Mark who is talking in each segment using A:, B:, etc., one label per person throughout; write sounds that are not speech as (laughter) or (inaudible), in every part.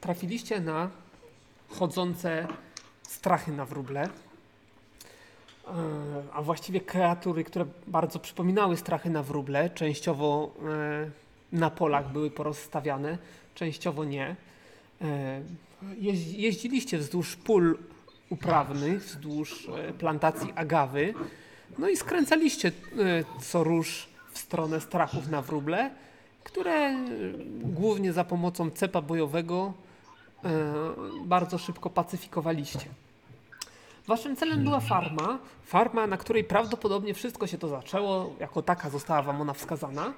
A: trafiliście na chodzące strachy na wróble, e, a właściwie kreatury, które bardzo przypominały strachy na wróble, częściowo e, na polach były porozstawiane, częściowo nie. E, jeź- Jeździliście wzdłuż pól uprawnych, wzdłuż e, plantacji agawy, no i skręcaliście e, co róż w stronę strachów na wróble, które e, głównie za pomocą cepa bojowego e, bardzo szybko pacyfikowaliście. Waszym celem była farma, farma, na której prawdopodobnie wszystko się to zaczęło, jako taka została wam ona wskazana.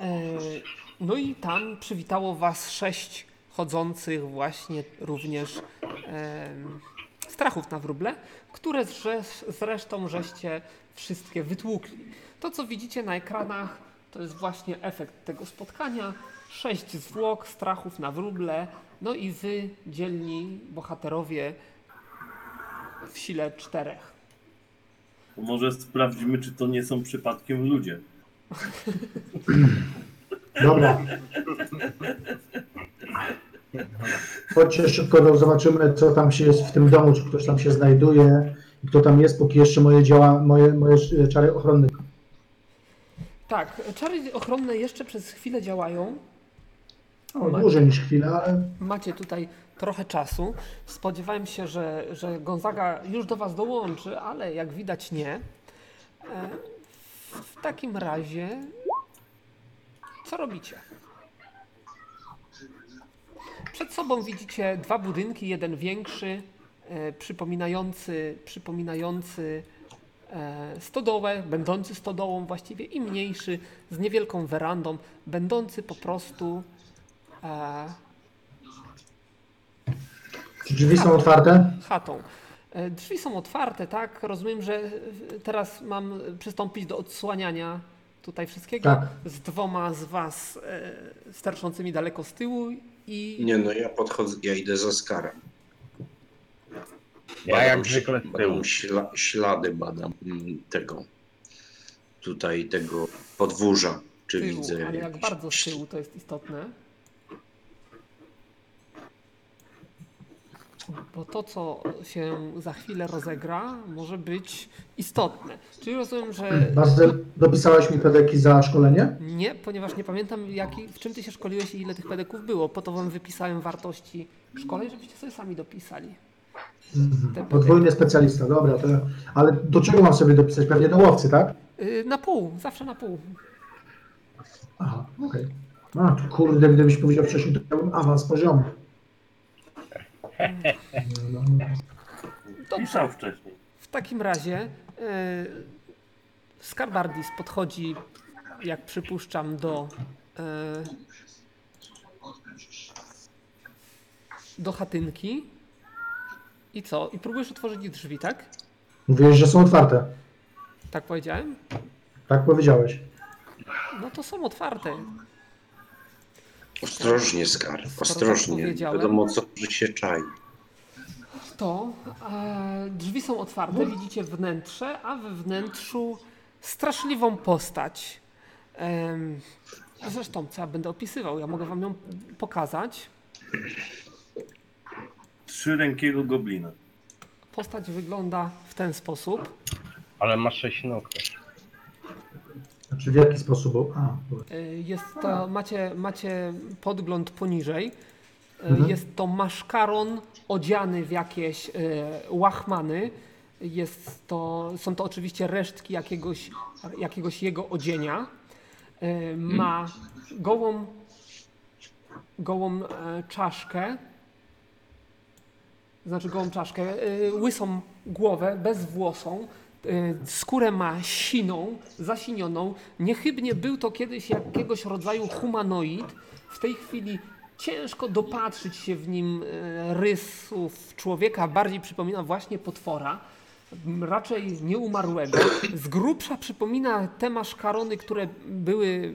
A: E, No i tam przywitało was sześć chodzących właśnie również em, strachów na wróble, które zrze- zresztą żeście wszystkie wytłukli. To, co widzicie na ekranach, to jest właśnie efekt tego spotkania. Sześć zwłok, strachów na wróble, no i wy, dzielni bohaterowie w sile czterech.
B: To może sprawdzimy, czy to nie są przypadkiem ludzie.
C: Dobra. Chodźcie szybko, do- zobaczymy, co tam się jest w tym domu, czy ktoś tam się znajduje i kto tam jest, póki jeszcze moje działa, moje, moje sz- czary ochronne.
A: Tak, czary ochronne jeszcze przez chwilę działają.
C: O, dłużej niż chwila, ale
A: Macie tutaj trochę czasu. Spodziewałem się, że, że Gonzaga już do Was dołączy, ale jak widać nie. E, W takim razie, co robicie? Przed sobą widzicie dwa budynki, jeden większy, e, przypominający, przypominający e, stodołę, będący stodołą właściwie i mniejszy, z niewielką werandą, będący po prostu e,
C: czy drzwi są otwarte?
A: chatą. E, Drzwi są otwarte, tak? Rozumiem, że w- teraz mam przystąpić do odsłaniania tutaj wszystkiego
C: Tak.
A: z dwoma z was e, sterczącymi daleko z tyłu i
D: Nie no, ja podchodzę, ja idę za Skarem.
E: Ja
D: Badam
E: jak
D: ś-
E: zwykle z tyłu.
D: Badam śla, ślady badam mm, tego, tutaj tego podwórza, czy
A: tyłu,
D: widzę
A: ale jak
D: jakieś-
A: bardzo z tyłu to jest istotne. Bo to, co się za chwilę rozegra, może być istotne. Czyli rozumiem, że
C: Bazel, dopisałeś mi pedeki za szkolenie?
A: Nie, ponieważ nie pamiętam, jaki, w czym ty się szkoliłeś i ile tych pedeków było. Po to wam wypisałem wartości szkoleń, żebyście sobie sami dopisali. Te pedeki.
C: Podwójny specjalista, dobra, to, ale do czego mam sobie dopisać? Pewnie do łowcy, tak?
A: Y, Na pół, zawsze na pół.
C: Aha, okej. A, kurde, gdybyś powiedział wcześniej, to miałbym awans poziomu.
A: Dobrze,
B: Pisał wcześniej.
A: w takim razie y, Skarbardis podchodzi, jak przypuszczam, do, y, do chatynki. I co? I próbujesz otworzyć drzwi, tak?
C: Mówiłeś, że są otwarte.
A: Tak powiedziałem?
C: Tak powiedziałeś.
A: No to są otwarte.
D: Ostrożnie Skar,
A: Skoro tak
D: ostrożnie,
A: powiedziałem-
D: wiadomo co, że się czai.
A: to e, drzwi są otwarte, widzicie wnętrze, a we wnętrzu straszliwą postać. Em, zresztą, co ja będę opisywał, ja mogę wam ją pokazać.
B: Trzyrękiego goblina.
A: Postać wygląda w ten sposób.
E: Ale masz sześć nóg.
C: Znaczy w jaki sposób? Bo... A, dobra.
A: E, Jest to, macie, macie podgląd poniżej. E,
C: Mhm.
A: Jest to maszkaron odziany w jakieś e, łachmany. Jest to, są to oczywiście resztki jakiegoś, jakiegoś jego odzienia. E, Ma gołą, gołą e, czaszkę. Znaczy gołą czaszkę, e, łysą głowę, bez włosą. e, Skórę ma siną, zasinioną. Niechybnie był to kiedyś jakiegoś rodzaju humanoid. W tej chwili ciężko dopatrzyć się w nim e, rysów człowieka. Bardziej przypomina właśnie potwora, m, raczej nieumarłego. Z grubsza przypomina te maszkarony, które były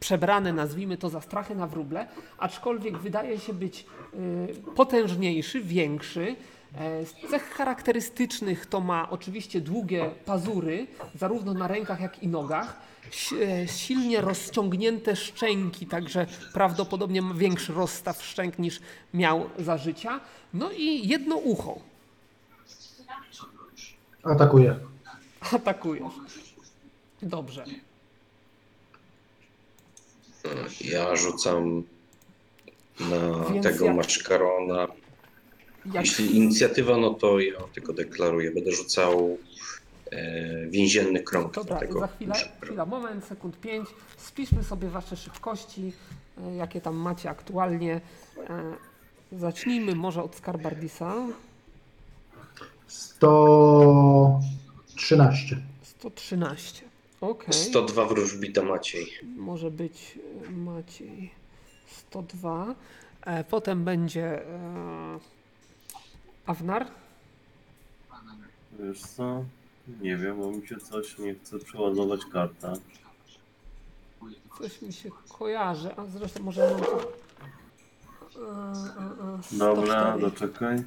A: przebrane, nazwijmy to za strachy na wróble, aczkolwiek wydaje się być y, potężniejszy, większy, E, Z cech charakterystycznych to ma oczywiście długie pazury, zarówno na rękach, jak i nogach, Si- e, silnie rozciągnięte szczęki, także prawdopodobnie ma większy rozstaw szczęk niż miał za życia. No i jedno ucho (laughs)
C: Atakuje.
A: atakujesz. Dobrze.
D: Ja rzucam na
A: Więc
D: tego
A: jak-
D: maszkarona.
A: Jak
D: Jeśli inicjatywa, no to ja tylko deklaruję. Będę rzucał e, więzienny krąg.
A: Dobra,
D: na tego
A: za chwilę,
D: maszkarona.
A: chwila, moment, sekund 5. Spiszmy sobie wasze szybkości, y, jakie tam macie aktualnie. E, Zacznijmy może od Skarbardisa.
C: 113.
A: 113. Okej.
D: 102 wróżbita Maciej.
A: Może być e, Maciej 102. E, Potem będzie e, Awnar.
B: Wiesz co? Nie wiem, bo mi się coś nie chce przeładować karta.
A: Coś mi się kojarzy, a zresztą może mam tu... E, e, e, 104.
B: Dobra, doczekaj.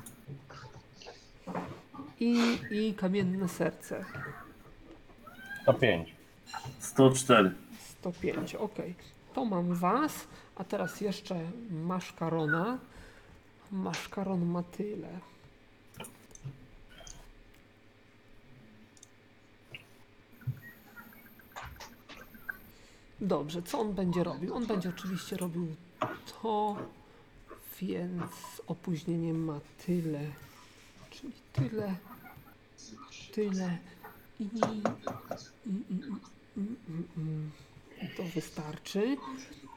A: I, I kamienne serce.
E: 105.
B: 104.
A: 105, ok. To mam was, a teraz jeszcze maszkarona. Maszkaron ma tyle. Dobrze, co on będzie robił? On będzie oczywiście robił to, więc opóźnienie ma tyle, czyli tyle, tyle i, i, i, i, i, i, i. To wystarczy.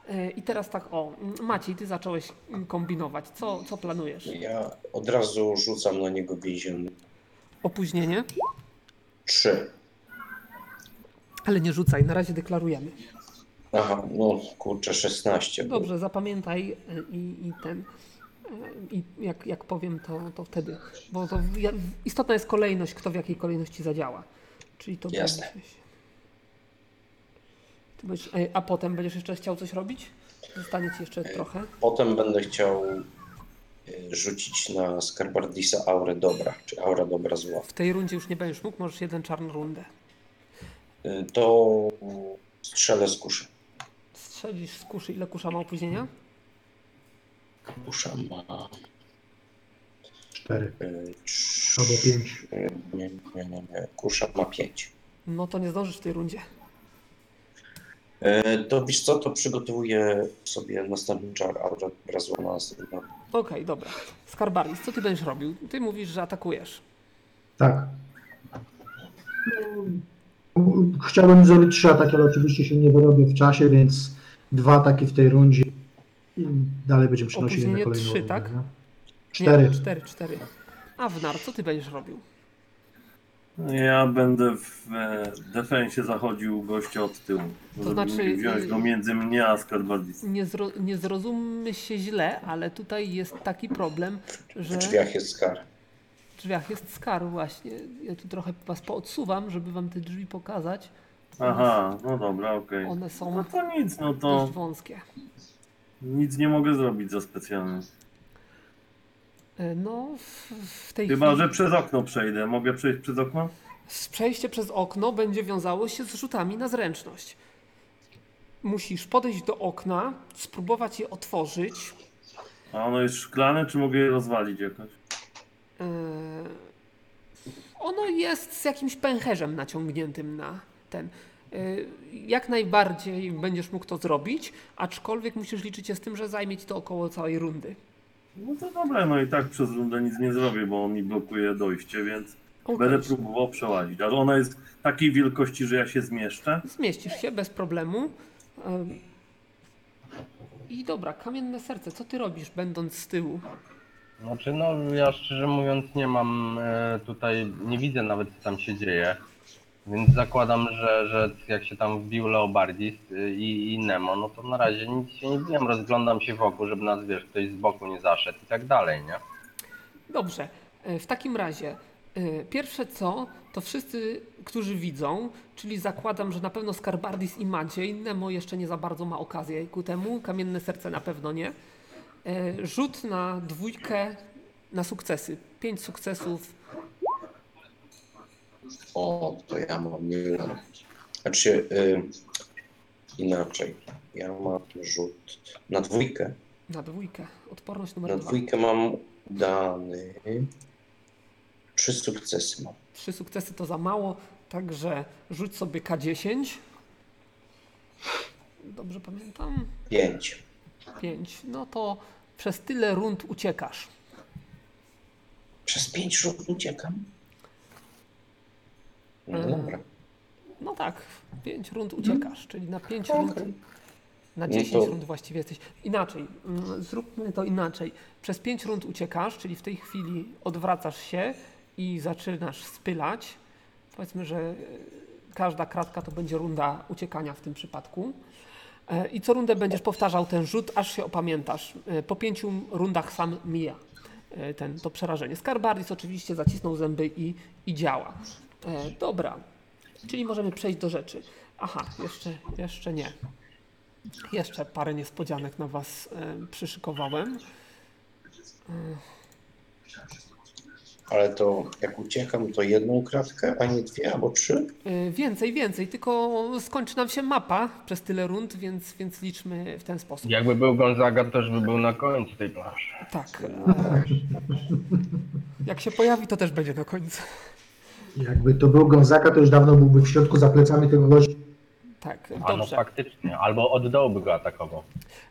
A: E, I teraz tak, o, Maciej, ty zacząłeś kombinować. Co, co planujesz?
D: Ja od razu rzucam na niego więzienny.
A: Opóźnienie?
D: 3.
A: Ale nie rzucaj, na razie deklarujemy.
D: Aha, no kurczę, 16. było.
A: Dobrze, zapamiętaj e, i, i ten. e, I jak, jak powiem, to, to wtedy. Bo to w- ja- istotna jest kolejność, kto w jakiej kolejności zadziała. Czyli to
D: Jasne.
A: będzie się- Ty będziesz, e, a potem będziesz jeszcze chciał coś robić? Zostanie ci jeszcze trochę.
D: Potem będę chciał y, rzucić na Skarbardisa aurę dobra, czy aura dobra zła.
A: W tej rundzie już nie będziesz mógł, możesz jeden czarną rundę.
D: Y, To strzelę z kuszy.
A: Strzelisz z kuszy, ile kusza ma opóźnienia?
D: Kusza ma
C: 4
D: y, trz-
C: albo 5.
D: y, Nie, nie, nie, nie. Kusza ma 5.
A: No to nie zdążysz w tej rundzie.
D: E, To wiesz co, to przygotowuję sobie następny czar aura dobra zła na następny.
A: Okej, dobra. Skarbaris, co ty będziesz robił? Ty mówisz, że atakujesz.
C: Tak. Chciałbym zrobić trzy ataki, ale oczywiście się nie wyrobię w czasie, więc dwa ataki w tej rundzie i dalej będziemy przenosić na
A: Opóźnienie
C: kolejną
A: trzy,
C: rundę,
A: tak?
C: nie? Cztery.
A: Nie, cztery, cztery. Awnar, co ty będziesz robił?
B: Ja będę w e, defensie zachodził gościa od tyłu. To żeby
A: znaczy,
B: znaczy... wziąć
A: y- Mm.
B: go między mnie a Skarbardis.
A: Nie, zro, nie zrozummy się źle, ale tutaj jest taki problem,
D: W
A: że
D: drzwiach jest kar.
A: w drzwiach jest skar właśnie. Ja tu trochę was poodsuwam, żeby wam te drzwi pokazać.
B: Aha, no dobra, okej.
A: One są
B: No to nic, no to
A: dość wąskie.
B: nic nie mogę zrobić za specjalnie.
A: E, No, w, w tej
B: Chyba,
A: chwili...
B: że przez okno przejdę. Mogę przejść przez okno?
A: Przejście przez okno będzie wiązało się z rzutami na zręczność. Musisz podejść do okna, spróbować je otworzyć.
B: A ono jest szklane, czy mogę je rozwalić jakoś?
A: Eee, E, ono jest z jakimś pęcherzem naciągniętym na ten. Eee, jak najbardziej będziesz mógł to zrobić, aczkolwiek musisz liczyć się z tym, że zajmie ci to około całej rundy.
B: No to dobra, no i tak przez rundę nic nie zrobię, bo on mi blokuje dojście, więc będę
A: Okej.
B: próbował przełazić. Ale ona jest takiej wielkości, że ja się zmieszczę.
A: Zmieścisz się bez problemu. Ehm, I dobra, kamienne serce, co ty robisz będąc z tyłu?
E: Znaczy no ja szczerze mówiąc nie mam e, tutaj, nie widzę nawet co tam się dzieje. Więc zakładam, że, że jak się tam wbił Leobardis y, i, i Nemo, no to na razie nic się nie wiem, rozglądam się wokół, żeby nas wiesz, ktoś z boku nie zaszedł i tak dalej, nie?
A: Dobrze, e, w takim razie e, pierwsze co, to wszyscy, którzy widzą, czyli zakładam, że na pewno Skarbardis i Maciej, Nemo jeszcze nie za bardzo ma okazję ku temu, Kamienne Serce na pewno nie, E, rzut na dwójkę na sukcesy. Pięć sukcesów.
D: O, to ja mam milion. Znaczy, y, inaczej. Ja mam rzut na dwójkę.
A: Na dwójkę. Odporność
D: Na
A: numer dwa.
D: dwójkę mam udany. Trzy sukcesy mam.
A: Trzy sukcesy to za mało, także rzuć sobie K10. Dobrze pamiętam?
D: Pięć.
A: Pięć. No to przez tyle rund uciekasz.
D: Przez pięć rzut uciekam. No
A: Mhm.
D: dobra.
A: No tak, pięć rund uciekasz, czyli na pięć rund,
D: Okej.
A: na
D: No
A: 10
D: to-
A: rund właściwie jesteś. Inaczej, mm, zróbmy to inaczej. Przez pięć rund uciekasz, czyli w tej chwili odwracasz się i zaczynasz spylać. Powiedzmy, że e, każda kratka to będzie runda uciekania w tym przypadku. E, I co rundę będziesz powtarzał ten rzut, aż się opamiętasz. E, Po pięciu rundach sam mija e, ten, to przerażenie. Skarbardis oczywiście zacisnął zęby i, i działa. E, Dobra, czyli możemy przejść do rzeczy. Aha, jeszcze, jeszcze nie. Jeszcze parę niespodzianek na Was e, przyszykowałem.
D: Ale to jak uciekam, to jedną kratkę, a nie dwie albo trzy?
A: E, Więcej, więcej, tylko skończy nam się mapa przez tyle rund, więc, więc liczmy w ten sposób.
E: Jakby był Gonzaga, to już by był na końcu tej planszy.
A: Tak. e, Jak się pojawi, to też będzie do końca.
C: Jakby to był Gonzaga, to już dawno byłby w środku za plecami tego gościa.
A: Tak,
E: A no
A: dobrze.
E: faktycznie, albo od dołu by go atakował.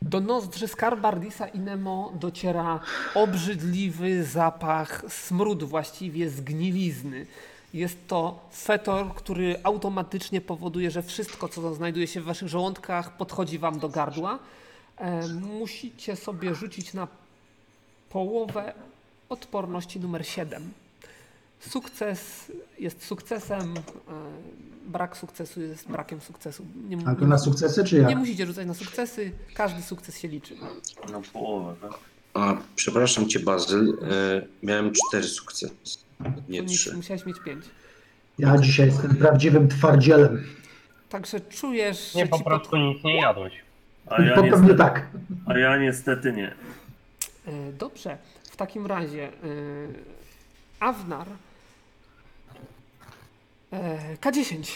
A: Do nozdrzy Skarbardisa i Nemo dociera obrzydliwy zapach smród, właściwie zgnilizny. Jest to fetor, który automatycznie powoduje, że wszystko, co znajduje się w waszych żołądkach, podchodzi wam do gardła. E, musicie sobie rzucić na połowę odporności numer 7. Sukces jest sukcesem, e, brak sukcesu jest brakiem sukcesu. Nie,
C: Ale to na sukcesy czy
E: Tak.
C: jak?
A: nie musicie rzucać na sukcesy, każdy sukces się liczy.
B: Na połowę, tak?
D: A, przepraszam cię, Bazyl. e, miałem cztery sukcesy, nie
A: To nic,
D: trzy.
A: musiałeś mieć pięć.
C: Ja dzisiaj jestem prawdziwym twardzielem.
A: Także czujesz,
E: Nie,
A: że
E: po
A: ci pod...
E: prostu nic nie jadłeś.
B: A ja,
C: to pewnie
B: niestety,
C: tak.
B: a ja niestety nie.
A: E, Dobrze, w takim razie e, Awnar e, K10.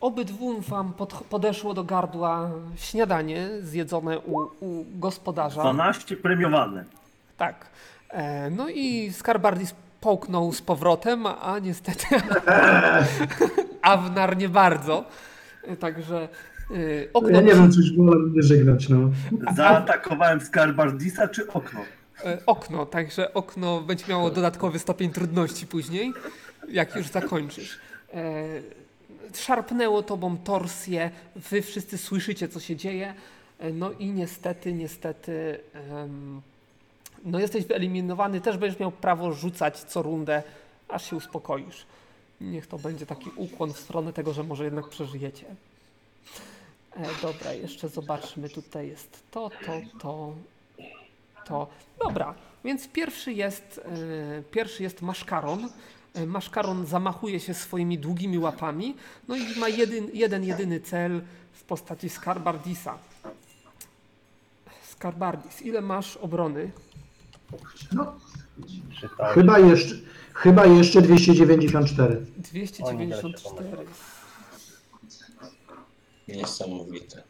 A: Obydwu wam pod, podeszło do gardła śniadanie zjedzone u, u gospodarza.
B: 12 premiowane.
A: Tak. E, no i Skarbardis połknął z powrotem, a
C: (laughs)
A: niestety Awnar nie bardzo. E, Także e, okno,
C: Ja nie
A: przy,
C: wiem, coś wolę mnie żegnać, no.
B: Zaatakowałem Skarbardisa czy okno?
A: e, okno, także okno będzie miało dodatkowy stopień trudności później, jak już zakończysz. E, szarpnęło tobą torsję, wy wszyscy słyszycie, co się dzieje. E, No i niestety, niestety em, No jesteś wyeliminowany, też będziesz miał prawo rzucać co rundę, aż się uspokoisz. Niech to będzie taki ukłon w stronę tego, że może jednak przeżyjecie. E, dobra, jeszcze zobaczmy, tutaj jest to, to, to, to. Dobra, więc pierwszy jest, e, pierwszy jest maszkaron. E, Maszkaron zamachuje się swoimi długimi łapami, no i ma jedyn, jeden, jedyny cel w postaci Skarbardisa. Skarbardis, ile masz obrony?
C: no
E: Czy tak?
C: chyba, jeszcze, chyba jeszcze 294.
E: Oni da się
A: 294.
E: pomylić.
D: Niesamowite.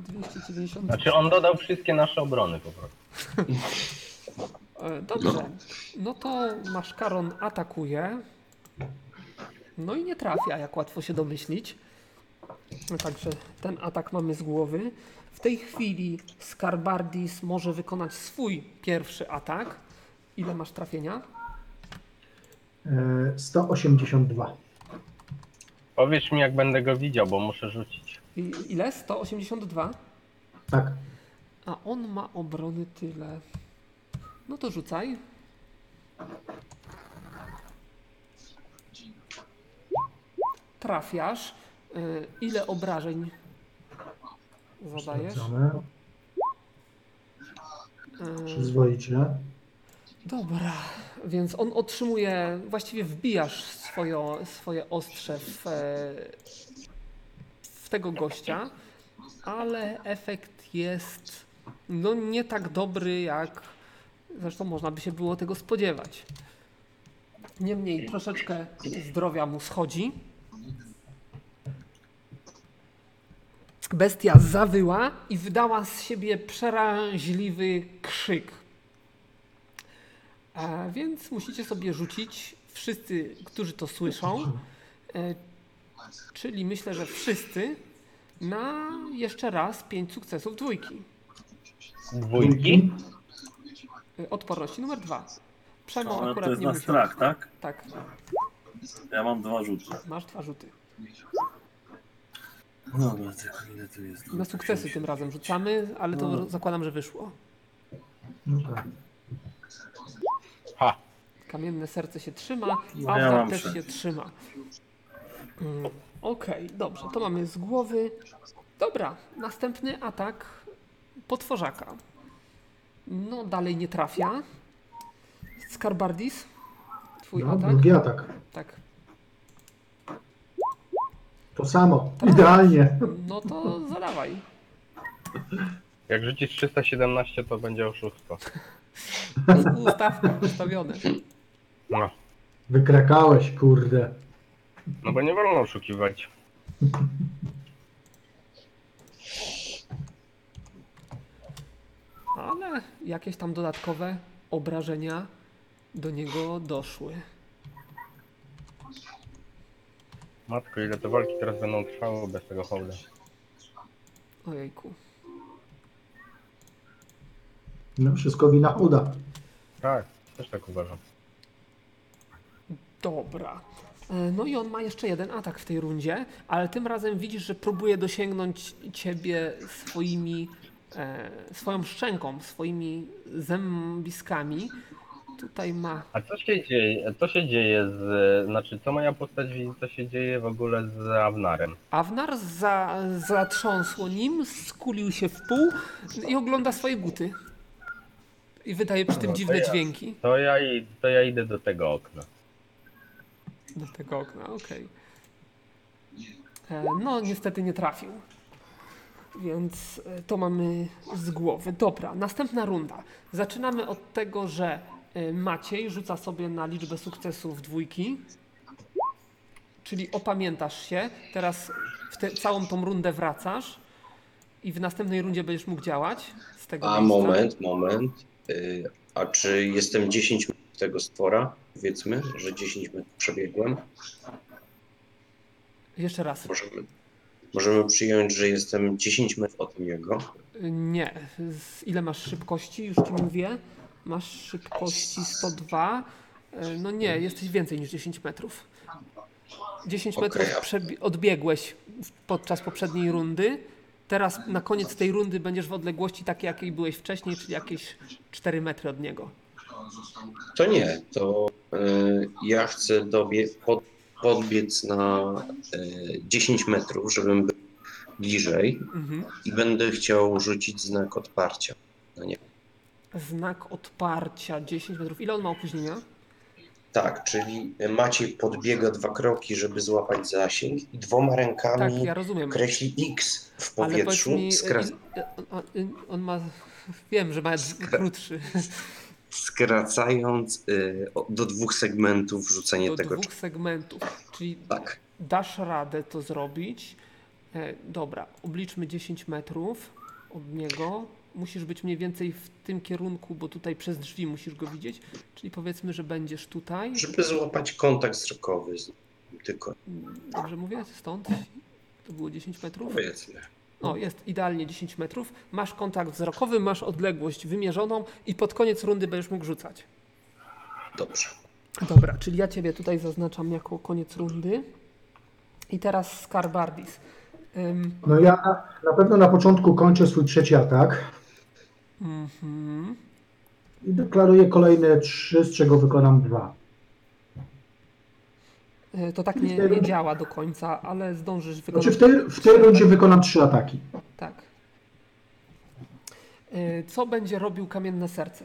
A: 294.
E: Znaczy on dodał wszystkie nasze obrony po prostu.
A: E, Dobrze. No to maszkaron atakuje. No i nie trafia, jak łatwo się domyślić. No Także ten atak mamy z głowy. W tej chwili Skarbardis może wykonać swój pierwszy atak. Ile masz trafienia?
C: E, 182.
E: Powiedz mi jak będę go widział, bo muszę rzucić.
A: I- Ile? 182?
C: Tak.
A: A on ma obrony tyle. No to rzucaj. Trafiasz. Y, Ile obrażeń zadajesz?
C: Sprawdzamy.
A: Y,
C: Przyzwoicie.
A: Dobra, więc on otrzymuje, właściwie wbijasz swoje, swoje ostrze w, e, w tego gościa, ale efekt jest no nie tak dobry jak Zresztą można by się było tego spodziewać. Niemniej troszeczkę zdrowia mu schodzi. Bestia zawyła i wydała z siebie przeraźliwy krzyk. A więc musicie sobie rzucić wszyscy, którzy to słyszą, e, czyli myślę, że wszyscy, na jeszcze raz pięć sukcesów dwójki.
E: Dwójki?
A: E, Odporności numer dwa. Przemo
B: Ale No,
A: No,
B: to
A: akurat
B: jest
A: nie
B: na
A: musiał.
B: strach, tak?
A: Tak,
B: Ja mam dwa rzuty.
A: masz dwa rzuty.
B: Dobra, tylko ile tu jest?
A: Na sukcesy tym razem rzucamy, ale to
B: No.
A: zakładam, że wyszło.
C: No tak.
E: Ha.
A: Kamienne serce się trzyma,
B: No, ja
A: Aura
B: mam
A: też
B: sześć.
A: się trzyma. Mm, Okej, dobrze, to mamy z głowy. Dobra, następny atak potworzaka. No, dalej nie trafia. Skarbardis, twój
C: No,
A: atak.
C: drugi atak.
A: Tak.
C: To samo.
A: Tak.
C: Idealnie.
A: No to zadawaj.
E: Jak rzucisz 317, to będzie oszustwo.
A: Ustawka ustawione.
E: No,
C: Wykrakałeś, kurde.
E: no bo nie wolno oszukiwać.
A: Ale jakieś tam dodatkowe obrażenia do niego doszły.
E: Matko, ile te walki teraz będą trwały bez tego hołda.
A: Ojejku.
C: No, wszystko wina uda.
E: Tak, też tak uważam.
A: Dobra. E, No i on ma jeszcze jeden atak w tej rundzie, ale tym razem widzisz, że próbuje dosięgnąć ciebie swoimi, e, swoją szczęką, swoimi zębiskami. Tutaj ma.
E: A co się dzieje, co się dzieje z, znaczy co moja postać widzi, co się dzieje w ogóle z Avnarem?
A: Awnar za, zatrząsło nim, skulił się w pół i ogląda swoje buty. I wydaje przy tym
E: No, to
A: dziwne
E: ja.
A: dźwięki
E: To ja, i- to ja idę do tego okna.
A: do tego okna. Okej. E, No, niestety nie trafił. Więc e, to mamy z głowy. Dobra, następna runda. Zaczynamy od tego, że e, Maciej rzuca sobie na liczbę sukcesów dwójki. Czyli opamiętasz się, teraz w te, całą tą rundę wracasz i w następnej rundzie będziesz mógł działać z tego
D: A
A: miejsca.
D: moment, moment. Y, A czy jestem 10 metrów tego stwora? Powiedzmy, że 10 metrów przebiegłem.
A: Jeszcze raz.
D: Możemy, możemy przyjąć, że jestem 10 metrów od niego.
A: Nie. Z ile masz szybkości? Już ci mówię. Masz szybkości 102. E, No nie, jesteś więcej niż 10 metrów. 10
D: Okej,
A: metrów
D: a-
A: przebi- odbiegłeś w- podczas poprzedniej rundy. Teraz na koniec tej rundy będziesz w odległości takiej, jakiej byłeś wcześniej, czyli jakieś 4 metry od niego.
D: To nie, to y, ja chcę dobie, pod, podbiec na y, 10 metrów, żebym był bliżej
A: Mhm.
D: i będę chciał rzucić znak odparcia.
A: Znak odparcia 10 metrów. Ile on ma opóźnienia?
D: Tak, czyli Maciej podbiega dwa kroki, żeby złapać zasięg i dwoma
A: Tak,
D: rękami
A: ja rozumiem.
D: kreśli X w
A: Ale powiedz
D: powietrzu,
A: mi,
D: skra-
A: y- y- on, on ma. Wiem, że ma krótszy.
D: skracając y, o- do dwóch segmentów rzucenie
A: do
D: tego.
A: dwóch segmentów. Czyli
D: Tak,
A: dasz radę to zrobić. E, dobra, obliczmy 10 metrów od niego. Musisz być mniej więcej w tym kierunku, bo tutaj przez drzwi musisz go widzieć. Czyli powiedzmy, że będziesz tutaj.
D: żeby złapać kontakt wzrokowy z nim, tylko
A: Dobrze mówię? Stąd? To było 10 metrów?
D: powiedzmy.
A: O, jest idealnie 10 metrów. Masz kontakt wzrokowy, masz odległość wymierzoną i pod koniec rundy będziesz mógł rzucać.
D: Dobrze.
A: Dobra, czyli ja Ciebie tutaj zaznaczam jako koniec rundy. I teraz Skarbardis. Ym,
C: No ja na, na pewno na początku kończę swój trzeci atak
A: mhm.
C: i deklaruję kolejne trzy, z czego wykonam dwa.
A: Y, To tak nie, nie działa do końca, ale zdążysz wykonać.
C: Znaczy w tej, w tej rundzie wykonam trzy ataki.
A: Tak. Y, Co będzie robił kamienne serce?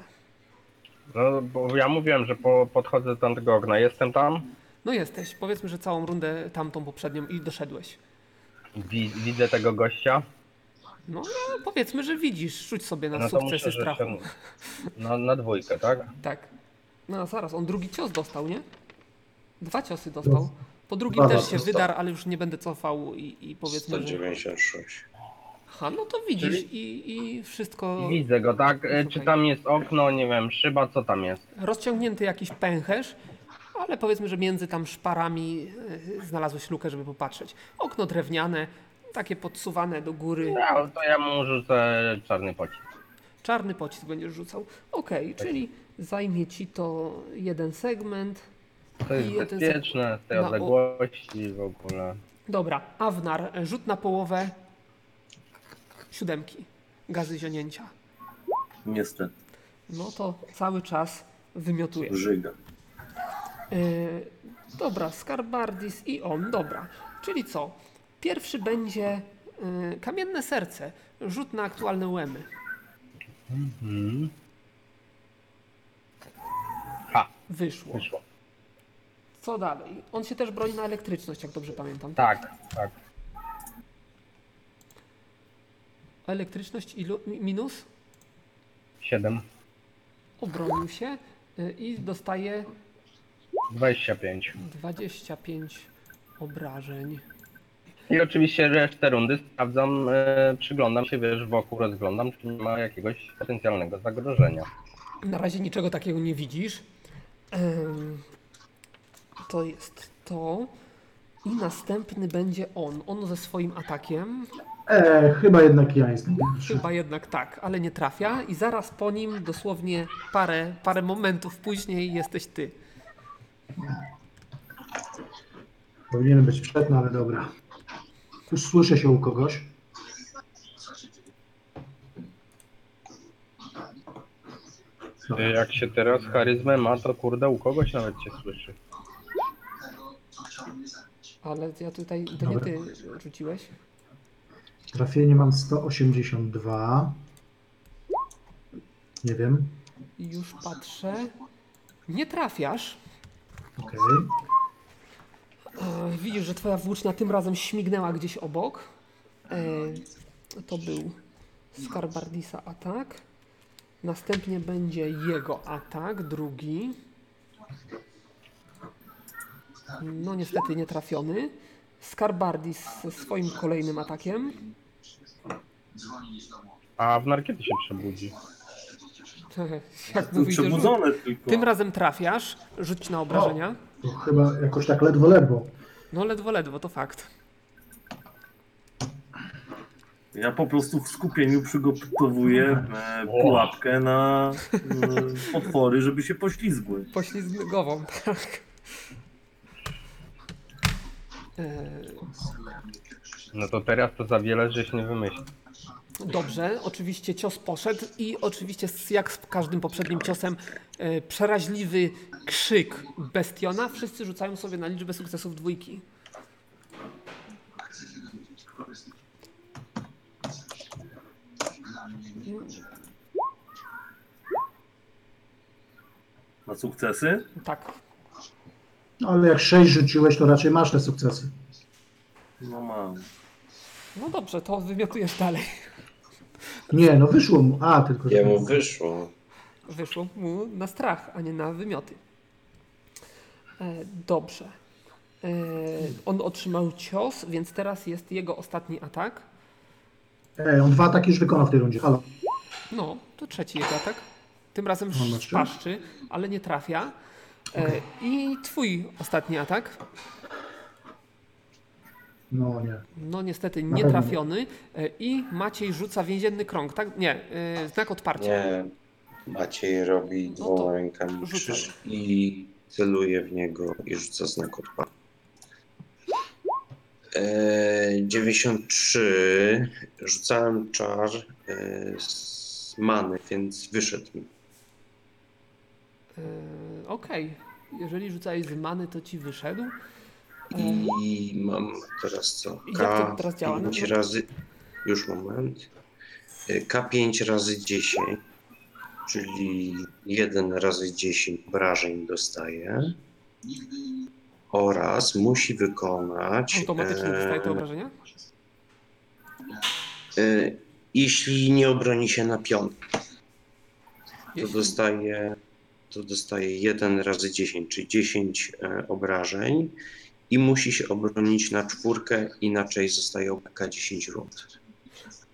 E: No, bo ja mówiłem, że po, podchodzę do tamtego okna. Jestem tam,
A: No jesteś, powiedzmy, że całą rundę tamtą poprzednią i doszedłeś.
E: wi- widzę tego gościa.
A: No, no powiedzmy, że widzisz, rzuć sobie na
E: No to
A: sukcesy
E: muszę, że
A: strachu.
E: się... na, na dwójkę, tak?
A: Tak. No zaraz, on drugi cios dostał, nie? Dwa ciosy dostał. Po drugim
C: Dwa
A: też się
D: dostał.
A: wydarł, ale już nie będę cofał i, i powiedzmy, że...
D: 196.
A: Ha, no to widzisz i, i wszystko...
E: Widzę go, tak? E, Czy
A: Okej.
E: tam jest okno, nie wiem, szyba, co tam jest?
A: Rozciągnięty jakiś pęcherz, ale powiedzmy, że między tam szparami yy, znalazłeś lukę, żeby popatrzeć. Okno drewniane, takie podsuwane do góry.
E: Ja, No, to ja mu rzucę czarny pocisk.
A: Czarny pocisk będziesz rzucał. Okej, czyli zajmie ci to jeden segment.
E: To jest
A: I jeden za-
E: bezpieczne z tej
A: na o-
E: odległości w ogóle.
A: Dobra, Awnar, rzut na połowę siódemki gazy zionięcia.
B: Niestety,
A: No to cały czas wymiotuje.
B: żyga.
A: Yy, dobra, Skarbardis i on, dobra. Czyli co? Pierwszy będzie yy, Kamienne Serce, rzut na aktualne łemy.
E: Mhm. Ha,
A: Wyszło.
E: wyszło.
A: Co dalej? On się też broni na elektryczność, jak dobrze pamiętam.
E: Tak, tak.
A: Elektryczność ilu? mi- minus?
E: Siedem,
A: Obronił się yy, i dostaje
E: dwadzieścia pięć.
A: 25 obrażeń.
E: I oczywiście resztę rundy sprawdzam, e, przyglądam się, wiesz, wokół rozglądam, czy nie ma jakiegoś potencjalnego zagrożenia.
A: Na razie niczego takiego nie widzisz. Em, To jest to. I następny będzie on. On ze swoim atakiem.
C: E, chyba jednak ja jestem pierwszy.
A: Chyba jednak tak, ale nie trafia. I zaraz po nim, dosłownie parę, parę momentów później, jesteś ty.
C: Powinienem być przed, no ale dobra. Już słyszę się u kogoś.
E: Ty, E, Jak się teraz charyzmę ma, to kurde, u kogoś nawet cię słyszy.
A: Ale ja tutaj. To nie
C: Dobra.
A: ty rzuciłeś.
C: Trafienie mam 182. Nie wiem.
A: Już patrzę. Nie trafiasz.
C: Okej.
A: E, Widzisz, że twoja włócznia tym razem śmignęła gdzieś obok. E, To był Skarbardisa atak. Następnie będzie jego atak, drugi. No niestety nie trafiony. Skarbardis ze swoim kolejnym atakiem. (laughs)
E: A w narkiety się przebudzi.
A: Jak mu
B: Jestem
A: wyjdzie rzut.
B: przebudzony tylko.
A: Tym razem trafiasz, rzuć na obrażenia.
C: To chyba jakoś tak ledwo, ledwo.
A: No ledwo, ledwo, to fakt.
B: Ja po prostu w skupieniu przygotowuję e, pułapkę na e, potwory, żeby się poślizgły.
A: Poślizgową, (laughs) tak. E,
E: No to teraz to za wiele żeś nie wymyślił.
A: Dobrze, oczywiście cios poszedł i oczywiście z- jak z każdym poprzednim ciosem e, przeraźliwy krzyk bestiona. Wszyscy rzucają sobie na liczbę sukcesów dwójki.
B: Na sukcesy?
A: Tak,
C: No, ale jak 6 rzuciłeś, to raczej masz te sukcesy.
B: No mam.
A: no dobrze, to wymiotujesz dalej.
C: Nie, no wyszło mu. A, tylko że-
D: Jemu wyszło.
A: Wyszło mu na strach, a nie na wymioty. E, dobrze. E, on otrzymał cios, więc teraz jest jego ostatni atak.
C: Ej, E, on dwa ataki już wykonał w tej rundzie. Halo.
A: No, to trzeci jego atak. Tym razem
C: On ma trzy?
A: szpaszczy, ale nie trafia. E, I twój ostatni atak.
C: No nie.
A: No niestety nie
C: pewno.
A: trafiony. E, I Maciej rzuca więzienny krąg, tak? Nie, e, znak odparcia.
D: Nie. Maciej robi
A: No to
D: dwoma rękami
A: rzucaj.
D: krzyż i celuje w niego i rzuca znak odpadu. Eee, 93. Rzucałem czar eee, z many, więc wyszedł mi.
A: E, Okej, jeżeli rzucałeś z many, to ci wyszedł.
D: I mam teraz co?
A: E, I jak to teraz działa? No
D: K5
A: to-
D: razy. Już moment. Y, K5 razy 10, czyli 1 razy 10 obrażeń dostaje. Oraz musi wykonać.
A: Automatycznie dostaje te
D: e,
A: obrażenia?
D: e, Jeśli nie obroni się na piątkę, to
A: Jeśli-
D: dostaje, to dostaje 1 razy 10, czyli 10 e, obrażeń i musi się obronić na czwórkę, inaczej zostaje obraka 10 rund.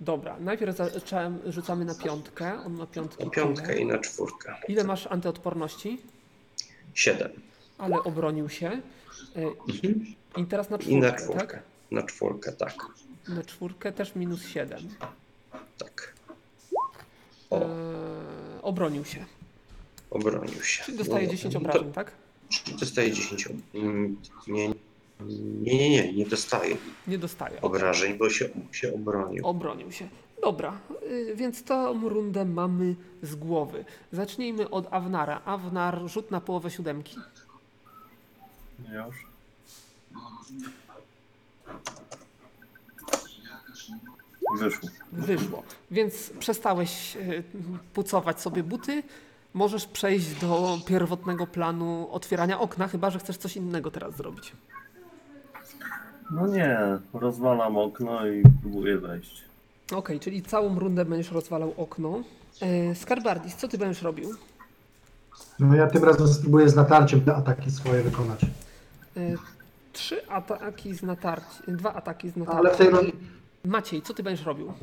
A: Dobra, najpierw zaczęłem, rzucamy na piątkę. On ma piątki.
D: Na piątkę
A: tyle.
D: i na czwórkę.
A: Ile masz antyodporności?
D: 7.
A: Ale obronił się. Y,
D: Mhm.
A: I teraz na
D: I na
A: czwórkę,
D: czwórkę.
A: tak?
D: Na czwórkę, tak.
A: Na czwórkę też minus 7.
D: Tak.
A: E,
D: O,
A: obronił się.
D: obronił się.
A: Czyli dostaje 10
D: No, to-
A: obrażeń, tak?
D: Dostaje 10 ob- mm, nie, nie, nie, nie, nie dostaje
A: Nie dostaje.
D: obrażeń, bo się, się obronił.
A: Obronił się. Dobra, y, więc tą rundę mamy z głowy. Zacznijmy od Avnara. Avnar, rzut na połowę siódemki.
B: Już. Wyszło.
A: Wyszło. Więc przestałeś y, pucować sobie buty. Możesz przejść do pierwotnego planu otwierania okna, chyba że chcesz coś innego teraz zrobić.
B: No nie, rozwalam okno i próbuję wejść.
A: Okej, czyli całą rundę będziesz rozwalał okno. Yy, Skarbardis, co ty będziesz robił?
C: No ja tym razem spróbuję z natarciem te ataki swoje wykonać.
A: Y, Trzy ataki z natarcia, dwa ataki z natarcia.
C: Ale w tej rundzie...
A: Maciej, co ty będziesz robił?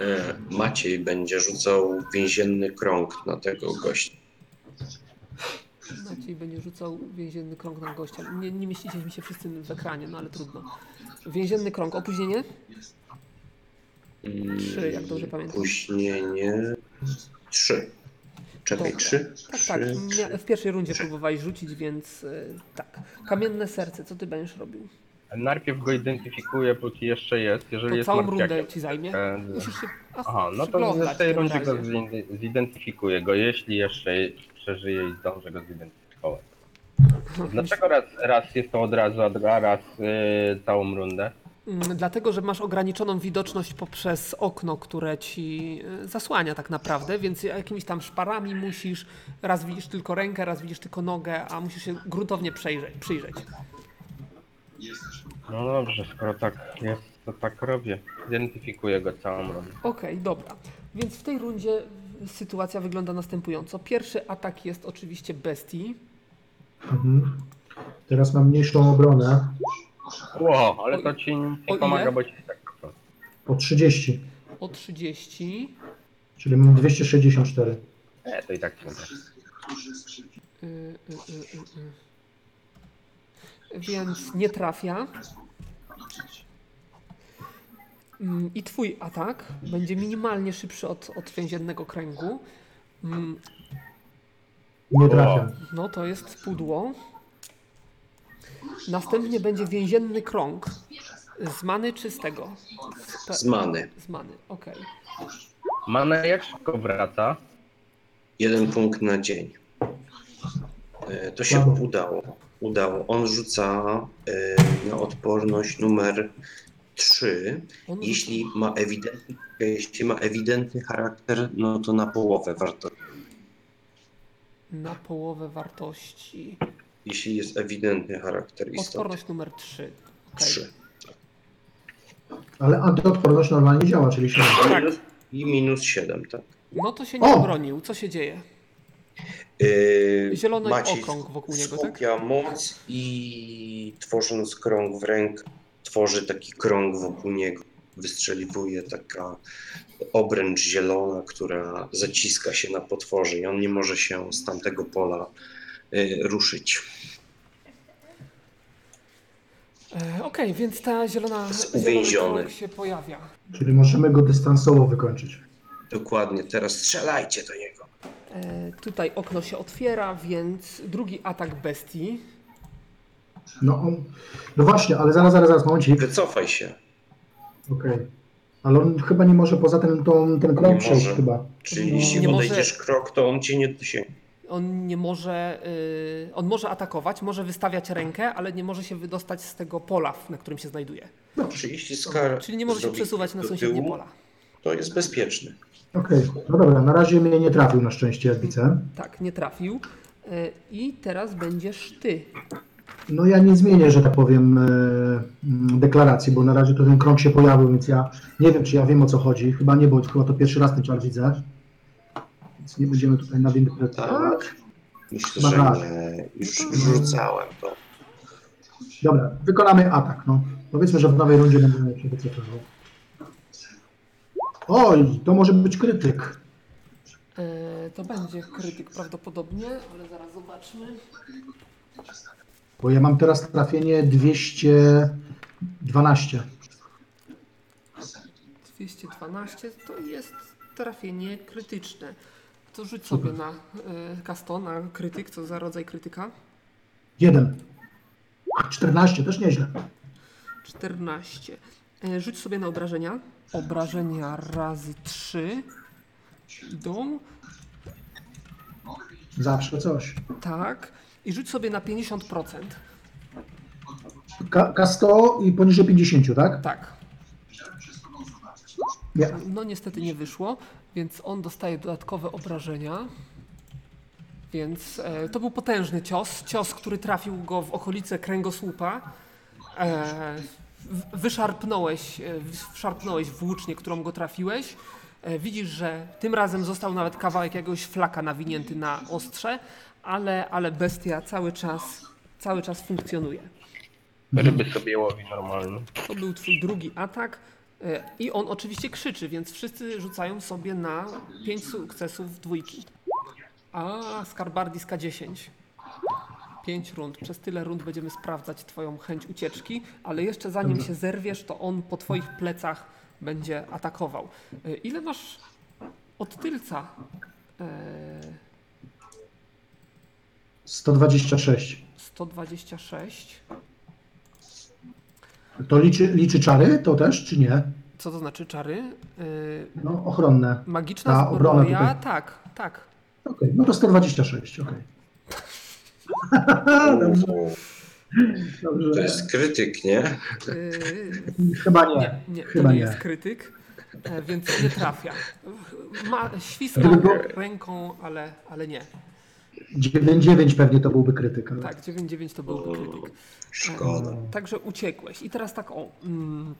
D: E, Maciej będzie rzucał więzienny krąg na tego gościa.
A: Maciej No, będzie rzucał więzienny krąg na gościa. Nie, nie mieścicie mi się wszyscy w ekranie, no ale trudno. Więzienny krąg, opóźnienie?
D: Mm,
A: Trzy, jak dobrze pamiętam.
D: Opóźnienie. Trzy. Czekaj,
A: Dobra.
D: trzy?
A: Tak,
D: trzy,
A: tak.
D: trzy.
A: Mia- W pierwszej rundzie próbowałeś rzucić, więc y, tak. Kamienne serce, co ty będziesz robił?
E: Najpierw go identyfikuję, póki jeszcze jest. Jeżeli
A: To
E: jest
A: całą
E: martwiakiem.
A: rundę ci zajmie.
E: E,
A: Musisz się. Ach,
E: Aha, no to
A: przyglądać
E: w tej
A: w tym
E: rundzie go
A: razie.
E: zide- zidentyfikuję go, jeśli jeszcze przeżyje i zdążę go zidentyfikować. Dlaczego raz, raz jest to od razu, a dwa raz yy, całą rundę?
A: Mm, Dlatego, że masz ograniczoną widoczność poprzez okno, które ci y, zasłania tak naprawdę, więc jakimiś tam szparami musisz, raz widzisz tylko rękę, raz widzisz tylko nogę, a musisz się gruntownie przejrzeć, przyjrzeć.
E: No dobrze, skoro tak jest, to tak robię. Zidentyfikuję go całą rundę.
A: Okej, dobra. Więc w tej rundzie sytuacja wygląda następująco. Pierwszy atak jest oczywiście bestii.
C: Mhm. Teraz mam mniejszą obronę
E: Ło, ale
A: O-
E: to ci
A: o
E: nie
A: ile?
E: pomaga, bo ci i tak po prostu.
C: o 30,
A: O 30.
C: czyli mam 264.
E: E, to i tak nie da.
A: Y, y, y, y, y. Więc nie trafia. Mm, I twój atak będzie minimalnie szybszy od, od więziennego kręgu. Mm,
C: Nie trafiam.
A: No to jest pudło. Następnie będzie więzienny krąg. Z many czy z tego? Z, pe-
D: Z many.
A: z many, okej.
E: Mana jak szybko wraca?
D: Jeden punkt na dzień. E, To się
C: Brawo.
D: udało. Udało. On rzuca e, na odporność numer 3.
A: On
D: Jeśli ma ewidentny, jeśli ma ewidentny charakter, no to na połowę warto.
A: na połowę wartości.
D: Jeśli jest ewidentny charakter istoty.
A: Odporność numer 3.
D: Trzy.
C: Ale antyodporność normalnie działa, czyli się...
A: Tak.
D: I minus 7, tak.
A: No to się nie
C: O!
A: obronił. Co się dzieje?
D: Yy,
A: Zielony okrąg wokół niego, tak?
D: skupia moc i tworząc krąg w ręk, tworzy taki krąg wokół niego. Wystrzeliwuje taka obręcz zielona, która zaciska się na potworze i on nie może się z tamtego pola yy, ruszyć.
A: E, Okej, więc ta zielona
D: Jest
A: zielony
D: uwięziony.
A: krąg się pojawia.
C: Czyli możemy go dystansowo wykończyć.
D: Dokładnie, teraz strzelajcie do niego.
A: E, tutaj okno się otwiera, więc drugi atak bestii.
C: No, on... no właśnie, ale zaraz, zaraz, zaraz, momencik.
D: Wycofaj się.
C: Okej. Ale on chyba nie może poza ten, tą, ten
D: Nie
C: krąg przejść
D: może.
C: chyba.
D: Czyli
A: No,
D: jeśli
A: nie może-
D: odejdziesz krok, to on cię nie dosięgnie.
A: On nie może, y, on może atakować, może wystawiać rękę, ale nie może się wydostać z tego pola, w- na którym się znajduje.
D: No, Czyli jeśli skar
A: Czyli nie może się
D: zrobi
A: przesuwać na
D: do
A: sąsiednie
D: tyłu,
A: pola.
D: To jest bezpieczny.
C: Okej, no dobra, na razie mnie nie trafił na szczęście, jak widzę.
A: Tak, nie trafił. E, I teraz będziesz ty.
C: No ja nie zmienię, że tak powiem, e, mm, deklaracji, bo na razie to ten krąg się pojawił, więc ja nie wiem, czy ja wiem o co chodzi. Chyba nie, bo chyba to pierwszy raz ten czar widzę. Więc nie będziemy tutaj nadinterpretować.
D: Tak. Myślę,
C: No
D: że
C: tak.
D: nie.
A: No
D: Już rzucałem to.
C: Dobra, wykonamy atak, no. Powiedzmy, że w nowej rundzie będę się wycofywał. Oj, to może być krytyk.
A: E, to będzie krytyk prawdopodobnie, ale zaraz zobaczmy.
C: Bo ja mam teraz trafienie 212.
A: 212 to jest trafienie krytyczne. To rzuć
C: Super.
A: sobie na e, kasto, na krytyk, co za rodzaj krytyka.
C: Jeden. 14, też nieźle.
A: 14. E, Rzuć sobie na obrażenia. Obrażenia razy 3. Idą.
C: Zawsze coś.
A: Tak. I rzuć sobie na 50%.
C: K- K100 i poniżej 50, tak?
A: Tak.
C: Nie.
A: No niestety nie wyszło, więc on dostaje dodatkowe obrażenia. Więc e, to był potężny cios. Cios, który trafił go w okolice kręgosłupa. E, w- wyszarpnąłeś, e, w- wszarpnąłeś włócznie, którą go trafiłeś. E, widzisz, że tym razem został nawet kawałek jakiegoś flaka nawinięty na ostrze, ale, ale bestia cały czas, cały czas funkcjonuje.
E: Ryby sobie łowi normalnie.
A: To był twój drugi atak. e, I on oczywiście krzyczy, więc wszyscy rzucają sobie na 5 sukcesów dwójki. A Skarbardi k 10. 5 rund. Przez tyle rund będziemy sprawdzać twoją chęć ucieczki, ale jeszcze zanim się zerwiesz, to on po twoich plecach będzie atakował. E, Ile masz od tylca? E,
C: 126.
A: 126.
C: To liczy, liczy czary to też, czy nie?
A: Co to znaczy czary? E,
C: No, ochronne.
A: Magiczna
C: Ta obrona
A: zbroja?
C: tutaj.
A: Tak, tak.
C: Okej, no to 126, okej. Dobrze,
D: O,
C: dobrze.
D: To jest krytyk, nie?
A: E,
C: Chyba nie.
A: Nie, nie,
C: Tak. Chyba
A: to nie,
C: nie.
A: jest krytyk, e, więc nie trafia. Ma, świstał
C: Tylko-
A: ręką, ale, ale nie.
C: 9-9 pewnie to byłby krytyk. ale-
A: Tak, 9-9 to byłby krytyk. E,
D: Szkoda.
A: Także uciekłeś. I teraz tak o. Mm,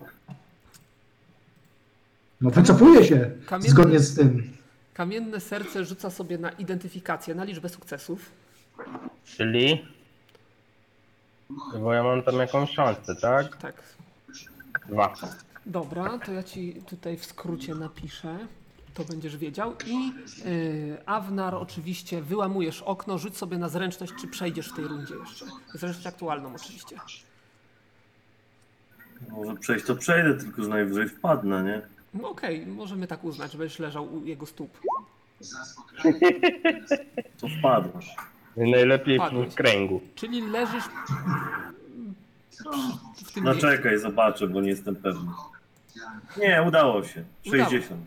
C: No wycofuje się
A: Kamienny-
C: zgodnie z tym.
A: kamienne serce rzuca sobie na identyfikację, na liczbę sukcesów.
E: Czyli? Bo ja mam tam jakąś szansę, tak?
A: Tak.
E: Dwa.
A: Dobra, to ja ci tutaj w skrócie napiszę. To będziesz wiedział. I y, Awnar oczywiście wyłamujesz okno, rzuć sobie na zręczność, czy przejdziesz w tej rundzie jeszcze. Zręczność aktualną oczywiście.
B: Może przejść to przejdę, tylko że najwyżej wpadnę, nie?
A: No okej, możemy tak uznać, że będziesz leżał u jego stóp.
B: To wpadnę.
E: I najlepiej w
A: Padłeś.
E: kręgu.
A: Czyli leżysz przy- w tym
B: No
A: miejscu.
B: czekaj, zobaczę, bo nie jestem pewny. Nie, udało się.
A: Udało.
B: 60.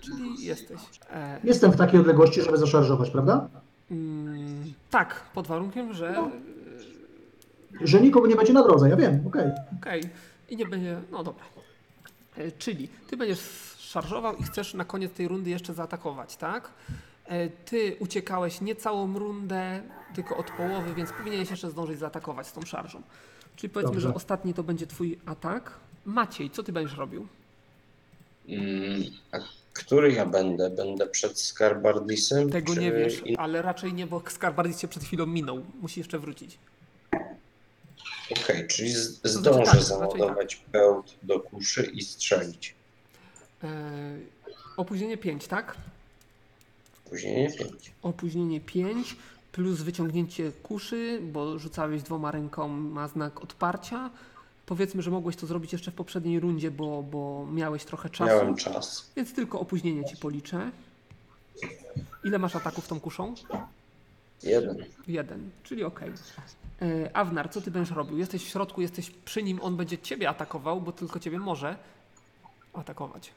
A: Czyli jesteś. E,
C: Jestem w takiej odległości, żeby zaszarżować, prawda?
A: mm, tak, pod warunkiem, że
C: Że nikogo nie będzie na drodze, ja wiem, okej.
A: okej i nie będzie, no dobra. E, czyli ty będziesz szarżował i chcesz na koniec tej rundy jeszcze zaatakować, tak? E, ty uciekałeś nie całą rundę, tylko od połowy, więc powinieneś jeszcze zdążyć zaatakować z tą szarżą. Czyli powiedzmy,
C: Dobrze.
A: że ostatni to będzie twój atak. Maciej, co ty będziesz robił?
D: Mm, A który ja będę? Będę przed Skarbardisem?
A: Tego
D: czy
A: nie wiesz,
D: in-
A: ale raczej nie, bo Skarbardis cię przed chwilą minął. Musi jeszcze wrócić.
D: Okej, czyli z-
A: znaczy
D: zdążę
A: tak, to znaczy
D: załadować pełt do kuszy i strzelić.
A: E, opóźnienie 5, tak?
D: Później nie pięć.
A: Opóźnienie 5 plus wyciągnięcie kuszy, bo rzucałeś dwoma rękoma znak odparcia. Powiedzmy, że mogłeś to zrobić jeszcze w poprzedniej rundzie, bo, bo miałeś trochę czasu,
D: Miałem czas.
A: więc tylko opóźnienie ci policzę. Ile masz ataków tą kuszą?
D: Jeden.
A: Jeden, czyli okej. E, Awnar, co ty będziesz robił? Jesteś w środku, jesteś przy nim, on będzie ciebie atakował, bo tylko ciebie może atakować.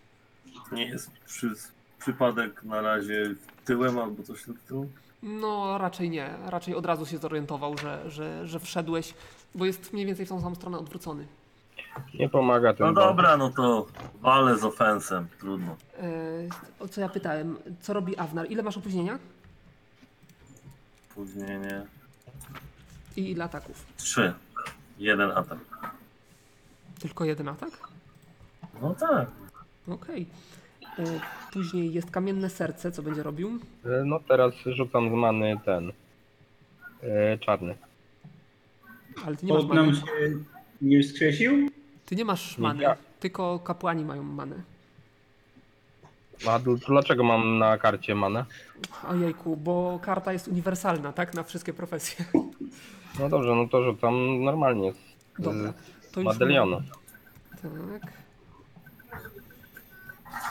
B: Nie jest przy, przypadek na razie tyłem albo coś w tym.
A: No, raczej nie. Raczej od razu się zorientował, że, że, że wszedłeś, bo jest mniej więcej w tą samą stronę odwrócony.
E: Nie pomaga ten
B: No
E: bal.
B: dobra, no to walę z ofensem. Trudno.
A: E, o co ja pytałem? Co robi Awnar? Ile masz opóźnienia?
B: Później nie.
A: I ile ataków?
B: Trzy. Jeden atak.
A: Tylko jeden atak?
B: No tak.
A: Okej. E, Później jest kamienne serce, co będzie robił?
E: E, No teraz rzucam z many ten. e, Czarny.
A: Ale ty nie masz
F: Pod nam
A: many.
F: się nie wskrzesił?
A: Ty nie masz
E: Nie,
A: many,
E: ja.
A: tylko kapłani mają many.
E: A dl- dlaczego mam na karcie manę?
A: Ojejku, bo karta jest uniwersalna, tak? Na wszystkie profesje.
E: No dobrze, no to rzucam normalnie. Z,
A: Dobra. To
E: z
A: już
E: medalionu.
A: Tak.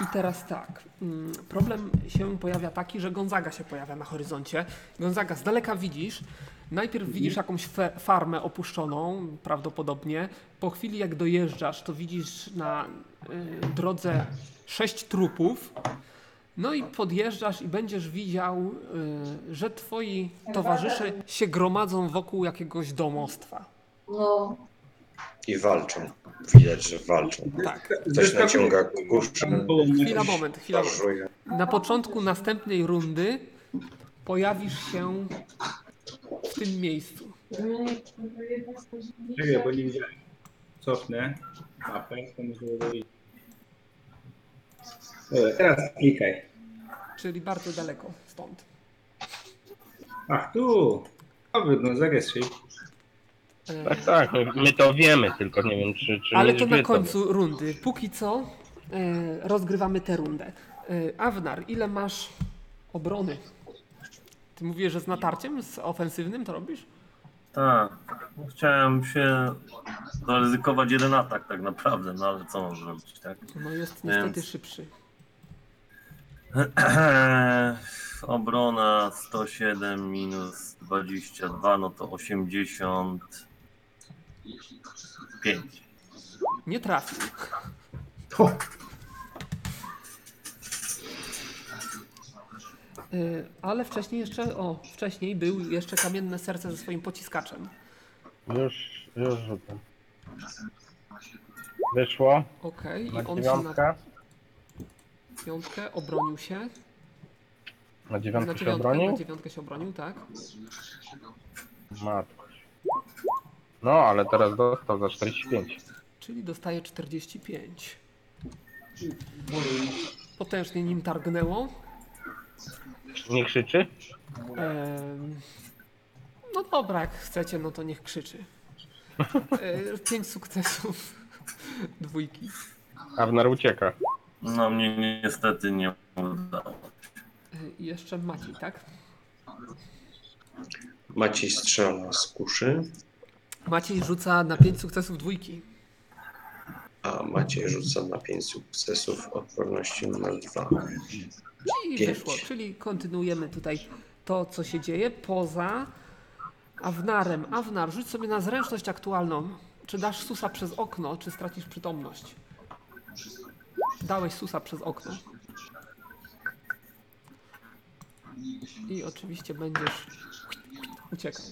A: I teraz tak. mm, Problem się pojawia taki, że Gonzaga się pojawia na horyzoncie. Gonzaga, z daleka widzisz. Najpierw widzisz jakąś fe- farmę opuszczoną, prawdopodobnie. Po chwili, jak dojeżdżasz, to widzisz na y, drodze sześć trupów. No i podjeżdżasz i będziesz widział, y, że twoi towarzysze się gromadzą wokół jakiegoś domostwa.
D: I walczą. Widać, że walczą.
A: Tak.
D: Ktoś naciąga kuszę.
F: Koło mnie.
A: Chwila, moment, chwila. Moment.
D: szarżuje.
A: Na początku następnej rundy pojawisz się w tym miejscu.
F: Czekaj, bo nie widziałem. Cofnę. Mapę, to może wyjść. Dobra, teraz klikaj.
A: Czyli bardzo daleko stąd.
F: Ach, tu! Dobry, no zarejestruj.
A: E,
E: Tak, tak, my- my to wiemy, tylko nie wiem, czy. czy
A: Ale
E: nie
A: to
E: wy
A: na końcu rundy. Póki co e, rozgrywamy tę rundę. E, Awnar, ile masz obrony? Ty mówisz, że z natarciem, z ofensywnym to robisz?
B: Tak. Chciałem się zaryzykować jeden atak tak naprawdę, no ale co mam zrobić, tak? (clears throat)
A: No jest
B: Więc-
A: niestety szybszy.
B: Obrona 107 minus 22, no to 85.
A: Nie trafi.
C: Ho,
A: E, ale wcześniej jeszcze, o, wcześniej był jeszcze kamienne serce ze swoim pociskaczem.
E: Już, już rzucam. Wyszło.
A: Okej,
E: Na
A: i on się na
E: dziewiątkę.
A: piątkę obronił się.
E: Na
A: Na
E: dziewiątkę się
A: dziewiątkę, na
E: obronił?
A: dziewiątkę się obronił, tak?
E: Matko. No, ale teraz dostał za 45.
A: Czyli dostaje 45. Potężnie nim targnęło.
E: Nie krzyczy?
A: Em, No dobra, jak chcecie, no to niech krzyczy. E, Pięć sukcesów. (laughs) Dwójki.
E: Awnar ucieka.
B: No mnie niestety nie udało.
A: E, I jeszcze Maciej, tak?
D: Maciej strzela z kuszy,
A: Maciej rzuca na pięć sukcesów dwójki.
D: a Maciej rzuca na 5 sukcesów odporności na 2.
A: I
D: Pięć.
A: wyszło, czyli kontynuujemy tutaj to, co się dzieje poza Awnarem. Awnar, rzuć sobie na zręczność aktualną. Czy dasz susa przez okno, czy stracisz przytomność? Dałeś susa przez okno. I oczywiście będziesz uciekał.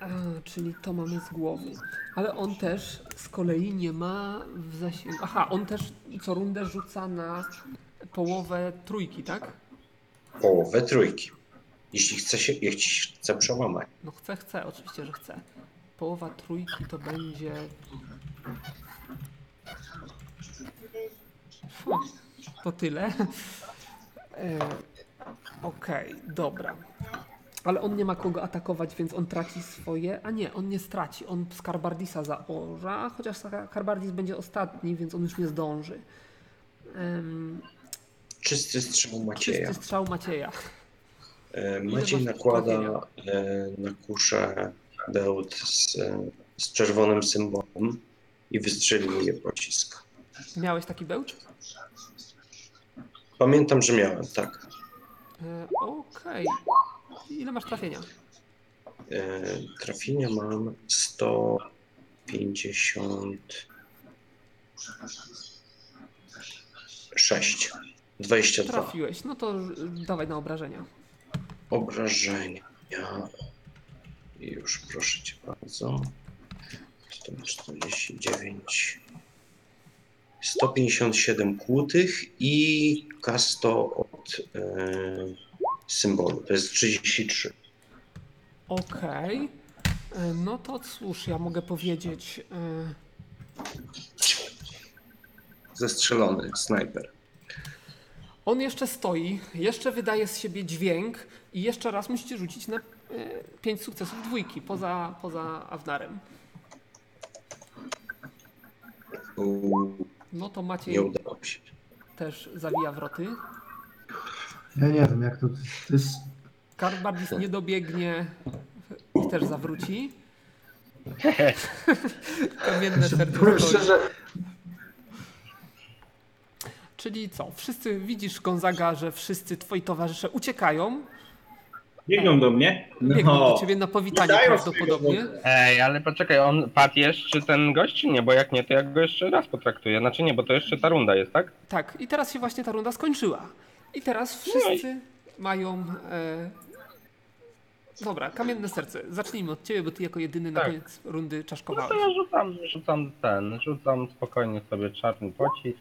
A: A, czyli to mamy z głowy. Ale on też z kolei nie ma w zasięgu. Aha, on też co rundę rzuca na połowę trójki, tak?
D: Połowę trójki. Jeśli chce się, jeśli chce przełamać.
A: No chce, chce, oczywiście, że chce. Połowa trójki to będzie. Fu, To tyle. E, Okej, dobra. Ale on nie ma kogo atakować, więc on traci swoje. A nie, on nie straci. On Skarbardisa zaorza, chociaż Skarbardis będzie ostatni, więc on już nie zdąży. Em,
D: Czysty strzał Macieja.
A: czysty strzał Macieja.
D: E,
A: Ile
D: Maciej
A: masz trafienia?
D: nakłada e, na kuszę bełt z, e, z czerwonym symbolem i wystrzeliwuje pocisk.
A: Miałeś taki bełcz?
D: Pamiętam, że miałem, tak.
A: E, Okej. Ile masz trafienia?
D: E, Trafienia mam 156. 22.
A: Trafiłeś, no to y, dawaj na obrażenia.
D: obrażenia. I Już proszę cię bardzo. 149. 157 kłutych i kasto od e, symbolu. To jest 33.
A: Okej. E, No to cóż, ja mogę powiedzieć. e,
D: Zestrzelony snajper.
A: On jeszcze stoi, jeszcze wydaje z siebie dźwięk i jeszcze raz musicie rzucić na 5 sukcesów dwójki poza, poza Awnarem.
D: Uuu,
A: No to Maciej
D: nie udało się.
A: też zawija wroty.
C: Ja nie wiem, jak to, to jest...
A: Karbardis nie dobiegnie i też zawróci. (laughs) Kamienne
C: Powiem
A: serduszko.
C: szczerze,
A: Czyli co? Wszyscy widzisz, Gonzaga, że wszyscy twoi towarzysze uciekają.
F: Biegną do mnie. No,
A: Biegną do ciebie na powitanie
F: Dają
A: prawdopodobnie.
E: Ej, ale poczekaj, on padł jeszcze ten gość czy nie? Bo jak nie, to ja go jeszcze raz potraktuję. Znaczy nie, bo to jeszcze ta runda jest, tak?
A: Tak, i teraz się właśnie ta runda skończyła. I teraz wszyscy mają. E... Dobra, kamienne serce. Zacznijmy od ciebie, bo ty jako jedyny na
E: Tak.
A: koniec rundy
E: No
A: czaszkowałeś.
E: to ja rzucam, rzucam ten, rzucam spokojnie sobie czarny pocisk.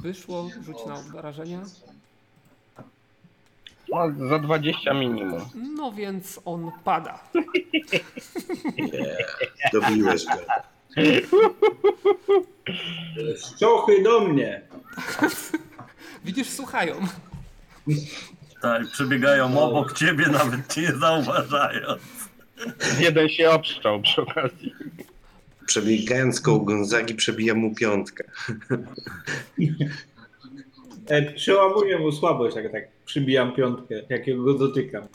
A: Wyszło, rzuć na obrażenia.
E: No, za 20 minimum. (laughs)
A: No więc on pada.
D: Dobiłeś go.
F: Szczochy do mnie.
A: Widzisz, słuchają.
B: Tak, przebiegają obok ciebie, (laughs) nawet cię nie zauważają.
E: Jeden się obszczał przy okazji.
D: Przebiegając koło Gonzagi przebija mu piątkę.
F: E, przełamuję mu słabość, jak tak przybijam piątkę, jak go dotykam.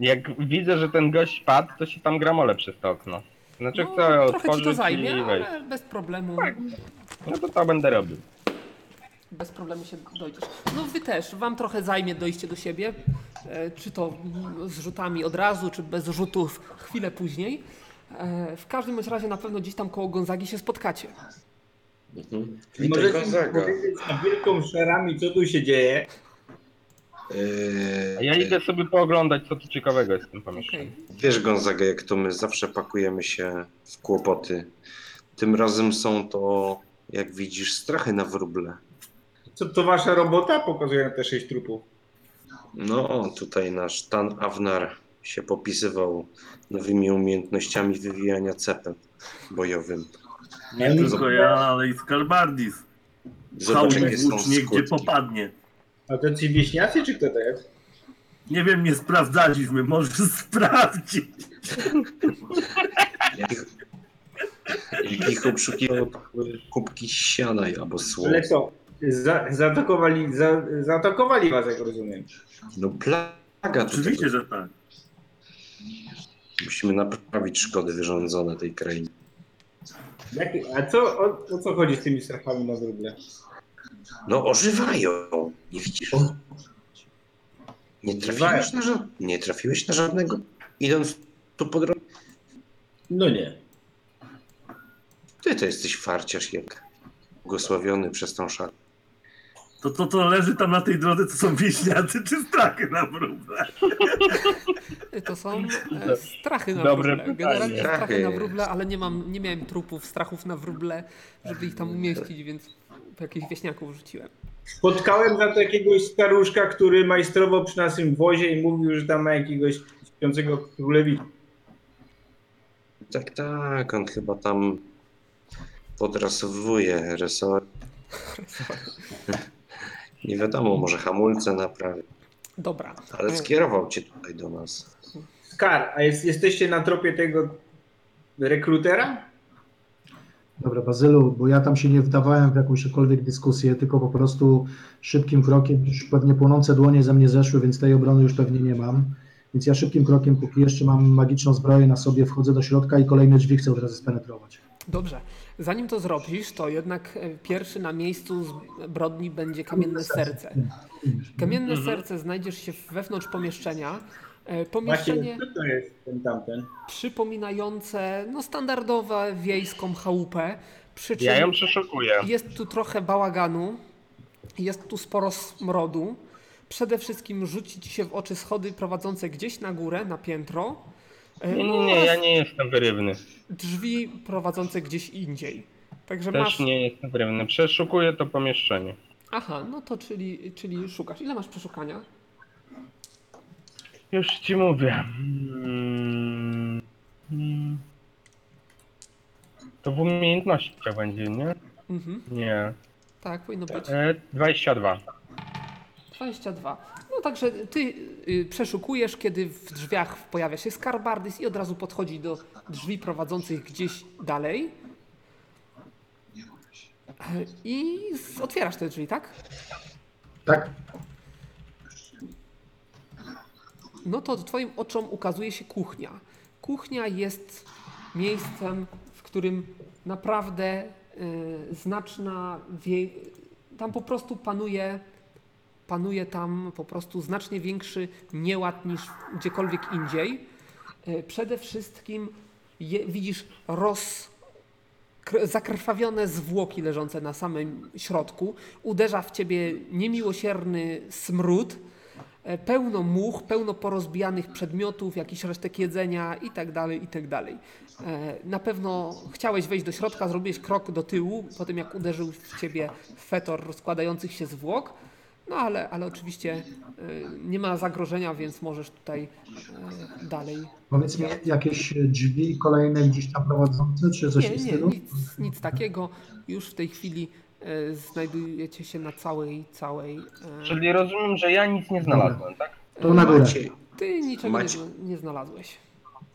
E: Jak widzę, że ten gość padł, to się tam gramole przez to okno. Znaczy
A: No,
E: chcę
A: trochę ci to
E: otworzyć i
A: zajmie,
E: wejść.
A: ale bez problemu.
E: No to to będę robił.
A: Bez problemu się dojdziesz. No wy też, wam trochę zajmie dojście do siebie, e, czy to mm, z rzutami od razu, czy bez rzutów chwilę później. E, W każdym bądź razie na pewno gdzieś tam koło Gonzagi się spotkacie.
D: Mhm.
F: Możecie
D: Witaj
F: mi
D: Gonzaga.
F: powiedzieć na wielką szerami, co tu się dzieje.
D: Yy,
E: A ja idę sobie pooglądać, co tu ciekawego jest w tym pomieszczeniu.
A: Okej.
D: Wiesz, Gonzaga, jak to my zawsze pakujemy się w kłopoty. Tym razem są to, jak widzisz, strachy na wróble.
F: Co to wasza robota? Pokazuję na te sześć trupów.
D: No, tutaj nasz Tan Avnar się popisywał nowymi umiejętnościami wywijania cepem bojowym.
B: Nie tylko ja, ale i Skarbardis.
D: Zobacz,
B: Cały
D: jakie są
B: włócznie, gdzie
D: skutki.
B: popadnie.
F: A to ci wieśniacy, czy kto to jest?
B: Nie wiem, nie sprawdzaliśmy, może (laughs) sprawdzić.
D: Jakich, jakich obszukiwał kubki siana albo słów.
F: Ale co? Za, zaatakowali, za, zaatakowali was, jak rozumiem.
D: No plaga tutaj.
B: Oczywiście, że tak.
D: Musimy naprawić szkody wyrządzone tej krainie.
F: Jak, a co, o, o co chodzi z tymi strachami na wróble?
D: No ożywają, nie widzisz? Nie trafiłeś, na ża- nie trafiłeś na żadnego, idąc tu po drodze.
F: No nie.
D: Ty to jesteś farciarz jak błogosławiony przez tą szarę.
B: To to, co leży tam na tej drodze, to są wieśniacy czy strachy na wróble.
A: To są e, strachy na
E: Dobre
A: wróble.
E: pytanie.
A: Generalnie strachy na
D: Strachy.
A: wróble, ale nie, mam, nie miałem trupów, strachów na wróble, żeby ich tam umieścić, więc jakichś wieśniaków rzuciłem.
F: Spotkałem za to jakiegoś staruszka, który majstrował przy naszym wozie i mówił, że tam ma jakiegoś śpiącego królewicza.
D: Tak, tak, on chyba tam podrasowuje resort. (laughs) Nie wiadomo, może hamulce naprawi,
A: Dobra. E,
D: ale skierował cię tutaj do nas.
F: Skar, a jest, jesteście na tropie tego rekrutera?
C: Dobra, Bazylu, bo ja tam się nie wdawałem w jakąśkolwiek dyskusję, tylko po prostu szybkim krokiem, już pewnie płonące dłonie ze mnie zeszły, więc tej obrony już pewnie nie mam. Więc ja szybkim krokiem, póki jeszcze mam magiczną zbroję na sobie, wchodzę do środka i kolejne drzwi chcę od razu spenetrować.
A: Dobrze. Zanim to zrobisz, to jednak e, pierwszy na miejscu zbrodni będzie kamienne serce. Kamienne
E: Mhm.
A: serce znajdziesz się wewnątrz pomieszczenia. E,
F: Właśnie,
A: Pomieszczenie
F: kto to jest ten tamten?
A: przypominające no, standardowe wiejską chałupę. Przy czym
E: Ja ją przeszukuję.
A: jest tu trochę bałaganu, jest tu sporo smrodu. Przede wszystkim rzuci ci się w oczy schody prowadzące gdzieś na górę, na piętro. E,
E: Nie, nie, nie,
A: oraz
E: ja nie jestem wyrywny.
A: Drzwi prowadzące gdzieś indziej. Także masz
E: Też nie jestem wyrywny. Przeszukuję to pomieszczenie.
A: Aha, no to czyli, czyli szukasz. Ile masz przeszukania?
G: Już ci mówię. Mm. Mm. To w umiejętnościach będzie, nie?
A: Mhm.
G: Nie.
A: Tak, powinno być.
G: E, 22.
A: 22. No także ty y, przeszukujesz, kiedy w drzwiach pojawia się skarbardys i od razu podchodzi do drzwi prowadzących gdzieś dalej. E, I z- otwierasz te drzwi, tak?
C: Tak?
A: No to twoim oczom ukazuje się kuchnia. Kuchnia jest miejscem, w którym naprawdę y, znaczna wie... tam po prostu panuje panuje tam po prostu znacznie większy nieład niż gdziekolwiek indziej. Y, Przede wszystkim je, widzisz roz kr- zakrwawione zwłoki leżące na samym środku. Uderza w ciebie niemiłosierny smród. E, pełno much, pełno porozbijanych przedmiotów, jakiś resztek jedzenia i tak dalej, i tak dalej. E, Na pewno chciałeś wejść do środka, zrobiłeś krok do tyłu, po tym jak uderzył w ciebie fetor rozkładających się zwłok, no ale, ale oczywiście e, nie ma zagrożenia, więc możesz tutaj e, dalej.
C: Powiedz mi, jakieś drzwi kolejne gdzieś tam prowadzące, czy
A: Nie,
C: coś w tym
A: nie,
C: stylu?
A: nic, nic takiego. Już w tej chwili e, znajdujecie się na całej, całej... e,
E: Czyli rozumiem, że ja nic nie znalazłem, tak?
C: To na górę.
D: Maciej,
A: Ty niczego nie,
D: Macie-
A: zna- nie znalazłeś.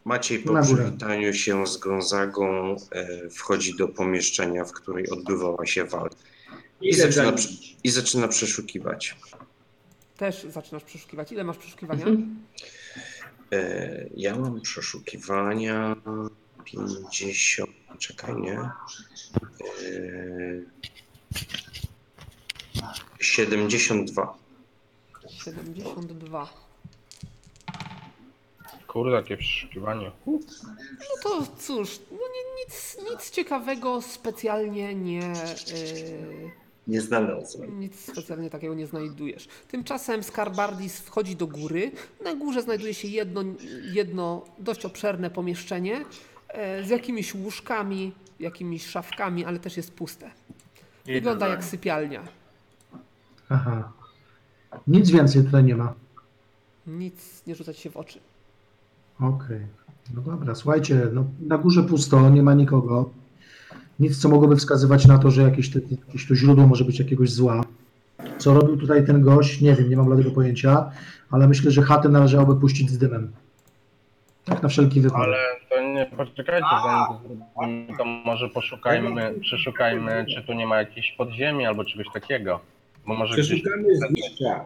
D: Maciej
C: Na
D: po
C: górę.
D: przywitaniu się z Gonzagą e, wchodzi do pomieszczenia, w której odbywała się walka i
F: Ile
D: zaczyna,
F: za nim?
D: prze- i zaczyna przeszukiwać.
A: Też zaczynasz przeszukiwać. Ile masz przeszukiwania?
D: E, ja mam przeszukiwania 50. Czekaj, nie. E, 72.
A: 72.
G: Kurde, jakie przeszukiwanie.
A: No to cóż, no nie, nic, nic ciekawego specjalnie nie. y,
D: Nie znalazłem.
A: nic specjalnie takiego nie znajdujesz. Tymczasem Skarbardis wchodzi do góry. Na górze znajduje się jedno, jedno dość obszerne pomieszczenie e, z jakimiś łóżkami, jakimiś szafkami, ale też jest puste. Wygląda jak sypialnia.
C: Aha. Nic więcej tutaj nie ma.
A: Nic nie rzucać się w oczy.
C: Okej. No dobra, słuchajcie, no, na górze pusto, nie ma nikogo. Nic, co mogłoby wskazywać na to, że jakieś, te, jakieś tu źródło może być jakiegoś zła. Co robił tutaj ten gość, nie wiem, nie mam bladego pojęcia, ale myślę, że chatę należałoby puścić z dymem. Tak na wszelki wypadek.
G: Ale to nie, poczekajcie, zanim to zrobimy, to może poszukajmy, przeszukajmy, czy tu nie ma jakiejś podziemi albo czegoś takiego. Bo może gdzieś
F: Przeszukamy zdjęcia.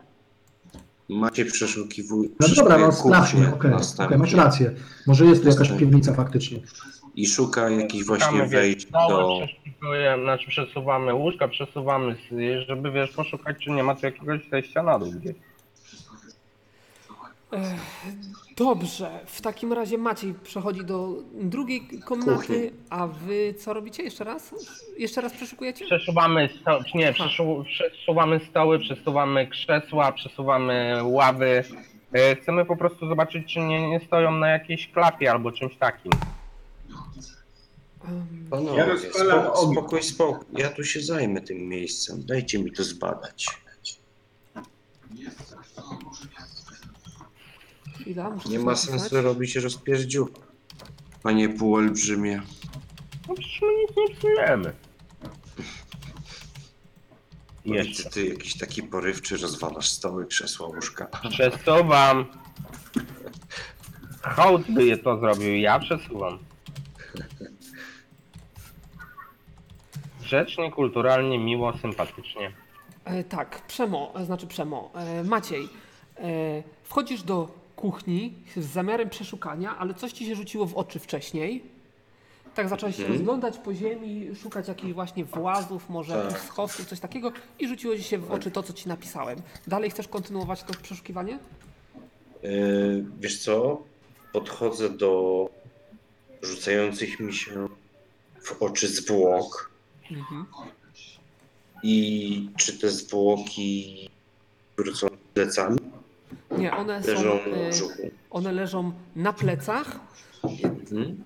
D: Maciej przeszukiwuje.
C: No dobra, no sprawdźmy, okej, okej, masz rację. Może jest tu jakaś
D: Następnie.
C: piwnica faktycznie.
D: I szuka jakichś właśnie
G: szukamy,
D: wejść
G: wiesz, dołu,
D: do.
G: przeszukujemy, znaczy przesuwamy łóżka, przesuwamy, s- żeby wiesz, poszukać, czy nie ma tu jakiegoś zejścia na dół gdzieś.
A: Ech, Dobrze, w takim razie Maciej przechodzi do drugiej komnaty,
D: Kuchni.
A: a wy co robicie jeszcze raz? Jeszcze raz przeszukujecie?
G: Przesuwamy sto- nie, przeszu- przesuwamy stoły, przesuwamy krzesła, przesuwamy ławy. E, Chcemy po prostu zobaczyć, czy nie, nie stoją na jakiejś klapie albo czymś takim.
A: Em,
D: Panowie,
F: Ja rozpalam
D: spoko-
F: ogień.
D: spokój, spokój. Ja tu się zajmę tym miejscem. Dajcie mi to zbadać.
A: Chwila, muszę
D: Nie
A: coś
D: ma
A: napisać.
D: sensu robić rozpierdziu. Panie półolbrzymie.
G: No przecież my nic nie psujemy. Jeszcze.
D: Jeszcze ty jakiś taki porywczy rozwalasz stoły, krzesła, łóżka.
G: Przesuwam. Hołd by je to zrobił, ja przesuwam. Grzecznie, kulturalnie, miło, sympatycznie.
A: E, tak, Przemo, e, znaczy Przemo, e, Maciej, e, wchodzisz do kuchni z zamiarem przeszukania, ale coś ci się rzuciło w oczy wcześniej. Tak zacząłeś
D: Mhm.
A: się rozglądać po ziemi, szukać jakichś właśnie włazów, może
D: Tak.
A: schowków, coś takiego i rzuciło ci się w oczy to, co ci napisałem. Dalej chcesz kontynuować to przeszukiwanie?
D: Yy, wiesz co? Podchodzę do rzucających mi się w oczy zwłok.
A: Mhm.
D: I czy te zwłoki wrócą plecami?
A: Nie, one są,
D: Leżą
A: e,
D: w brzuchu.
A: one leżą na plecach,
D: Mhm.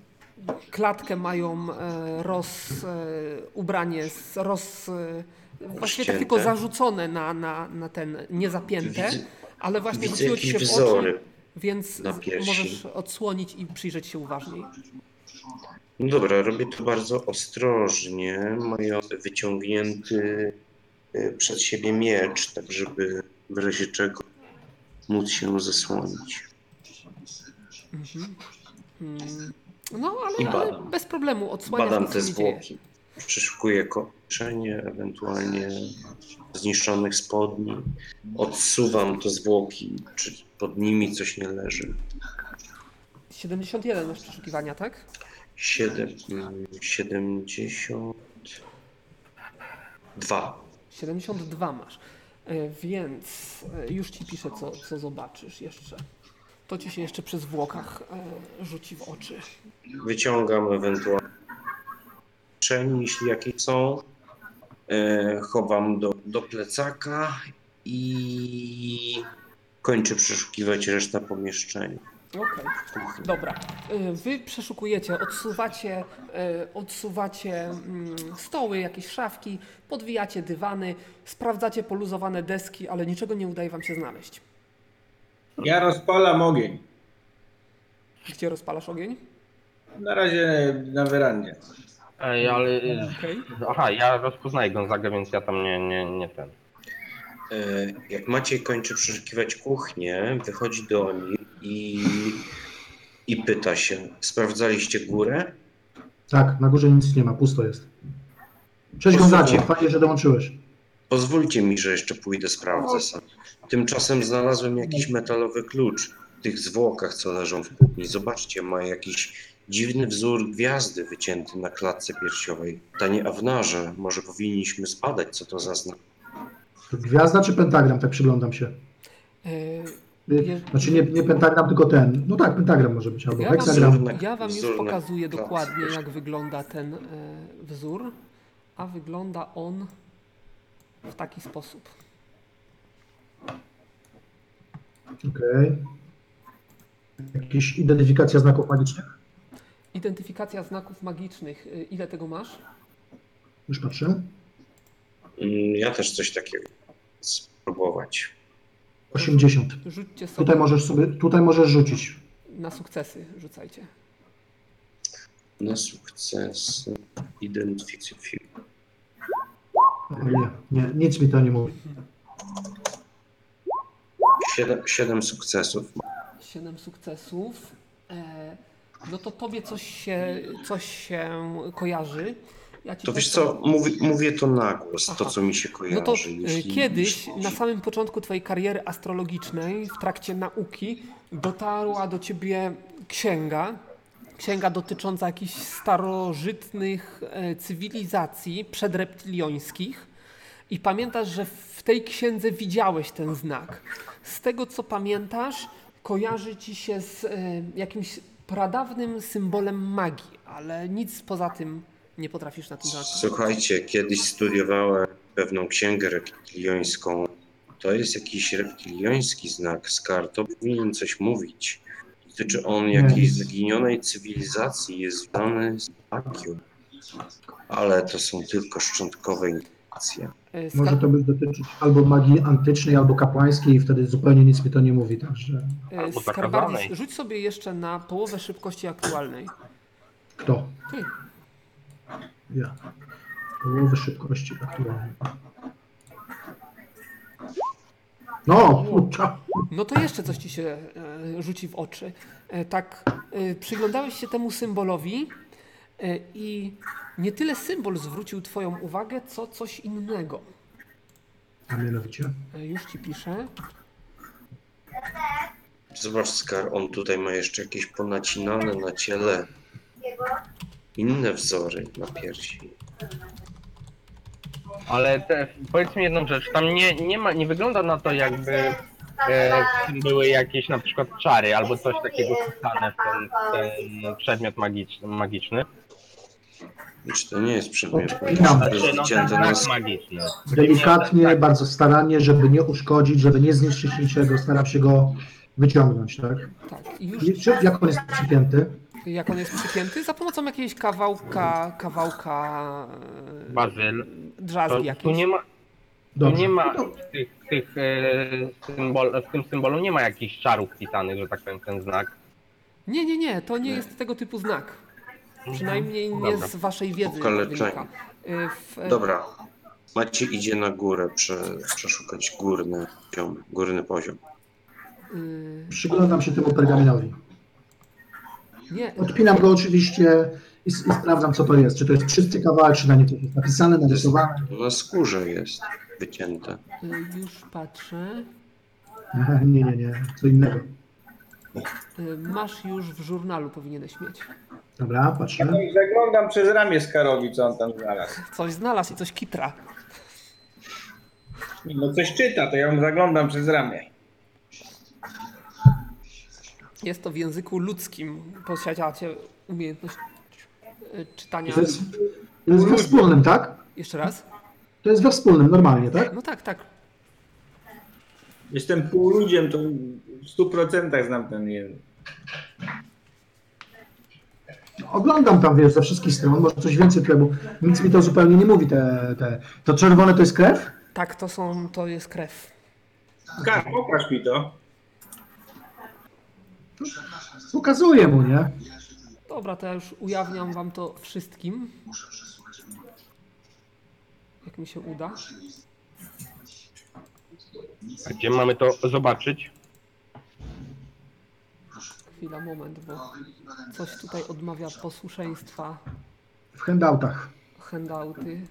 A: klatkę mają e, roz, e, ubranie, z- roz, e, właściwie tak
D: Rozcięte.
A: tylko zarzucone na, na, na ten, niezapięte,
D: Widzę-
A: ale właśnie
D: Widzę
A: rzuciło ci
D: jakieś
A: się w oczy,
D: wzory.
A: Więc z-
D: Na piersi.
A: możesz odsłonić i przyjrzeć się uważniej.
D: No dobra, robię to bardzo ostrożnie, mając wyciągnięty y, przed siebie miecz, tak żeby w razie czego móc się zasłonić.
A: Mhm. Mm, No,
D: I
A: ale, ale
D: badam.
A: bez problemu odsłaniasz
D: Badam
A: nic się
D: te
A: nie dzieje.
D: zwłoki, przeszukuję kończenie, ewentualnie zniszczonych spodni, odsuwam te zwłoki, czy pod nimi coś nie leży.
A: 71 masz przeszukiwania, tak?
D: Siedem, mm, 72.
A: 72 masz. E, Więc e, już ci piszę, co, co zobaczysz jeszcze. To ci się jeszcze przy zwłokach e, rzuci w oczy.
D: Wyciągam ewentualnie czeni, jeśli jakie są. E, chowam do, do plecaka i kończę przeszukiwać resztę pomieszczenia.
A: Okej. Dobra, Y, wy przeszukujecie, odsuwacie, y, odsuwacie mm, stoły, jakieś szafki, podwijacie dywany, sprawdzacie poluzowane deski, ale niczego nie udaje wam się znaleźć.
F: Ja rozpalam ogień.
A: Gdzie rozpalasz ogień?
F: Na razie na werandzie.
G: Ej, ale... y,
A: Okej.
G: Aha, ja rozpoznaję Gonzagę, więc ja tam nie, nie, nie ten.
D: E, jak Maciej kończy przeszukiwać kuchnię, wychodzi do nich i, i pyta się, sprawdzaliście górę?
C: Tak, na górze nic nie ma, pusto jest. Cześć Gonzacie, fajnie, że dołączyłeś.
D: Pozwólcie mi, że jeszcze pójdę
A: No.
D: sprawdzę sam. Tymczasem znalazłem jakiś metalowy klucz w tych zwłokach, co leżą w kuchni. Zobaczcie, ma jakiś dziwny wzór gwiazdy wycięty na klatce piersiowej. Panie Awnarze, może powinniśmy zbadać, co to za znak.
C: To Gwiazda czy pentagram, tak przyglądam się.
A: Y,
C: Znaczy nie, nie pentagram, tylko ten. No tak, pentagram może być, albo
A: Ja
C: heksagram.
A: wam, ja wam już
D: Wzór na
A: pokazuję
D: klatce.
A: dokładnie, jak wygląda ten y, wzór, a wygląda on w taki sposób.
C: Okej. Jakieś identyfikacja znaków magicznych?
A: Identyfikacja znaków magicznych, y, ile tego masz?
C: Już patrzę.
D: Mm, Ja też coś takiego spróbować.
C: 80.
A: Rzućcie sobie
C: Tutaj możesz sobie, tutaj możesz rzucić.
A: na sukcesy, rzucajcie.
D: Na sukces identyfikacji.
C: O Nie, nie, nic mi to nie mówi.
D: Siedem, siedem sukcesów.
A: 7 sukcesów. E, no to tobie coś się, coś się kojarzy. Ja ci
D: To wiesz
A: powiem- tak,
D: co, mówię, mówię to na głos,
A: Aha.
D: to co mi się kojarzy.
A: No to e,
D: jeśli-
A: kiedyś,
D: jeśli-
A: na samym początku twojej kariery astrologicznej, w trakcie nauki, dotarła do ciebie księga. Księga dotycząca jakichś starożytnych e, cywilizacji przedreptiliońskich. I pamiętasz, że w tej księdze widziałeś ten znak. Z tego co pamiętasz, kojarzy ci się z e, jakimś pradawnym symbolem magii, ale nic poza tym nie potrafisz na tym zobaczyć.
D: Słuchajcie, kiedyś studiowałem pewną księgę reptiliońską. To jest jakiś reptilioński znak z kart, to powinien coś mówić. Dotyczy on jakiejś zaginionej cywilizacji, jest związany z magią. Ale to są tylko szczątkowe informacje.
A: E, skar-
C: Może to być dotyczyć albo magii antycznej, albo kapłańskiej i wtedy zupełnie nic mi to nie mówi, także
A: E,
G: Albo
A: Skarbardis,
G: zakazanej.
A: rzuć sobie jeszcze na połowę szybkości aktualnej.
C: kto?
A: Ty.
C: Ja. Połowy szybkości tak aktualnie. No, kurcza.
A: No to jeszcze coś ci się e, rzuci w oczy. E, tak, e, przyglądałeś się temu symbolowi e, i nie tyle symbol zwrócił twoją uwagę, co coś innego.
C: A mianowicie?
A: E, już ci piszę.
D: Zobacz, Skar, on tutaj ma jeszcze jakieś ponacinane na ciele inne wzory na piersi.
G: Ale te, powiedz mi jedną rzecz, tam nie, nie ma, nie wygląda na to jakby e, w tym były jakieś na przykład czary albo coś takiego wpisane w ten, w ten przedmiot magiczny. magiczny.
D: Znaczy, to nie jest przedmiot,
C: No,
D: to jest
C: no,
G: Znaczy, no ten
D: wycięte na
G: znak magiczny. Tak.
C: Delikatnie, bardzo starannie, żeby nie uszkodzić, żeby nie zniszczyć niczego, staram się go wyciągnąć, tak?
A: Tak, i już
C: I Czy, jak on jest przypięty?
A: jak on jest przypięty, za pomocą jakiegoś kawałka, kawałka e,
G: Bazyl.
A: drzazgi
G: To, tu
A: jakiejś.
G: nie ma,
C: Dobrze.
G: Nie ma w, tych, w tych, e, symbol, w tym symbolu nie ma jakichś czarów wpisanych, że tak powiem, ten znak.
A: Nie, nie, nie, to nie jest tego typu znak. Przynajmniej nie
G: Dobra.
A: z waszej wiedzy
D: Okaleczenie.
A: wynika. Y, w- y,
D: Dobra. Macie idzie na górę, prze, przeszukać górny poziom. Górny poziom.
A: y,
C: Przyglądam się temu pergaminowi.
A: Nie, y,
C: Odpinam go oczywiście i, s- i sprawdzam, co to jest. Czy to jest czysty kawałek, czy na nim coś jest napisane, narysowane. (laughs)
D: Na skórze jest wycięte.
A: y, już patrzę.
C: Nie, nie, nie. Co innego.
A: Y, Masz już w żurnalu, powinieneś mieć.
C: Dobra, patrzę.
F: No Zaglądam przez ramię Skarowi, co on tam znalazł.
A: Coś znalazł i coś kitra.
F: No coś czyta, to ja mu zaglądam przez ramię.
A: Jest to w języku ludzkim. Posiadacie umiejętność y, czytania.
C: To jest, to jest we wspólnym, tak?
A: Jeszcze raz?
C: To jest we wspólnym, normalnie, tak?
A: No tak, tak.
F: Jestem półludziem, to w 100% znam ten język.
C: Oglądam tam, wiesz, ze wszystkich stron, może coś więcej tutaj, bo nic mi to zupełnie nie mówi. Te, te. To czerwone to jest krew?
A: Tak, to są, to jest krew.
F: Skar, Tak. pokaż mi to.
C: Ukazuję mu, nie?
A: Dobra, to ja już ujawniam wam to wszystkim. Jak mi się uda.
G: A gdzie mamy to zobaczyć? (laughs)
A: Chwila, moment, bo coś tutaj odmawia posłuszeństwa.
C: W handoutach.
A: Handouty.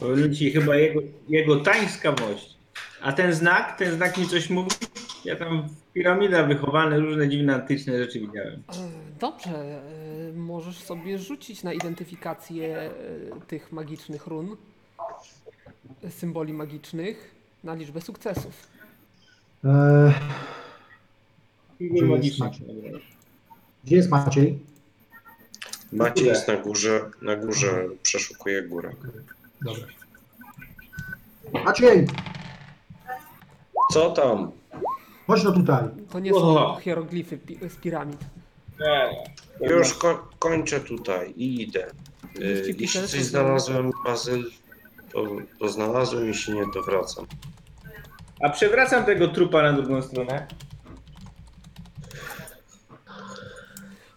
F: Powiem ci chyba jego, jego tańskawość. A ten znak, ten znak mi coś mówi? Ja tam w piramidach wychowane różne dziwne antyczne rzeczy widziałem.
A: E, Dobrze, e, możesz sobie rzucić na identyfikację e, tych magicznych run, e, symboli magicznych, na liczbę sukcesów.
C: Eee,
F: Figury
C: Czyli
F: magiczne.
C: smak. gdzie jest Maciej?
D: Macie jest na górze, na górze przeszukuje górę.
C: Dobra. Maciej,
D: Co tam?
C: chodź no tutaj.
A: To nie są
F: Oho.
A: hieroglify pi- z piramid.
F: Tak.
D: Już ko- kończę tutaj i idę. Y, jeśli coś znalazłem, Bazyl, to, to znalazłem, jeśli nie, to wracam.
F: A przewracam tego trupa na drugą stronę.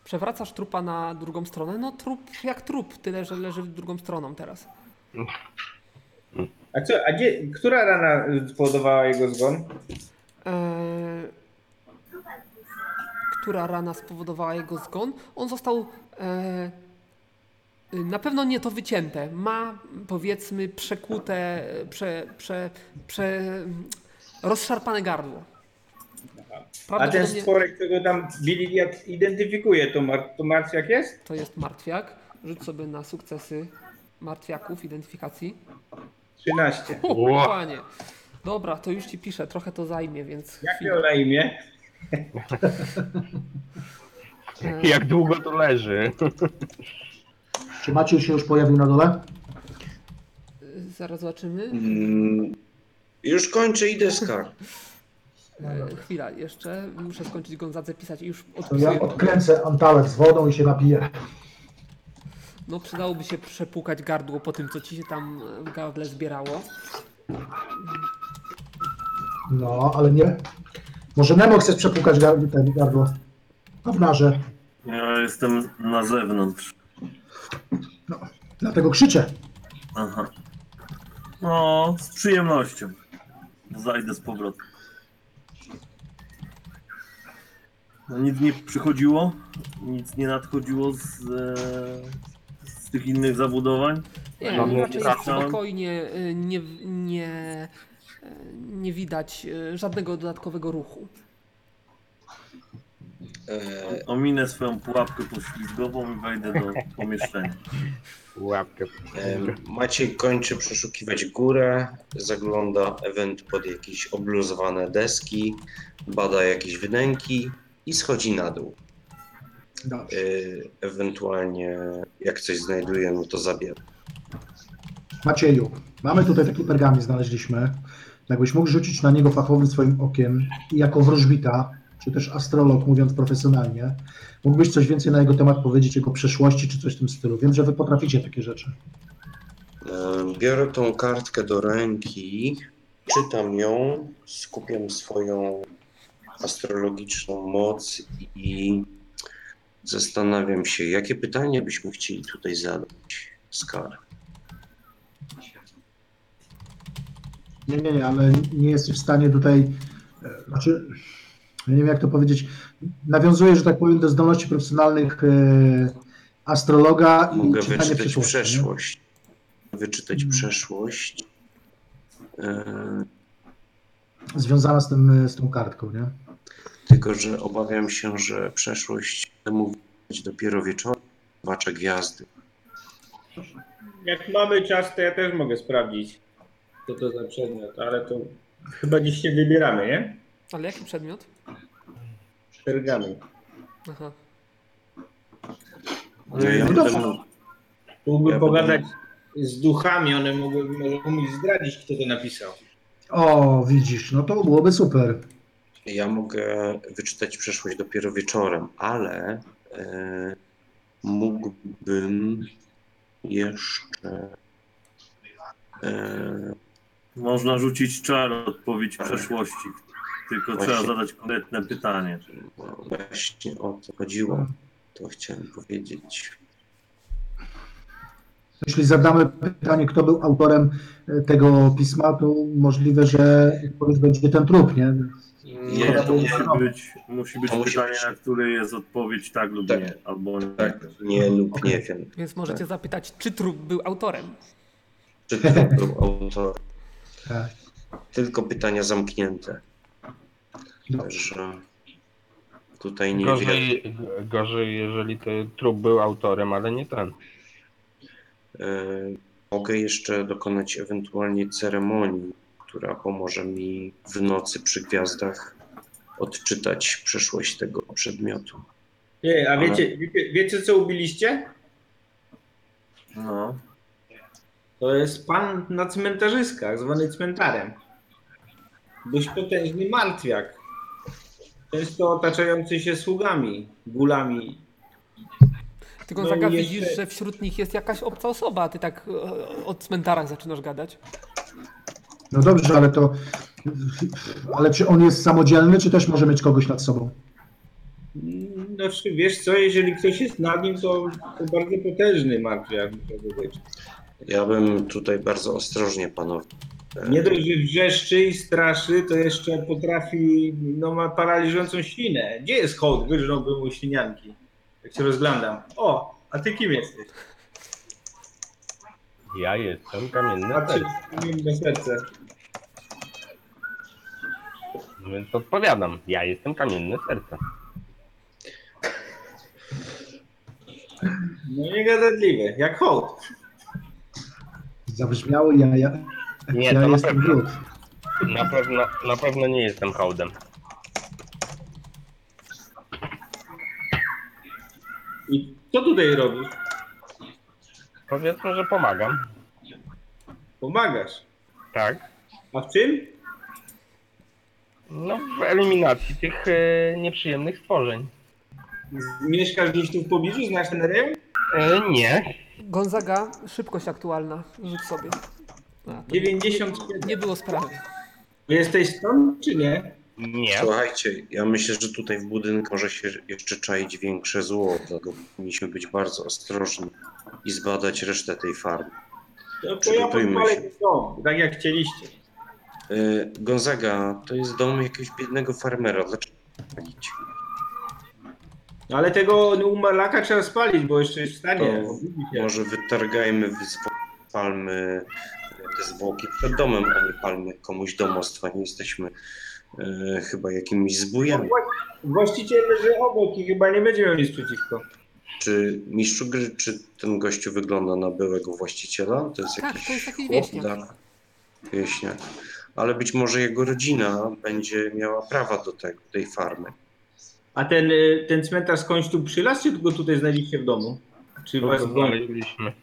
A: Przewracasz trupa na drugą stronę. No trup jak trup, tyle że leży drugą stroną teraz.
F: A co, a gdzie, która rana y, spowodowała jego zgon?
A: Eee, która rana spowodowała jego zgon? On został eee, y, na pewno nie to wycięte. Ma powiedzmy przekute, e, prze, prze, prze, rozszarpane gardło.
F: A
A: Prawda, że
F: ten
A: No, to nie-
F: stworek, którego tam bili, jak identyfikuje, to, mar- to Mars jak jest?
A: to jest martwiak. Rzuć sobie na sukcesy martwiaków identyfikacji.
F: 13.
A: Hu,
G: Ło.
A: panie. Dobra, to już ci piszę, trochę to zajmie, więc
F: Jak
A: chwilę.
F: miał na imię?
A: Eee,
G: Jak długo to leży?
C: Czy Maciej się już pojawił na dole?
A: E, Zaraz zobaczymy.
D: Mm, już kończę, idę skar.
A: E, chwila, jeszcze muszę skończyć Gonzadze pisać i już
C: To ja
A: odpisuję.
C: odkręcę antałek z wodą i się napiję.
A: No przydałoby się przepłukać gardło po tym, co ci się tam e, w gardle zbierało.
C: No, ale nie. Może Nemo chcesz przepłukać gardło? Ten gardło. Gównarze.
B: Ja jestem na zewnątrz.
C: Dlatego krzyczę.
B: Aha. No, z przyjemnością. Zajdę z powrotem. No, nic nie przychodziło? Nic nie nadchodziło z, e, z tych innych zabudowań?
A: Nie,
G: No,
A: raczej
G: wracam.
A: spokojnie e, nie, nie, e, nie widać e, żadnego dodatkowego ruchu.
D: E,
B: Ominę swoją pułapkę poślizgową i wejdę do pomieszczenia.
G: Łapkę.
D: e, Maciej kończy przeszukiwać górę, zagląda event pod jakieś obluzowane deski, bada jakieś wnęki i schodzi na dół. E,
C: Dobrze.
D: ewentualnie jak coś znajduje, no to zabiera.
C: Macieju, mamy tutaj taki pergamin, znaleźliśmy. Jakbyś mógł rzucić na niego fachowym swoim okiem i jako wróżbita, czy też astrolog, mówiąc profesjonalnie, mógłbyś coś więcej na jego temat powiedzieć, jego przeszłości, czy coś w tym stylu. Wiem, że wy potraficie takie rzeczy.
D: E, Biorę tą kartkę do ręki
C: Nie, nie, nie, ale nie jesteś w stanie tutaj, e, znaczy, ja nie wiem jak to powiedzieć, nawiązuje, że tak powiem, do zdolności profesjonalnych e, astrologa i
D: Mogę
C: czytania
D: wyczytać
C: przyszłości. nie?
D: przeszłość. Wyczytać
C: Mhm.
D: przeszłość. E,
C: Związana z, tym, e, z tą kartką, nie?
D: Tylko, że obawiam się, że przeszłość temu widać dopiero wieczorem. Zobaczę gwiazdy.
F: Jak mamy czas, to ja też mogę sprawdzić, co to za przedmiot, ale to chyba dziś się wybieramy, nie?
A: Ale jaki przedmiot?
F: Pergamin.
A: Aha.
D: No ja
C: dobrze.
D: potem-
F: Mógłbym
D: Ja
F: pogadać z duchami, one mogłyby może umieć zdradzić, kto to napisał.
C: O, widzisz, no to byłoby super.
D: Ja mogę wyczytać przeszłość dopiero wieczorem, ale e, mógłbym jeszcze. E,
B: Można rzucić czar odpowiedź przeszłości, tylko
D: Właśnie.
B: trzeba zadać konkretne pytanie.
D: no właśnie o to chodziło. To chciałem powiedzieć.
C: Jeśli zadamy pytanie, kto był autorem e, tego pisma, to możliwe, że odpowiedź będzie ten trup, nie?
B: Nie, to
C: nie.
B: musi być, musi być
D: To musi
B: pytanie,
D: być.
B: na które jest odpowiedź tak lub
D: Tak.
B: nie, albo nie.
D: Tak, nie lub nie wiem.
A: Więc możecie zapytać, czy trup był autorem.
D: Czy to był autor?
C: Tak.
D: Tylko pytania zamknięte. Także tutaj nie wiem.
G: (laughs) Gorzej, gorzej, jeżeli to trup był autorem, ale nie ten.
D: E, Mogę jeszcze dokonać ewentualnie ceremonii, która pomoże mi w nocy przy gwiazdach odczytać przeszłość tego przedmiotu.
F: Ej, a
D: Ale-
F: wiecie, wiecie, wiecie co ubiliście?
B: No.
F: To jest pan na cmentarzyskach, zwany cmentarem. Dość potężny martwiak. Często otaczający się sługami, gulami.
A: Tylko
F: No
A: no
F: i
A: zaga
F: jeszcze-
A: widzisz, że wśród nich jest jakaś obca osoba, a ty tak e, o cmentarach zaczynasz gadać.
C: No dobrze, ale to. Ale czy on jest samodzielny, czy też może mieć kogoś nad sobą?
F: Znaczy, wiesz co, jeżeli ktoś jest nad nim, to, to bardzo potężny martwiak. może być.
D: Ja bym tutaj bardzo ostrożnie, panowie. E,
F: Nie dość, że wrzeszczy i straszy, to jeszcze potrafi, no ma paraliżującą ślinę. Gdzie jest hołd? Wyrżnąłby mu ślinianki. Jak się rozglądam. O, a ty kim jesteś?
G: Ja jestem kamienny
F: A ty
G: ateist,
F: na serce.
G: więc odpowiadam. Ja jestem kamienny serca.
F: No niegadatliwy, jak hołd.
C: Zabrzmiały ja, ja,
G: Nie,
C: ja
G: to na
C: jestem
G: pewno,
C: glut.
G: na pewno, na pewno nie jestem hołdem.
F: I co tutaj robisz?
G: Powiedzmy, że pomagam.
F: Pomagasz.
G: Tak.
F: A w czym?
G: No w eliminacji tych e, nieprzyjemnych stworzeń.
F: Mieszkasz gdzieś tu w pobliżu, znasz ten rejon?
G: E, nie.
A: Gonzaga, szybkość aktualna, rzuć sobie. A, to
F: 97.
A: nie było sprawy.
F: Jesteś stąd, czy nie?
G: Nie.
D: Słuchajcie, ja myślę, że tutaj w budynku może się jeszcze czaić większe zło, dlatego powinniśmy być bardzo ostrożni i zbadać resztę tej farmy.
F: No to ja
D: Przygotujmy
F: podpalę
D: się.
F: ten dom, tak jak chcieliście.
D: E, Gonzaga, to jest dom jakiegoś biednego farmera. Dlaczego? tak palić?
F: No Ale tego umarlaka trzeba spalić, bo jeszcze jest w stanie.
D: To
F: obudzi się.
D: Może wytargajmy z palmy te zwłoki przed domem, a nie palmy komuś domostwa. Nie jesteśmy e, chyba jakimiś zbójami.
F: Właściciel leży obok i chyba nie będzie miał nic przeciwko.
D: Czy mistrzu gry, czy ten gościu wygląda na byłego właściciela? To jest
A: Tak,
D: jakiś
A: to jest jakiś
D: chłop,
A: wieśniak.
D: tak? Wieśniak. Ale być może jego rodzina będzie miała prawa do tego, tej farmy.
F: A ten, y, ten cmentarz skądś tu przylazł, czy go tutaj znaleźliście w domu?
E: No,
F: Czy was w domu?
G: Znaleźliśmy.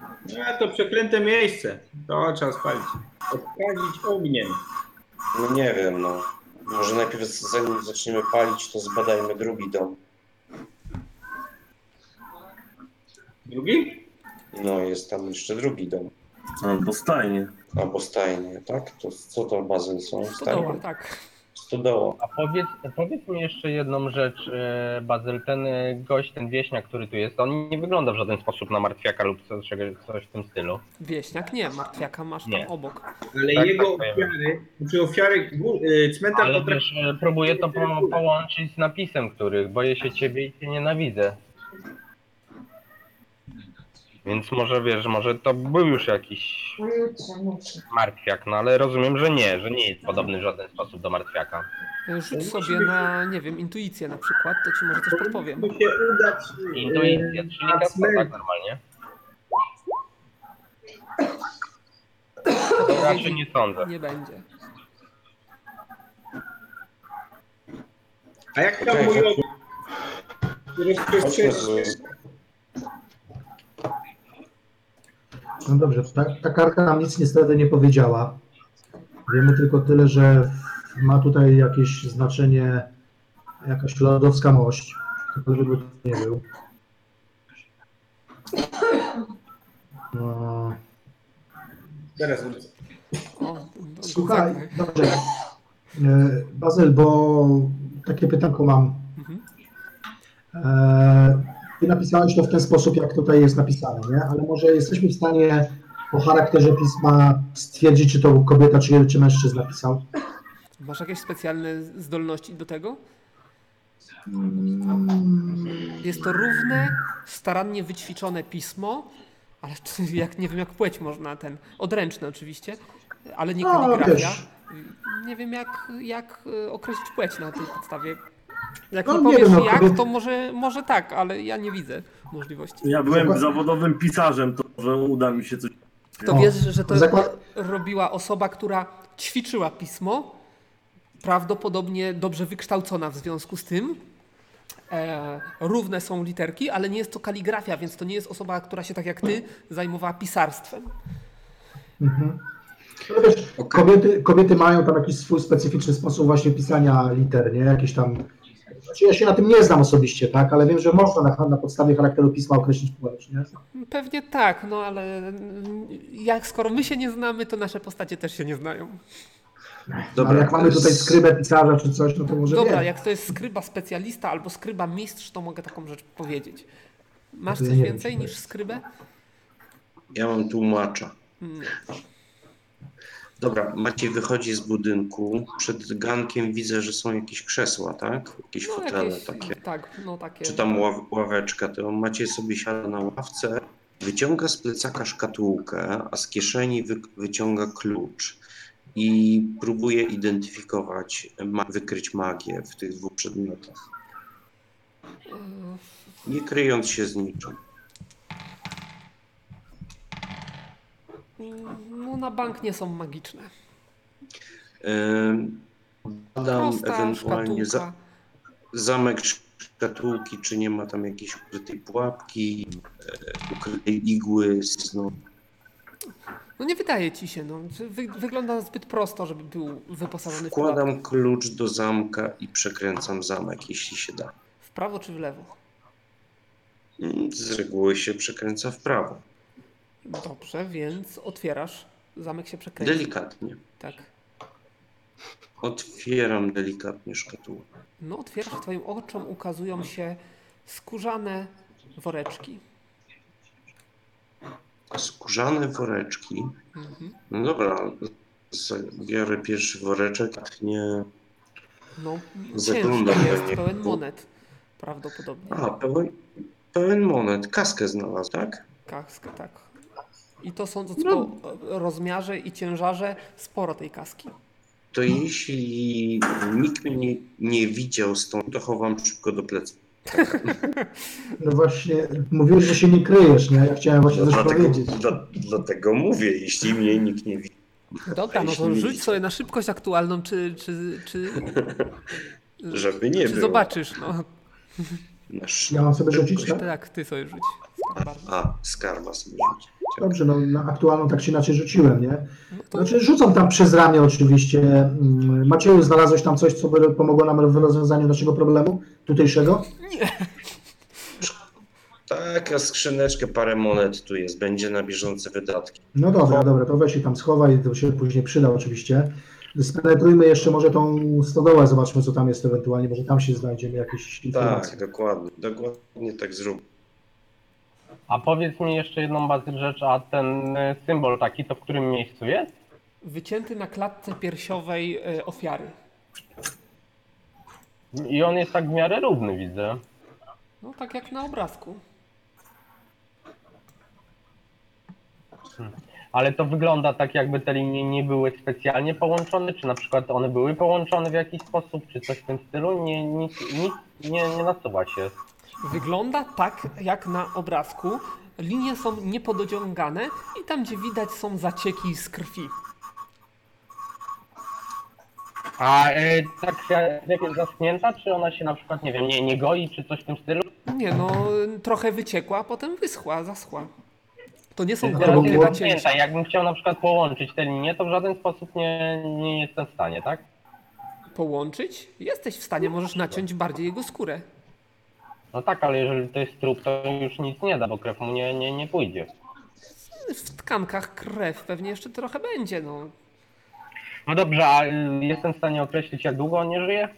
F: No to przeklęte miejsce. To trzeba spalić. Odpalić ogniem.
D: No nie wiem, no. Może najpierw zanim zaczniemy palić, to zbadajmy drugi dom.
F: Drugi?
D: No, jest tam jeszcze drugi dom.
B: Albo stajnie.
D: albo stajnie, tak? To co to bazyl są?
A: Stodoła,
D: Stajnie?
A: tak.
D: Stodoła.
E: A powiedz, powiedz mi jeszcze jedną rzecz, e, Bazyl, ten e, gość, ten wieśniak, który tu jest, on nie wygląda w żaden sposób na martwiaka lub co- czego- coś w tym stylu.
A: Wieśniak nie, martwiaka masz tam
E: Nie.
A: obok.
F: Ale
E: Tak,
F: jego
E: tak,
F: ofiary, czy ofiary gór- y, cmentarz
E: Ale
F: potrafi...
E: też e, próbuję to po, połączyć z napisem, który boję się ciebie i cię nienawidzę. Więc może wiesz, może to był już jakiś martwiak, no ale rozumiem, że nie, że nie jest podobny w żaden sposób do martwiaka.
A: Rzuć sobie na, nie wiem, intuicję na przykład, to ci może coś podpowiem.
F: Powinno się udać y,
E: Intuicja, czyli
F: na
E: gasa, tak
F: cmentarz.
E: normalnie. To raczej nie sądzę.
A: Nie będzie.
F: A jak tam
D: Okej,
F: mój
D: chodźmy.
F: obóz?
D: Chodźmy
F: Rozprzestrzeni
D: z...
C: No dobrze, ta, ta karta nam nic niestety nie powiedziała. Wiemy tylko tyle, że ma tutaj jakieś znaczenie jakaś lodowska mość, ktokolwiek by to nie był. No,
F: Teraz wrócę.
A: O, no, do-
C: Słuchaj,
A: do-
C: dobrze. E, Bazyl, bo takie pytanko mam.
A: Mhm.
C: E, Ty napisałeś to w ten sposób, jak tutaj jest napisane, nie? Ale może jesteśmy w stanie po charakterze pisma stwierdzić, czy to kobieta, czy, czy mężczyzna pisał?
A: Masz jakieś specjalne zdolności do tego? Jest to równe, starannie wyćwiczone pismo, ale czy- (laughs) jak nie wiem jak płeć można ten, odręczne oczywiście, ale nie
C: No,
A: kaligrafia.
C: też.
A: Nie wiem jak, jak y, określić płeć na tej podstawie. Jak
C: No,
A: mi
C: nie
A: powiesz
C: wiem, no,
A: jak,
C: kobiet-
A: to może, może tak, ale ja nie widzę możliwości.
B: Ja byłem
C: Zakład-
B: zawodowym pisarzem, to może uda mi się coś.
A: To
C: O,
A: wiesz, że to
C: zakład-
A: robiła osoba, która ćwiczyła pismo, prawdopodobnie dobrze wykształcona w związku z tym. E, równe są literki, ale nie jest to kaligrafia, więc to nie jest osoba, która się tak jak ty zajmowała pisarstwem.
C: Mhm. No wiesz, kobiety, kobiety mają tam jakiś swój specyficzny sposób właśnie pisania liter, nie? Jakieś tam... Znaczy ja się na tym nie znam osobiście, tak? Ale wiem, że można na, na podstawie charakteru pisma określić płeć, nie?
A: Pewnie tak, no ale mm, jak skoro my się nie znamy, to nasze postacie też się nie znają.
C: Ale jak mamy tutaj skrybę pisarza czy coś, no to może
A: Dobra,
C: nie.
A: jak to jest skryba specjalista albo skryba mistrz, to mogę taką rzecz powiedzieć. Masz
C: To ja
A: coś
C: nie wiem,
A: więcej
C: czy to
A: niż skrybę? Mm,
D: Ja mam tłumacza.
A: Nie.
D: Dobra, Maciej wychodzi z budynku. Przed gankiem widzę, że są jakieś krzesła, tak? Jakieś
A: No
D: fotele
A: jakieś,
D: takie.
A: tak, no takie.
D: Czy tam ław, ławeczka, to Maciej sobie siada na ławce, wyciąga z plecaka szkatułkę, a z kieszeni wy, wyciąga klucz i próbuje identyfikować, ma, wykryć magię w tych dwóch przedmiotach,
A: Mm,
D: nie kryjąc się z niczym.
A: No na bank nie są magiczne.
D: Ym, Badam
A: Prosta
D: ewentualnie za,
A: szkatułka.
D: zamek szkatułki, czy nie ma tam jakiejś ukrytej pułapki, e, ukrytej igły, snu.
A: No nie wydaje ci się, no. Wy, wygląda zbyt prosto, żeby był wyposażony w pułapkę.
D: Wkładam klucz do zamka i przekręcam zamek, jeśli się da.
A: W prawo czy w lewo?
D: Mm, Z reguły się przekręca w prawo,
A: Dobrze, więc otwierasz. Zamek się przekręci.
D: delikatnie.
A: Tak.
D: Otwieram delikatnie szkatułę.
A: No otwierasz, twoim oczom ukazują się skórzane woreczki.
D: Skórzane woreczki.
A: Mhm.
D: No dobra, z- biorę pierwszy woreczek, a nie...
A: No
D: Zaglądam
A: ciężki
D: do
A: jest,
D: niego.
A: pełen monet. Prawdopodobnie.
D: A, pełen, pełen monet, kaskę znalazł, tak?
A: Kaskę, tak. I to sądząc
D: No.
A: po e, rozmiarze i ciężarze, sporo tej kaski.
D: To jeśli nikt mnie nie, nie widział stąd, to chowam szybko do pleców.
C: No właśnie, mówiłeś, że się nie kryjesz, nie? Ja chciałem właśnie coś powiedzieć.
D: dla, dlatego mówię, jeśli mnie nikt nie widzi.
A: Dobra, no to
D: Jeśli
A: rzuć
D: widzicie.
A: sobie na szybkość aktualną, czy. czy, czy
D: Żeby nie
A: czy
D: było.
A: zobaczysz, no.
D: Nasz...
C: Ja mam sobie rzucić, tak?
A: Tak, ty sobie rzuć. Bardzo.
D: A, skarba sobie rzuci.
C: Dobrze, no na aktualną tak się inaczej rzuciłem, nie?
A: No to
C: Znaczy rzucam tam przez ramię oczywiście. Mm, Macieju, znalazłeś tam coś, co by pomogło nam w rozwiązaniu naszego problemu tutejszego?
D: Taka Tak, skrzyneczkę, parę monet tu jest, będzie na bieżące wydatki.
C: No dobra, dobra, to weź się tam schowaj, to się później przyda oczywiście. Spenetrujmy jeszcze może tą stodołę, zobaczmy co tam jest ewentualnie, może tam się znajdziemy jakieś informacje.
D: Tak, dokładnie, dokładnie tak zrób.
E: A powiedz mi jeszcze jedną bazę rzecz, a ten y, symbol taki to w którym miejscu jest?
A: Wycięty na klatce piersiowej e, ofiary.
E: I on jest tak w miarę równy, widzę.
A: No tak jak na obrazku.
E: Ale to wygląda tak, jakby te linie nie były specjalnie połączone, czy na przykład one były połączone w jakiś sposób, czy coś w tym stylu? Nie, nic, nic nie, nie nasuwa się.
A: Wygląda tak jak na obrazku. Linie są niepodociągane i tam gdzie widać są zacieki z krwi.
E: A y, ta krew jest zaschnięta, czy ona się na przykład, nie wiem, nie, nie goi, czy coś w tym stylu?
A: Nie no, trochę wyciekła, a potem wyschła, zaschła. To nie są
C: Tylko
E: Teraz
A: głębokie
E: jest
C: było-
A: nacięcia.
E: zaschnięta. Jakbym chciał na przykład połączyć te linie, to w żaden sposób nie, nie jestem w stanie, tak?
A: Połączyć? Jesteś w stanie, możesz naciąć bardziej jego skórę.
E: No tak, ale jeżeli to jest trup, to już nic nie da, bo krew mu nie, nie, nie pójdzie.
A: W tkankach krew pewnie jeszcze trochę będzie, no.
E: No dobrze, a y, jestem w stanie określić, jak długo on nie żyje?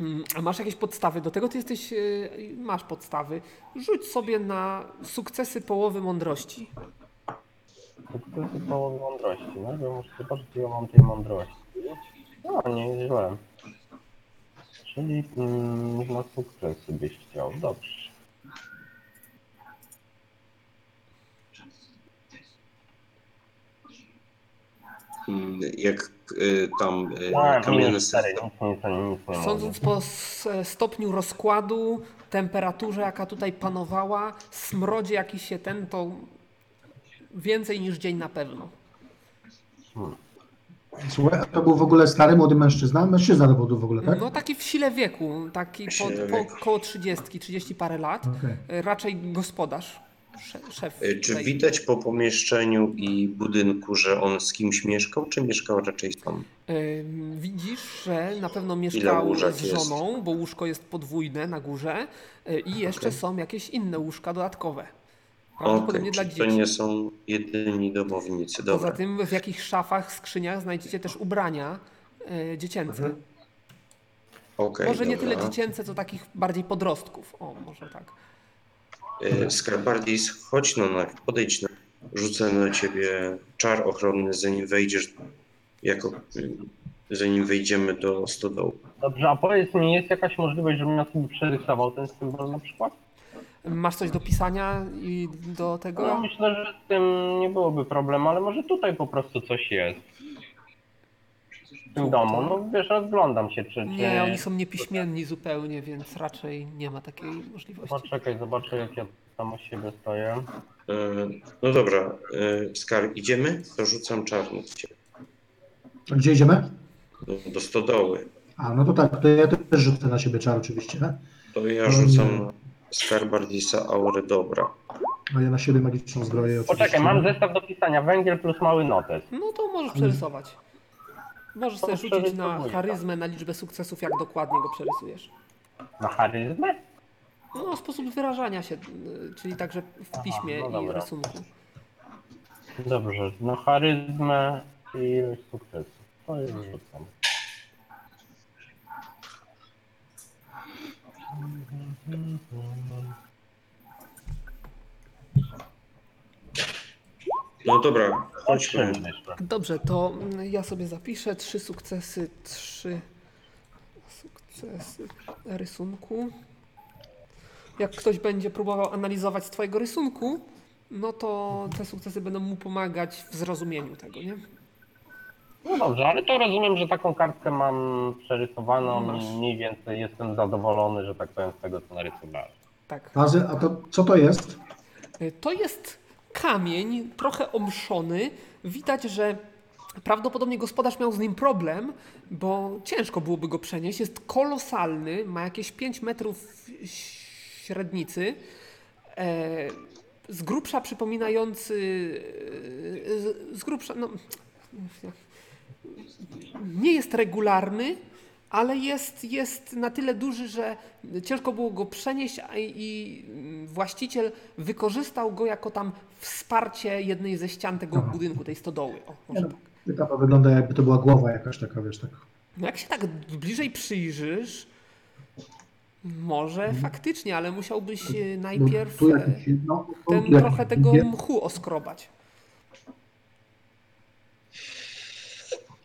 A: Mm, A masz jakieś podstawy? Do tego ty jesteś. yy, Masz podstawy. Rzuć sobie na sukcesy połowy mądrości.
E: Sukcesy połowy mądrości, no bo muszę zobaczyć, ile mam tej mądrości. No, nie jest źle. Czyli mm, na sukcesy byś chciał, dobrze.
D: Mm, Jak y, tam y,
A: Tak,
E: A,
D: kamienny
E: minus cztery,
D: system.
E: nic, nic, nic nie mogę.
A: Sądząc po s- e, stopniu rozkładu, temperaturze, jaka tutaj panowała, smrodzie, jaki się ten, to więcej niż dzień na pewno.
C: Słuchaj, a to był w ogóle stary, młody mężczyzna? Mężczyzna to był w ogóle, tak?
A: No taki w sile wieku, taki po,
D: Sile
A: po
D: wieku.
A: około 30, 30 parę lat.
C: Okej.
A: Y, Raczej gospodarz, sze- szef.
D: Y, Czy
A: tej-
D: widać po pomieszczeniu i budynku, że on z kimś mieszkał, czy mieszkał raczej sam?
A: Ym, Widzisz, że na pewno mieszkał
D: łóżek
A: z
D: jest?
A: żoną, bo łóżko jest podwójne na górze y, i jeszcze
D: Okej.
A: są jakieś inne łóżka dodatkowe.
D: Okej,
A: Prawdopodobnie dla
D: czyli
A: dzieci.
D: to nie są jedyni domownicy,
A: Poza
D: dobra.
A: tym w jakichś szafach, skrzyniach znajdziecie też ubrania y, dziecięce.
D: Okej,
A: Może nie tyle
D: dobra.
A: dziecięce, co takich bardziej podrostków. O, może tak.
D: Y, Skarbardis, chodź no na, podejdź na, rzucę na ciebie czar ochronny, zanim wejdziesz, jako, y, zanim wejdziemy do stodołu.
E: Dobrze, a powiedz mi, jest jakaś możliwość, żebym ja sobie przerysował ten symbol na przykład?
A: Masz coś do pisania i do tego?
E: No, myślę, że z tym nie byłoby problemu, ale może tutaj po prostu coś jest. W tym domu, no wiesz, rozglądam się, czy... czy...
A: Nie, oni są niepiśmienni zupełnie, więc raczej nie ma takiej możliwości.
E: Poczekaj, zobaczę jak ja tam u siebie stoję.
D: Y, No dobra, y, Skar, idziemy? To rzucam czar na ciebie,
C: A Gdzie idziemy?
D: do, do stodoły.
C: A, no to tak, to ja też rzucę na siebie czar oczywiście, tak?
D: To ja
C: No
D: rzucam
C: nie.
D: na Skarbardisa aurę dobra.
C: A No ja na siebie magiczną zbroję oczywiście.
E: Poczekaj, mam zestaw do pisania, węgiel plus mały notes.
A: No to możesz przerysować. Możesz sobie
E: To
A: rzucić na
E: przerysowuję.
A: charyzmę, na liczbę sukcesów, jak dokładnie go przerysujesz.
E: Na charyzmę?
A: No, sposób wyrażania się, y, czyli także w piśmie
E: no
A: i
E: dobra.
A: rysunku.
E: Dobrze, na charyzmę i ilość sukcesów. Hmm. To jest rzucam.
D: No dobra,
E: Trzy
D: chodźmy.
E: myślę.
A: Dobrze, to mm, ja sobie zapiszę trzy sukcesy, trzy sukcesy rysunku. Jak ktoś będzie próbował analizować z twojego rysunku, no to te sukcesy będą mu pomagać w zrozumieniu tego, nie?
E: No dobrze, ale to rozumiem, że taką kartkę mam przerysowaną
A: Masz.
E: i mniej więcej jestem zadowolony, że tak powiem, z tego co narysowałem.
A: Tak.
C: Tazy, a to co to jest?
A: Y, To jest kamień, trochę omszony. Widać, że prawdopodobnie gospodarz miał z nim problem, bo ciężko byłoby go przenieść. Jest kolosalny, ma jakieś 5 metrów średnicy. E, z grubsza przypominający. e, Z, z grubsza. No, nie jest regularny, ale jest, jest na tyle duży, że ciężko było go przenieść a i, i mm, właściciel wykorzystał go jako tam wsparcie jednej ze ścian tego
C: Aha.
A: budynku, tej stodoły. O, może tak.
C: Etapa wygląda jakby to była głowa jakaś taka, wiesz, tak.
A: No jak się tak bliżej przyjrzysz, może faktycznie, ale musiałbyś e,
C: No,
A: najpierw
C: Mhm. tu
A: e,
C: jakiś, no, tu
A: ten
C: jakiś-
A: trochę tego
C: nie-
A: mchu oskrobać.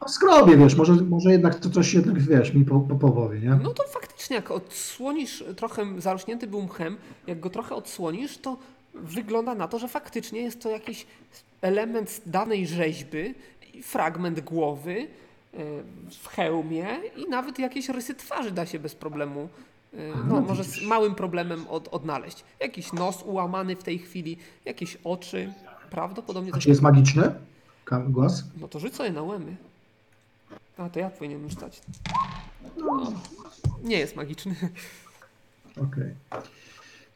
C: No, Skrobię, wiesz, może, może jednak to coś jednak, wiesz, mi po, po, powie, nie?
A: No to faktycznie, jak odsłonisz trochę, zarośnięty był mchem, jak go trochę odsłonisz, to wygląda na to, że faktycznie jest to jakiś element z danej rzeźby, i fragment głowy e, w hełmie i nawet jakieś rysy twarzy da się bez problemu, e, no
C: no
A: może z
C: widzisz.
A: małym problemem od, odnaleźć. Jakiś nos ułamany w tej chwili, jakieś oczy, prawdopodobnie
C: A
A: coś...
C: czy jest magiczny Ka- głos?
A: No to rzucę je na łemy. A, to ja powinienem rzucać. No, nie jest magiczny.
C: Okej.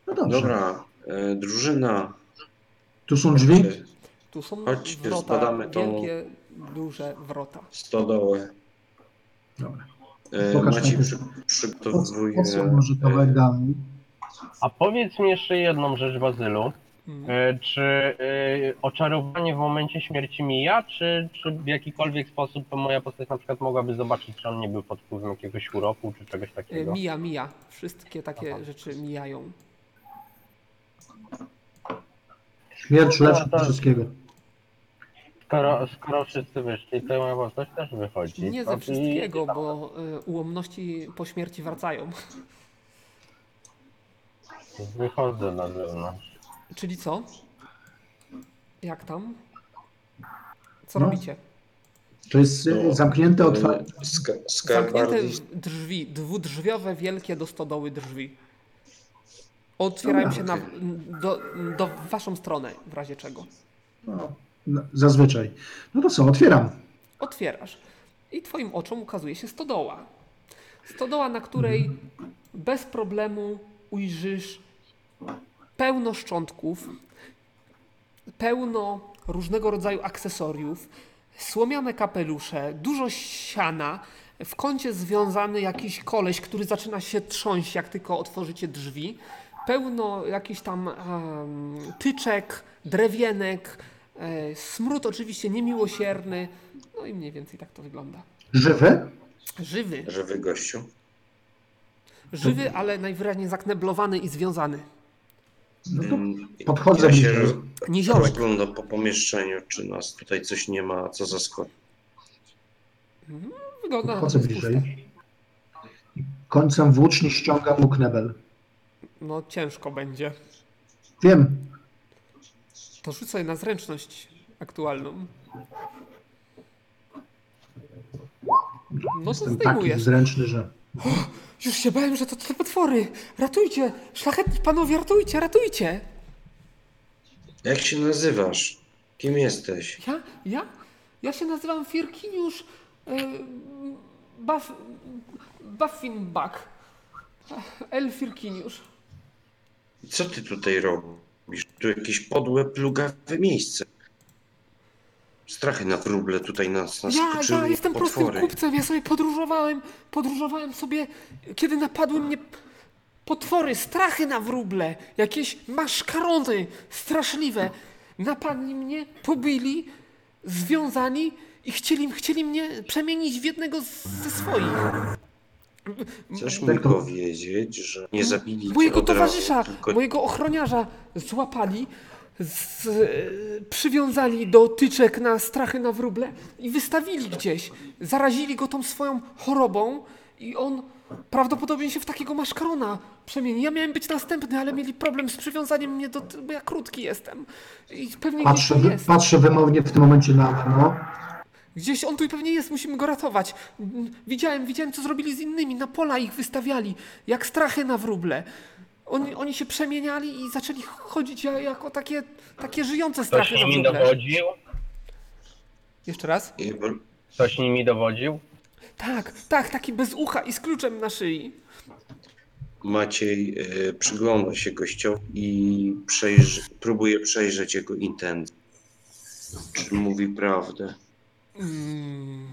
C: No dobrze.
D: Dobra, e, drużyna.
C: Tu są drzwi?
D: E,
A: Tu są
D: Chodźcie,
A: wrota,
D: zbadamy tą-
A: wielkie, duże wrota.
D: Stodołę.
C: Dobra.
D: E,
C: Pokaż
D: Maciej
C: najpierw.
D: przy, przygotowuje.
C: Odsłon może to
D: e,
C: Wedam.
E: A powiedz mi jeszcze jedną rzecz, Bazylu.
A: Mm.
E: E, Czy e, oczarowanie w momencie śmierci mija, czy, czy w jakikolwiek sposób moja postać na przykład mogłaby zobaczyć, czy on nie był pod wpływem jakiegoś uroku, czy czegoś
A: E,
E: takiego?
A: Mija, mija. Wszystkie takie rzeczy mijają.
C: Śmierć lepsza
E: No,
C: od
E: tak.
C: wszystkiego.
E: Skoro, skoro wszyscy wyszli, to moja postać też wychodzi.
A: Nie
E: To
A: ze
E: i-
A: wszystkiego, bo e, ułomności po śmierci wracają.
E: Wychodzę na zewnątrz.
A: Czyli co? Jak tam? Co
C: No.
A: robicie?
C: To jest e,
D: No.
C: zamknięte, otwarte.
D: e, Ska-
A: Zamknięte
D: Skarbardis
A: drzwi, dwudrzwiowe, wielkie do stodoły drzwi.
D: No,
A: Otwierają
C: Dobra,
A: się na, do, do w waszą stronę, w razie czego.
C: No, no, zazwyczaj. No to co, otwieram.
A: Otwierasz i twoim oczom ukazuje się stodoła. Stodoła, na której bez problemu ujrzysz pełno szczątków, pełno różnego rodzaju akcesoriów, słomiane kapelusze, dużo siana, w kącie związany jakiś koleś, który zaczyna się trząść, jak tylko otworzycie drzwi, pełno jakichś tam em, tyczek, drewienek, e, smród oczywiście niemiłosierny, no i mniej więcej tak to wygląda.
C: Żywy?
A: Żywy,
D: żywy gościu.
A: żywy, ale najwyraźniej zakneblowany i związany.
C: No to
D: Mm,
C: podchodzę
D: Ja się
C: bliżej.
D: roz-
A: Niziołek.
D: rozglądam po pomieszczeniu, czy nas tutaj coś nie ma, co zaskoczy.
A: Wygląda na
C: podchodzę
A: puste.
C: bliżej. Końcem włóczni ściągam mu knebel.
A: No ciężko będzie.
C: Wiem,
A: To rzucaj na zręczność aktualną. No to
C: jestem taki
A: zdejmujesz.
C: zręczny, że...
A: Już się bałem, że to te potwory. Ratujcie! Szlachetni panowie, ratujcie, ratujcie!
D: Jak się nazywasz? Kim jesteś?
A: Ja? Ja? Ja się nazywam Firkiniusz yy, Buff, Buffinback. El Firkiniusz.
D: Co ty tutaj robisz? Tu jakieś podłe, plugawe miejsce. Strachy na wróble tutaj nas
A: Ja,
D: naskoczyły.
A: ja jestem
D: potwory.
A: prostym kupcem, ja sobie podróżowałem, podróżowałem sobie, kiedy napadły mnie potwory, strachy na wróble, jakieś maszkarony straszliwe. Napadli mnie, pobili, związani i chcieli, chcieli mnie przemienić w jednego z, ze swoich.
D: Chcesz mi powiedzieć, że nie zabili cię
A: Mm, Mojego
D: od razu,
A: towarzysza,
D: tylko
A: mojego ochroniarza złapali, z, e, przywiązali do tyczek na strachy na wróble i wystawili gdzieś. Zarazili go tą swoją chorobą i on prawdopodobnie się w takiego maszkarona przemieni. Ja miałem być następny, ale mieli problem z przywiązaniem mnie do... ty- bo ja krótki jestem. I pewnie gdzieś
C: Patrzę,
A: tu
C: wy,
A: jest.
C: patrzę wymownie w tym momencie na no.
A: Gdzieś on tu pewnie jest, musimy go ratować. Mm, Widziałem, widziałem, co zrobili z innymi. Na pola ich wystawiali, jak strachy na wróble. Oni, oni się przemieniali i zaczęli chodzić ja- jako takie, takie żyjące
E: Ktoś
A: strachy na
E: nimi
A: wróble.
E: dowodził?
A: Jeszcze raz?
D: nie br-
E: Ktoś nimi dowodził?
A: Tak, tak, taki bez ucha i z kluczem na szyi.
D: Maciej y, przygląda się gościowi i przejrzy, próbuje przejrzeć jego intencje. Czy mówi prawdę?
A: Mm,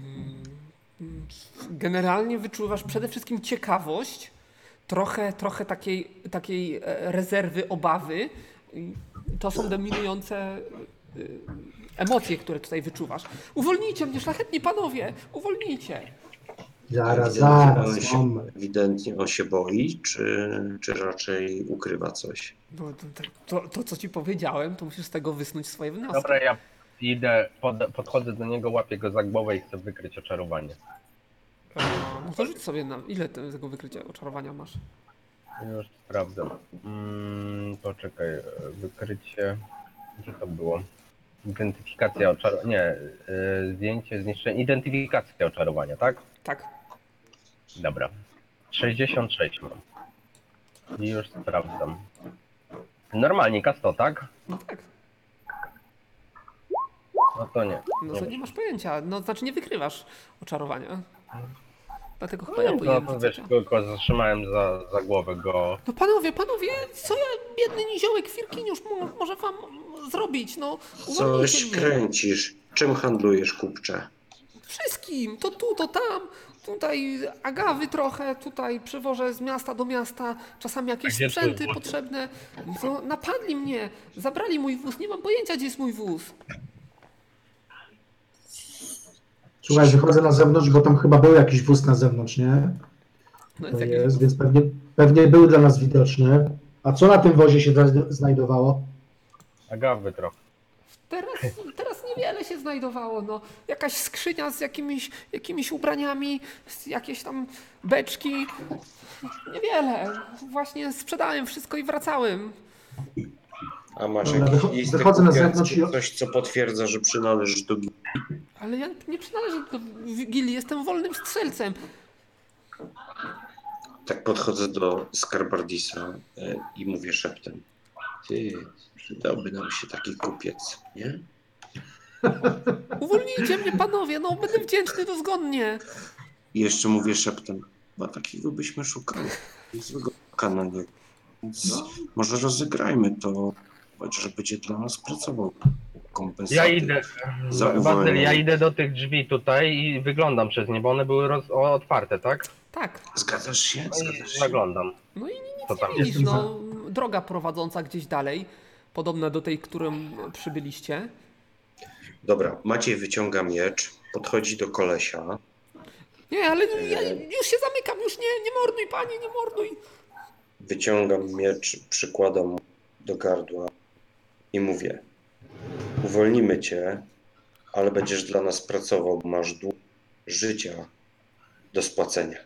A: mm, generalnie wyczuwasz przede wszystkim ciekawość, trochę, trochę takiej, takiej e, rezerwy, obawy. I To są dominujące y, emocje, które tutaj wyczuwasz. Uwolnijcie mnie, szlachetni panowie, uwolnijcie.
C: Zaraz,
D: on
C: zaraz,
D: się,
C: moment.
D: ewidentnie on się boi, czy, czy raczej ukrywa coś?
A: No, to, to, to, co ci powiedziałem, to musisz z tego wysnuć swoje wnioski.
E: Dobra, ja idę, pod, podchodzę do niego, łapię go za głowę i chcę wykryć oczarowanie.
A: A, No to rzuć sobie na ile te- tego wykrycia oczarowania masz.
E: Już sprawdzam. Mm, poczekaj, e, wykrycie. Co to było? Identyfikacja oczarowania. Nie, e, zdjęcie, zniszczenie. Identyfikacja oczarowania, tak?
A: Tak.
E: Dobra. 66 mam. I już sprawdzam. Normalnie kasto, tak?
A: No tak.
E: No to nie.
A: No
E: Nie
A: to
E: wiem.
A: nie masz pojęcia. No znaczy nie wykrywasz oczarowania. Dlatego chyba
E: No,
A: ja
E: no
A: powinienem
E: to
A: rzucać.
E: wiesz, tylko zatrzymałem za, za głowę go.
A: No panowie, panowie, co ja, biedny niziołek Firkiniusz, mo- może wam zrobić? No, uwolnijcie
D: Coś
A: mnie.
D: kręcisz. Czym handlujesz, kupcze?
A: Wszystkim, to tu, to tam, tutaj agawy trochę, tutaj przewożę z miasta do miasta, czasami jakieś
E: Gdzie twój
A: sprzęty
E: wóz?
A: potrzebne. No, napadli mnie, zabrali mój wóz, nie mam pojęcia, gdzie jest mój wóz.
C: Słuchaj, wychodzę na zewnątrz, bo tam chyba był jakiś wóz na zewnątrz, nie?
A: No
C: To
A: jest jakiś
C: jest, więc pewnie, pewnie był dla nas widoczny. A co na tym wozie się zna- znajdowało?
E: Agawy trochę.
A: Teraz, teraz niewiele się znajdowało. No. Jakaś skrzynia z jakimiś, jakimiś ubraniami, z jakieś tam beczki. Niewiele. Właśnie sprzedałem wszystko i wracałem.
D: A masz
C: Dobra,
D: jakieś
C: wycho-
D: listy
C: No, wychodzę na
D: kupieckie,
C: zewnątrz i-
D: Coś, co potwierdza, że przynależysz do gminy.
A: Ale ja nie przynależę do Wigilii, jestem wolnym strzelcem.
D: Tak podchodzę do Skarbardisa e, i mówię szeptem. Ty, przydałby nam się taki kupiec, nie?
A: Uwolnijcie mnie, panowie, no będę wdzięczny dozgonnie.
D: I jeszcze mówię szeptem, chyba takiego byśmy szukali. Złego na niego. Więc
C: No.
D: może rozegrajmy to, chociaż będzie dla nas pracował.
E: Ja
D: Kompensaty.
E: idę.
D: Zauważyłem.
E: Bazyl, ja idę do tych drzwi tutaj i wyglądam przez nie, bo one były roz, o, otwarte, tak?
A: Tak,
D: Zgadzasz się?
E: No
D: Zgadzasz
E: i
D: się.
E: zaglądam.
A: No i
E: Co tam
A: widzisz,
C: Jestem za.
A: no, droga prowadząca gdzieś dalej, podobna do tej, którą przybyliście.
D: Dobra, Maciej wyciąga miecz, podchodzi do kolesia.
A: Nie, ale ja już się zamykam, już nie, nie morduj, panie, nie morduj.
D: Wyciągam miecz, przykładam mu do gardła i mówię: Uwolnimy cię, ale będziesz dla nas pracował, bo masz dług życia do spłacenia.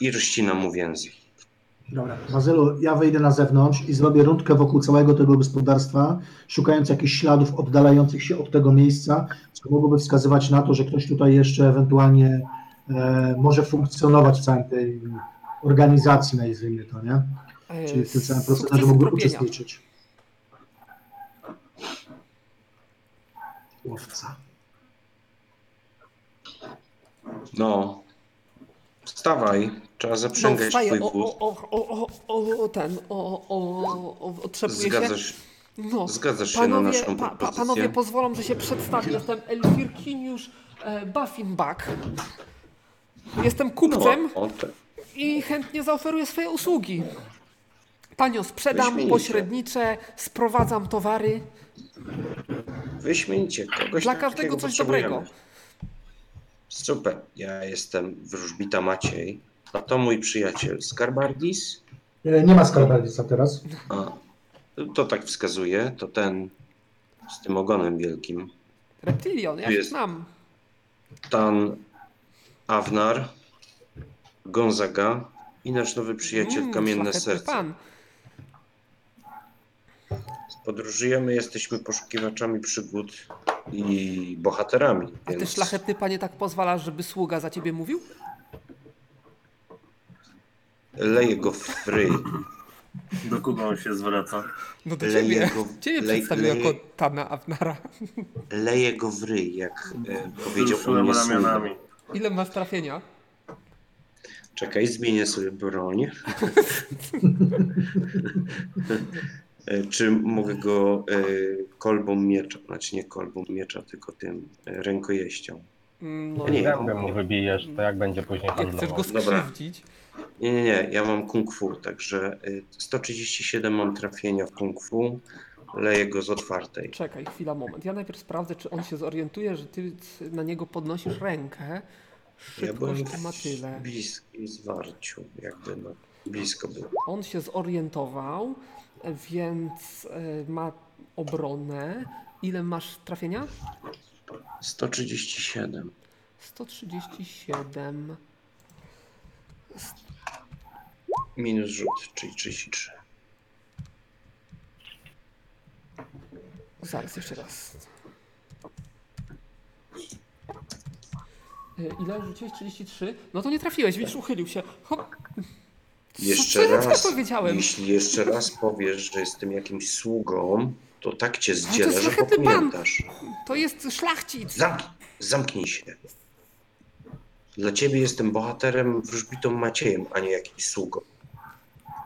D: I rościna mu więzy.
C: Dobra, Bazylu, ja wyjdę na zewnątrz i zrobię rundkę wokół całego tego gospodarstwa, szukając jakichś śladów oddalających się od tego miejsca, co mogłoby wskazywać na to, że ktoś tutaj jeszcze ewentualnie e, może funkcjonować w całej tej organizacji, nazwijmy to, nie?
A: E,
C: Czyli w tym całym procederze
A: sukcesu
C: mógłby
A: tropienia.
C: uczestniczyć. Łowca.
D: No. Wstawaj, trzeba
A: No,
D: zaprzęgać
A: wstaje,
D: twój
A: o,
D: wóz.
A: o, o, o, o, o, ten, o, o, o, o otrzepuje się.
D: Zgadzasz,
A: No,
D: zgadzasz się na
A: panowie,
D: naszą
A: pa, pa,
D: propozycję?
A: panowie pozwolą, że się przedstawię. Jestem Elfirkiniusz e, Buffinback. Jestem kupcem
D: no, o, te-
A: i chętnie zaoferuję swoje usługi. Tanio sprzedam,
D: Wyśmienicie.
A: pośredniczę, sprowadzam towary.
D: Wyśmienicie kogoś.
A: Dla
D: takiego
A: każdego coś
D: potrzebujemy.
A: dobrego.
D: Super. Ja jestem wróżbita Maciej, a to mój przyjaciel Skarbardis.
C: E, Nie ma skarbarnica teraz.
D: A, to tak wskazuje, to ten z tym ogonem wielkim.
A: Reptilion, ja
D: Tu
A: się
D: jest.
A: znam.
D: Tan Avnar, Gonzaga i nasz nowy przyjaciel
A: Mm,
D: Kamienne
A: szlachetny
D: Serce.
A: Pan.
D: Podróżujemy, jesteśmy poszukiwaczami przygód i bohaterami.
A: A ty,
D: więc
A: szlachetny panie, tak pozwalasz, żeby sługa za ciebie mówił?
D: Leję go w ryj.
B: Do kogo on się zwraca?
A: No do
D: Lej
A: ciebie.
D: jego-
A: Ciebie
D: lej-
A: przedstawił
D: lej-
A: jako Tana Avnara. (laughs)
D: Leję go w ryj, jak e, powiedział o
B: Wzruszyłem
D: mnie Sunda.
B: ramionami.
A: Ile masz trafienia?
D: Czekaj, zmienię sobie broń. E, Czy mogę go e, kolbą miecza, znaczy nie kolbą miecza, tylko tym e, rękojeścią
A: Mm, No,
D: Nie.
E: Zęby mu wybijesz, to jak będzie później
A: jak chcesz
E: handlował?
A: go
D: Dobra.
A: skrzywdzić,
D: Nie, nie, nie, ja mam kung fu, także y, 137 mam trafienia w kung fu, leję go z otwartej.
A: czekaj chwila, moment. Ja najpierw sprawdzę, czy on się zorientuje, że ty c- na niego podnosisz rękę.
D: Ja byłem
A: Szybkość to ma
D: w
A: tyle.
D: bliskim zwarciu, jakby no, blisko było.
A: On się zorientował, e, więc e, ma obronę. Ile masz trafienia?
D: 137.
A: 137.
D: Minus rzut, czyli 33.
A: Zaraz jeszcze raz. E, Ile rzuciłeś? 33? No to nie trafiłeś, widzisz, uchylił się. Hop. Co-
D: Jeszcze
A: co ja
D: raz,
A: powiedziałem?
D: jeśli jeszcze raz powiesz, że jestem jakimś sługą, to tak cię
A: to
D: zdzielę, że
A: szlachetny pan.
D: popamiętasz.
A: To jest szlachcic.
D: Zamk- zamknij się. Dla ciebie jestem bohaterem wróżbitą Maciejem, a nie jakimś sługą.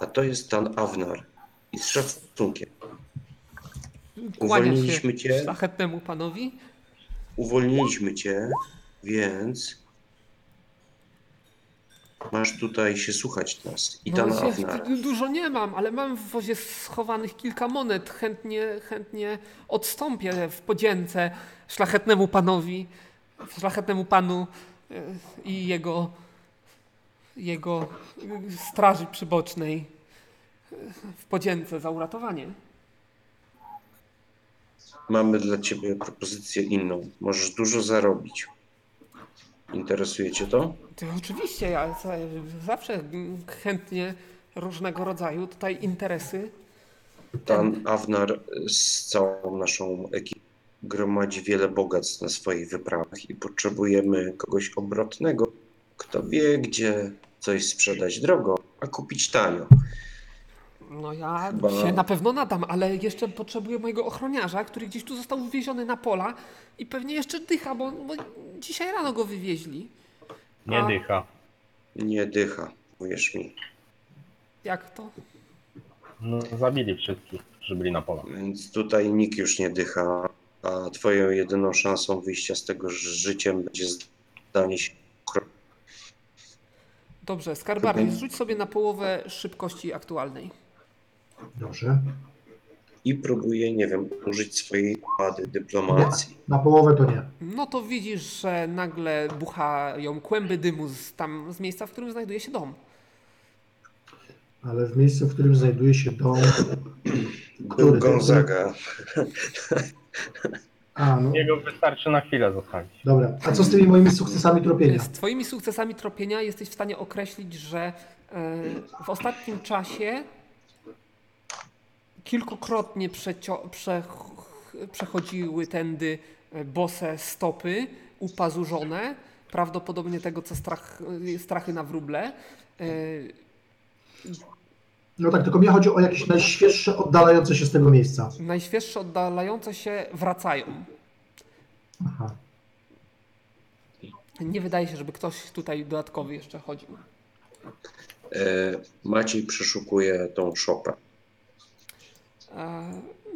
D: A to jest Tan Awnar. I z szacunkiem.
A: Kłania się
D: Uwolniliśmy cię.
A: szlachetnemu panowi.
D: Uwolniliśmy cię, więc masz tutaj się słuchać nas. I
A: No,
D: Tan
A: ja
D: Awnar.
A: d- dużo nie mam, ale mam w wozie schowanych kilka monet. Chętnie, chętnie odstąpię w podzięce szlachetnemu panowi, szlachetnemu panu e, i jego, jego e, straży przybocznej e, w podzięce za uratowanie.
D: Mamy dla ciebie propozycję inną. Możesz dużo zarobić. Interesuje cię to?
A: To oczywiście, ja za- zawsze mm, chętnie różnego rodzaju tutaj interesy.
D: Tan Awnar z całą naszą ekipą gromadzi wiele bogactw na swoich wyprawach i potrzebujemy kogoś obrotnego, kto wie, gdzie coś sprzedać drogo, a kupić tanio.
A: No ja
D: Chyba-
A: się na pewno nadam, ale jeszcze potrzebuję mojego ochroniarza, który gdzieś tu został wywieziony na pola i pewnie jeszcze dycha, bo, bo dzisiaj rano go wywieźli.
E: Nie dycha.
D: Nie dycha, mówisz mi.
A: Jak to?
E: No, zabili wszystkich, którzy byli na polach.
D: Więc tutaj nikt już nie dycha, a twoją jedyną szansą wyjścia z tego życiem będzie zdanie się
A: Dobrze, Skarbari, zrzuć sobie na połowę szybkości aktualnej.
C: Dobrze.
D: i próbuje, nie wiem, użyć swojej wady dyplomacji.
C: Na połowę to nie.
A: No to widzisz, że nagle buchają kłęby dymu z, tam, z miejsca, w którym znajduje się dom.
C: Ale w miejscu, w którym znajduje się dom.
D: Był
C: Kurde,
D: Gonzaga.
C: A, no.
E: Jego wystarczy na chwilę zostawić.
C: Dobra. A co z tymi moimi sukcesami tropienia?
A: Z Twoimi sukcesami tropienia jesteś w stanie określić, że e, w ostatnim czasie kilkukrotnie przecio- prze- przechodziły tędy e, bose stopy upazurzone, prawdopodobnie tego, co strach, e, strachy na wróble. E,
C: No tak, tylko mi chodzi o jakieś najświeższe, oddalające się z tego miejsca.
A: najświeższe oddalające się wracają.
C: Aha.
A: Nie wydaje się, żeby ktoś tutaj dodatkowy jeszcze chodził.
D: E, Maciej przeszukuje tą szopę.
A: E,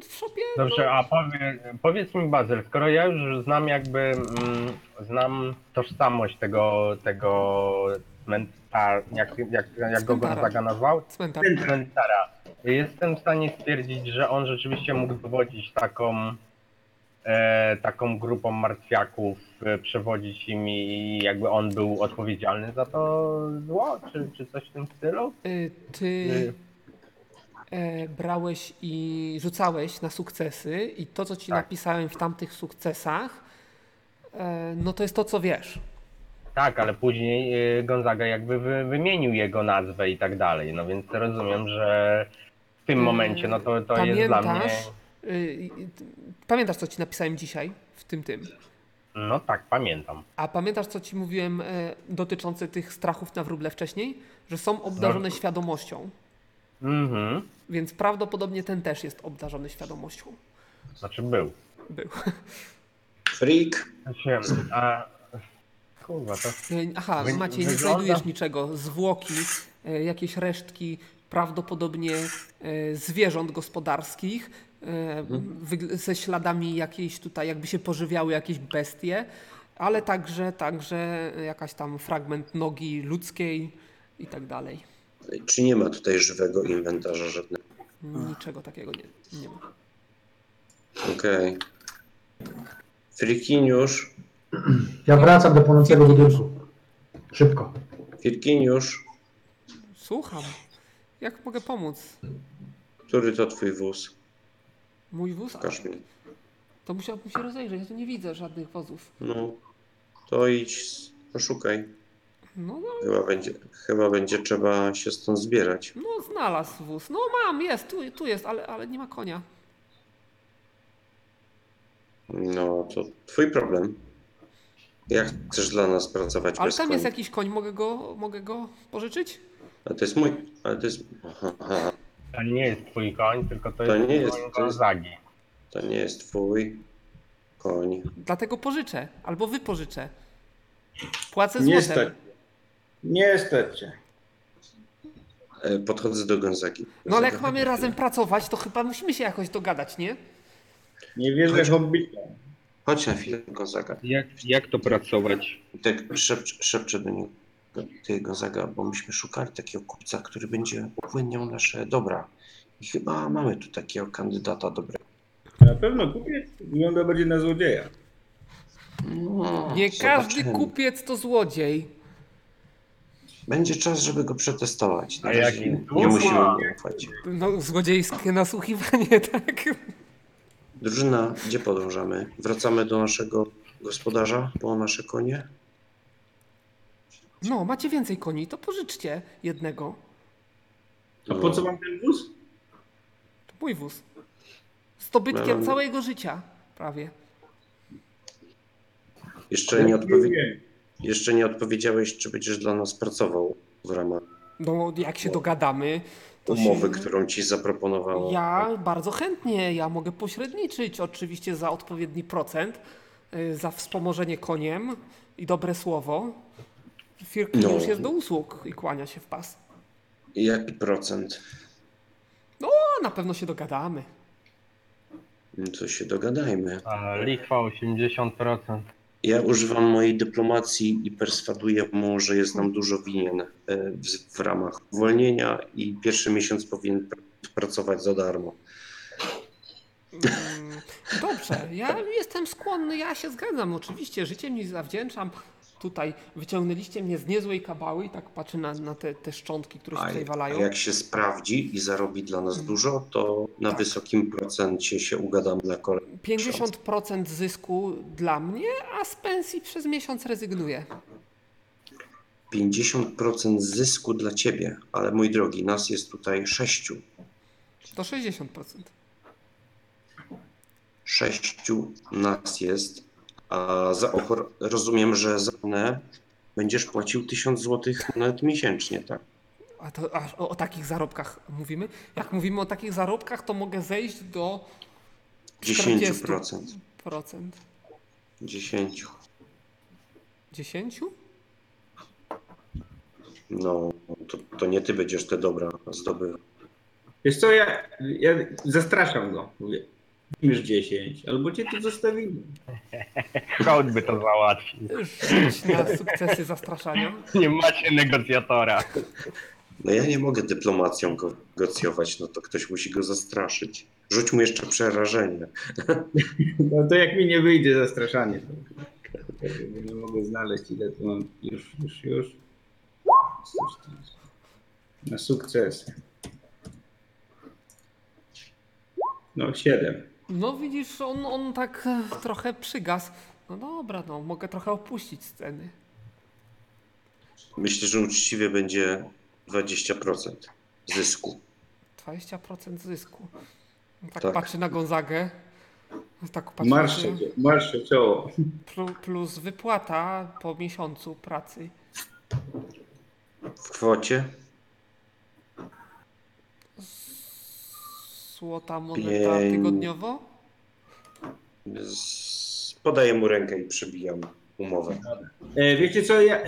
A: w szopie
E: Dobrze, a powie, powiedz mi Bazyl, skoro ja już znam jakby, mm, znam tożsamość tego, tego cmentar, jak, jak, jak go
A: Cmentara.
E: Gonzaga nazwał?
A: cmentarz.
E: Cmentara. Jestem w stanie stwierdzić, że on rzeczywiście mógł dowodzić taką, e, taką grupą martwiaków, e, przewodzić im i jakby on był odpowiedzialny za to zło, czy, czy coś w tym stylu?
A: Y, Ty
E: Nie.
A: e, brałeś i rzucałeś na sukcesy i to, co ci
E: Tak.
A: napisałem w tamtych sukcesach, e, no to jest to, co wiesz.
E: Tak, ale później y, Gonzaga jakby wy, wymienił jego nazwę i tak dalej, no więc rozumiem, że w tym
A: Mm,
E: momencie no to, to jest dla mnie...
A: Pamiętasz, y, y, t- pamiętasz, co ci napisałem dzisiaj w tym tym?
E: No tak, pamiętam.
A: A pamiętasz, co ci mówiłem e, dotyczące tych strachów na wróble wcześniej? Że są obdarzone
E: No.
A: świadomością,
E: Mhm,
A: więc prawdopodobnie ten też jest obdarzony świadomością.
E: znaczy był.
A: Był.
D: Freak.
E: Znaczy, a... Kurwa, to...
A: E, Aha,
E: Wy-
A: Maciej, nie
E: wygląda-
A: znajdujesz niczego. Zwłoki, e, jakieś resztki, prawdopodobnie e, zwierząt gospodarskich, e, wygl- ze śladami jakiejś tutaj, jakby się pożywiały jakieś bestie. ale także, także jakaś tam fragment nogi ludzkiej i tak dalej.
D: Czy nie ma tutaj żywego inwentarza żadnego?
A: Niczego takiego nie, nie ma.
D: Okej. Firkiniusz,
C: Ja wracam do płonącego budynku. Szybko.
D: Firkiniusz,
A: Słucham. Jak mogę pomóc?
D: który to twój wóz?
A: Mój wóz?
D: Pokaż mi.
A: To musiałbym się rozejrzeć. Ja tu nie widzę żadnych wozów.
D: No, to idź, poszukaj.
A: No, no,
D: Chyba będzie, chyba będzie trzeba się stąd zbierać.
A: no znalazł wóz. No mam, jest, tu, tu jest, ale, ale nie ma konia.
D: No, to twój problem. Jak chcesz dla nas pracować
A: Ale
D: bez
A: tam
D: koni?
A: jest jakiś koń, mogę go, mogę go pożyczyć?
D: A to jest mój, ale to jest... Aha, aha,
E: To nie jest twój koń, tylko to,
D: To
E: jest
D: nie jest-
E: koń
D: to jest-
E: Gonzagi.
D: to nie jest twój koń.
A: Dlatego pożyczę, albo wypożyczę. Płacę
F: Nie
A: złotem.
F: stać. Nie stać cię.
D: E, Podchodzę do Gonzagi.
A: No ale jak mamy razem pracować, to chyba musimy się jakoś dogadać, nie?
F: Nie wierzę
D: Chodź.
F: hobbita.
D: Chodź na chwilę, Gonzaga.
G: Jak, jak to pracować?
D: I Tak szepczę, szepczę do niego. Ty, Gonzaga, bo myśmy szukali takiego kupca, który będzie upłynniał nasze dobra. I chyba mamy tu takiego kandydata dobrego.
F: Na pewno kupiec wygląda bardziej na złodzieja.
D: No,
A: Nie każdy
D: zobaczymy.
A: kupiec to złodziej.
D: Będzie czas, żeby go przetestować. Na
E: A
D: razie
E: jaki
D: nie
E: dusma!
D: musimy mu ufać.
A: No, złodziejskie nasłuchiwanie, (laughs) tak?
D: Drużyna, gdzie podążamy? Wracamy do naszego gospodarza po nasze konie?
A: No, macie więcej koni, to pożyczcie jednego.
F: A po co mam ten wóz?
A: To mój wóz. Z dobytkiem
D: Mam-
A: całego życia, prawie.
D: Jeszcze
F: No
D: nie, odpowie...
F: wiem.
D: Jeszcze nie odpowiedziałeś, czy będziesz dla nas pracował w ramach
A: No, jak się dogadamy, to
D: umowy,
A: się...
D: którą ci zaproponowała.
A: Ja bardzo chętnie, ja mogę pośredniczyć oczywiście za odpowiedni procent, y, za wspomożenie koniem i dobre słowo. Firki
D: No.
A: już jest do usług i kłania się w pas.
D: Jaki procent?
A: No, na pewno się dogadamy.
D: No To się dogadajmy.
E: A, Lichwa 80%.
D: Ja używam mojej dyplomacji i perswaduję mu, że jest nam dużo winien e, w, w ramach uwolnienia i pierwszy miesiąc powinien pr- pracować za darmo.
A: Mm, Dobrze, ja jestem skłonny, ja się zgadzam, oczywiście, życie mi zawdzięczam. Tutaj wyciągnęliście mnie z niezłej kabały i tak patrzę na, na te, te szczątki, które się
D: A,
A: tutaj
D: a
A: walają.
D: jak się sprawdzi i zarobi dla nas
A: Mhm.
D: dużo, to na
A: Tak.
D: wysokim procencie się ugadam dla kolei.
A: 50% zysku dla mnie, a z pensji przez miesiąc rezygnuję.
D: 50% zysku dla ciebie, ale mój drogi, nas jest tutaj sześciu.
A: To 60%.
D: Sześciu nas jest, a za ochor rozumiem, że za one będziesz płacił 1000 zł nawet miesięcznie, tak?
A: A to aż o, o takich zarobkach mówimy? Jak mówimy o takich zarobkach, to mogę zejść do
D: 10%.
A: 40%.
D: 10.
A: 10?
D: No, to, to nie ty będziesz te dobra zdobył.
F: Wiesz co, ja, ja zastraszam go. Mówię, już 10, albo cię tu zostawimy.
E: Hołd by to załatwił.
A: Rzuć na sukcesy zastraszania.
E: Nie macie negocjatora.
D: No ja nie mogę dyplomacją go negocjować, no to ktoś musi go zastraszyć. Rzuć mu jeszcze przerażenie.
F: No to jak mi nie wyjdzie zastraszanie, to nie mogę znaleźć ile tu mam. Już, już, już. Na sukces. No 7.
A: No widzisz, on, on tak e, trochę przygas. No dobra, no mogę trochę opuścić sceny.
D: Myślę, że uczciwie będzie 20% zysku.
A: 20% zysku. On Tak,
D: Tak.
A: patrzy na Gonzagę. Tak patrzy
F: Marsze,
A: na-
F: marsze czoło.
A: plu- Plus wypłata po miesiącu pracy.
D: W kwocie
A: Złota moneta
D: Pięć.
A: tygodniowo?
D: z... podaję mu rękę i przebijam umowę.
A: Tak.
F: E, wiecie co, ja, e,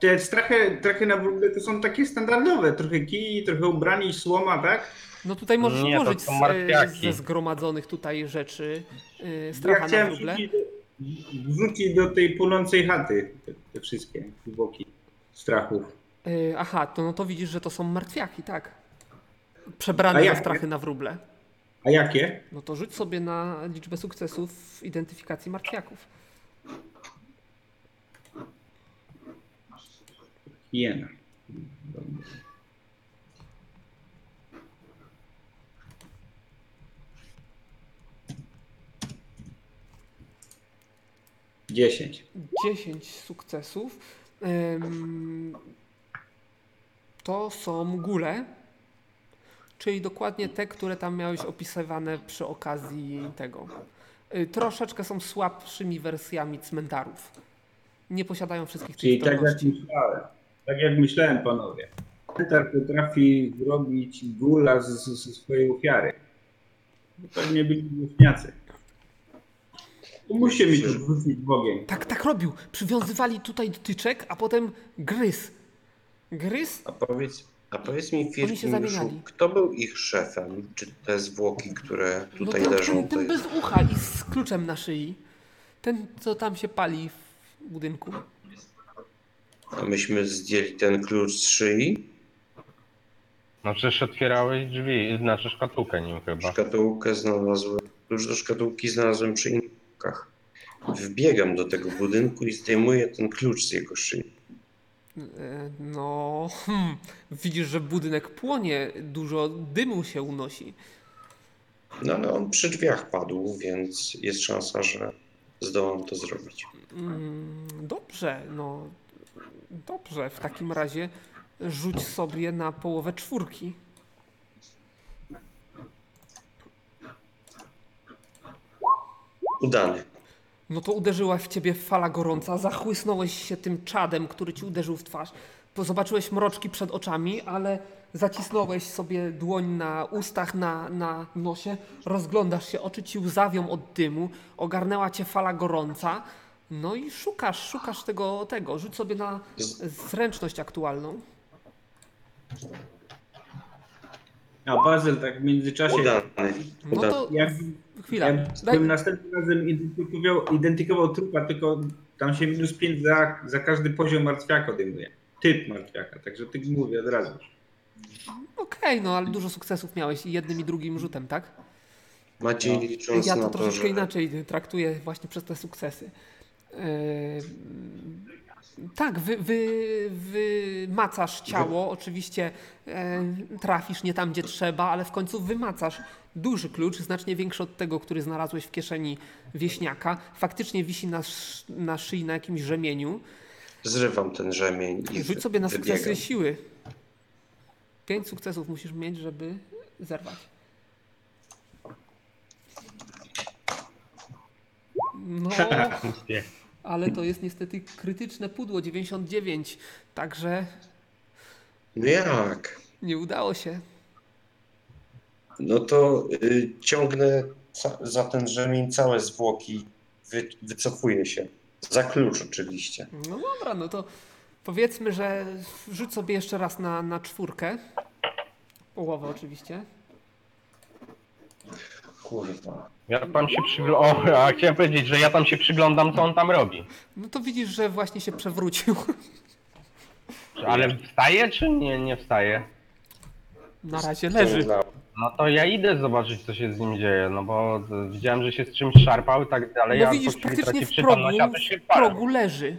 F: te strachy, trachy na wróble to są takie standardowe. Trochę kij, trochę ubrani i słoma, tak?
A: No tutaj możesz
E: Nie, to
A: ułożyć
E: są
A: z-
E: martwiaki.
A: ze zgromadzonych tutaj rzeczy y,
F: Ja
A: stracha na
F: chciałem
A: wróble.
F: rzucić, wrzuci do tej płonącej chaty te, te wszystkie boki strachów.
A: Y, aha, to no to widzisz, że to są martwiaki, tak. Przebrane
F: A
A: na
F: jakie?
A: strachy na wróble.
F: A jakie?
A: No to rzuć sobie na liczbę sukcesów w identyfikacji martwiaków.
F: Hiena. Dziesięć.
A: 10 sukcesów. Ym, To są góle, czyli dokładnie te, które tam miałeś opisywane przy okazji tego. Y, Troszeczkę są słabszymi wersjami cmentarów. Nie posiadają wszystkich
F: Czyli
A: tych
F: tak jak
A: zdolności.
F: myślałem. Tak jak myślałem, panowie. Cmentarz potrafi zrobić gula z- z- ze swojej ofiary. Pewnie byli głośniacy. Pomóżcie mi to wrzucić w ogień.
A: Tak, tak robił. Przywiązywali tutaj do tyczek, a potem gryz. Gryz?
D: A powiedz, a powiedz mi,
A: Oni się
D: Firmiuszu,
A: zamieniali.
D: kto był ich szefem? Czy te zwłoki, które
A: No
D: tutaj
A: ten,
D: leżą,
A: ten,
D: to
A: ten
D: jest
A: bez ucha i z kluczem na szyi. Ten, co tam się pali w budynku.
D: A myśmy zdjęli ten klucz z szyi,
G: No przecież otwierałeś drzwi, znaczy szkatułkę nim chyba.
D: szkatułkę znalazłem, klucz do szkatułki znalazłem przy inkach. Wbiegam do tego budynku i zdejmuję ten klucz z jego szyi.
A: E, No, (laughs) hmm. widzisz, że budynek płonie, dużo dymu się unosi.
D: No ale on przy drzwiach padł, więc jest szansa, że zdołam to zrobić.
A: Mm, Dobrze, no. Dobrze, w takim razie rzuć sobie na połowę czwórki.
D: Udany.
A: No to uderzyła w ciebie fala gorąca, zachłysnąłeś się tym czadem, który ci uderzył w twarz. Po- Zobaczyłeś mroczki przed oczami, ale zacisnąłeś sobie dłoń na ustach, na, na nosie, rozglądasz się, oczy ci łzawią od dymu, ogarnęła cię fala gorąca. No i szukasz, szukasz tego, tego. Rzuć sobie na zręczność aktualną.
F: A Bazel tak w międzyczasie.
D: Udany.
A: No
D: Udany.
A: to
F: Jak,
A: chwila.
F: jak
A: Daj,
F: bym następnym razem identyfikował, identyfikował trupa, tylko tam się minus 5 za, za każdy poziom martwiaka odejmuje. Typ martwiaka, także ty mówię od razu.
A: Okej, no ale dużo sukcesów miałeś i jednym i drugim rzutem, tak?
D: Maciej licząc
A: No, Ja
D: na
A: to
D: to,
A: troszeczkę
D: że...
A: inaczej traktuję właśnie przez te sukcesy. Yy, Tak, wy, wy, wymacasz ciało, oczywiście e, trafisz nie tam, gdzie trzeba, ale w końcu wymacasz duży klucz, znacznie większy od tego, który znalazłeś w kieszeni wieśniaka. Faktycznie wisi na, sz, na szyi na jakimś rzemieniu.
D: Zrywam ten rzemień i
A: Rzuć sobie na
D: wybiegam.
A: sukcesy siły. Pięć sukcesów musisz mieć, żeby zerwać. No, ale to jest niestety krytyczne pudło 99, także
D: No jak?
A: nie udało się.
D: No to y, ciągnę ca- za ten rzemień całe zwłoki, wy, wycofuję się. Za klucz oczywiście.
A: No dobra, no to powiedzmy, że rzuć sobie jeszcze raz na, na czwórkę. Połowę oczywiście.
D: Kurwa.
G: Ja tam się przyglądam, o, a chciałem powiedzieć, że ja tam się przyglądam, co on tam robi.
A: No to widzisz, że właśnie się przewrócił.
G: Czy- Ale wstaje czy nie, nie wstaje?
A: Na razie leży.
G: No to ja idę zobaczyć, co się z nim dzieje, no bo e, widziałem, że się z czymś szarpał i tak dalej,
A: No
G: a
A: widzisz,
G: po chwili
A: praktycznie
G: traci
A: w progu,
G: przytomność, a to się
A: w
G: parę.
A: progu leży.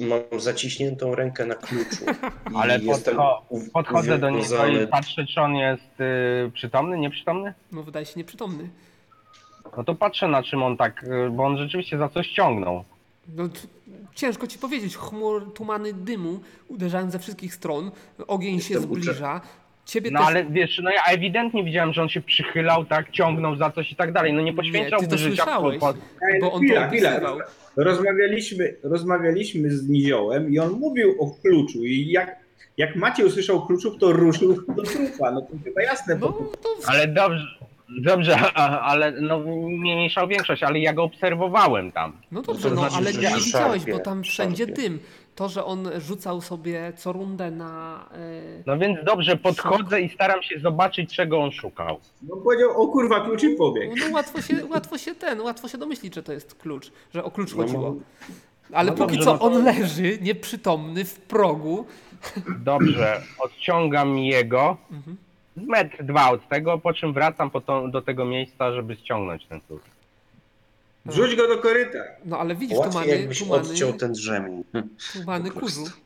D: Mam zaciśniętą rękę na kluczu. i
G: Ale
D: jestem
G: podcho-
D: uw-
G: Podchodzę do niego
D: uwiązany.
G: i patrzę, czy on jest y, przytomny, nieprzytomny?
A: No wydaje się nieprzytomny.
G: No to patrzę na czym on tak, y, bo on rzeczywiście za coś ciągnął.
A: No, t- ciężko ci powiedzieć. Chmur, tumany dymu uderzają ze wszystkich stron. Ogień się
D: Jestem ucze-
A: zbliża. Ciebie
G: No
A: też...
G: ale wiesz, no ja ewidentnie widziałem, że on się przychylał, tak, ciągnął za coś i tak dalej, no nie
A: ty
G: poświęcałby
A: to
G: życia.
A: słyszałeś.
G: po-
A: Bo on to
F: Chwila, chwila.
A: opisywał.
F: Rozmawialiśmy, rozmawialiśmy z Niziołem i on mówił o kluczu i jak, jak Maciej usłyszał kluczów, to ruszył do trupa. No to chyba jasne.
A: No
F: bo-
A: to...
G: Ale dobrze, Dobrze, (laughs) a, ale no mniejsza większość, ale ja go obserwowałem tam.
A: No dobrze,
D: to
A: no,
D: znaczy,
A: ale
D: że
A: nie
D: szarpie,
A: widziałeś, bo tam wszędzie
D: szarpie.
A: dym. To, że on rzucał sobie co rundę na... y,
G: No więc dobrze, podchodzę i staram się zobaczyć, czego on szukał.
F: No powiedział, o kurwa, klucz i pobiegł.
A: No łatwo się, łatwo się ten, łatwo się domyślić, że to jest klucz, że o klucz
D: No,
A: chodziło. Ale
G: no
A: póki
G: dobrze,
A: co
G: no to-
A: on leży nieprzytomny w progu.
G: Dobrze, odciągam jego,
A: Mhm.
G: metr dwa od tego, po czym wracam po to, do tego miejsca, żeby ściągnąć ten klucz.
F: Wrzuć go do koryta.
A: No ale widzisz, tu
D: Łatwiej
A: mamy,
D: jakbyś
A: tu mamy,
D: odciął ten drzemień. Hm.
A: tu mamy
D: po prostu.
A: kurzu.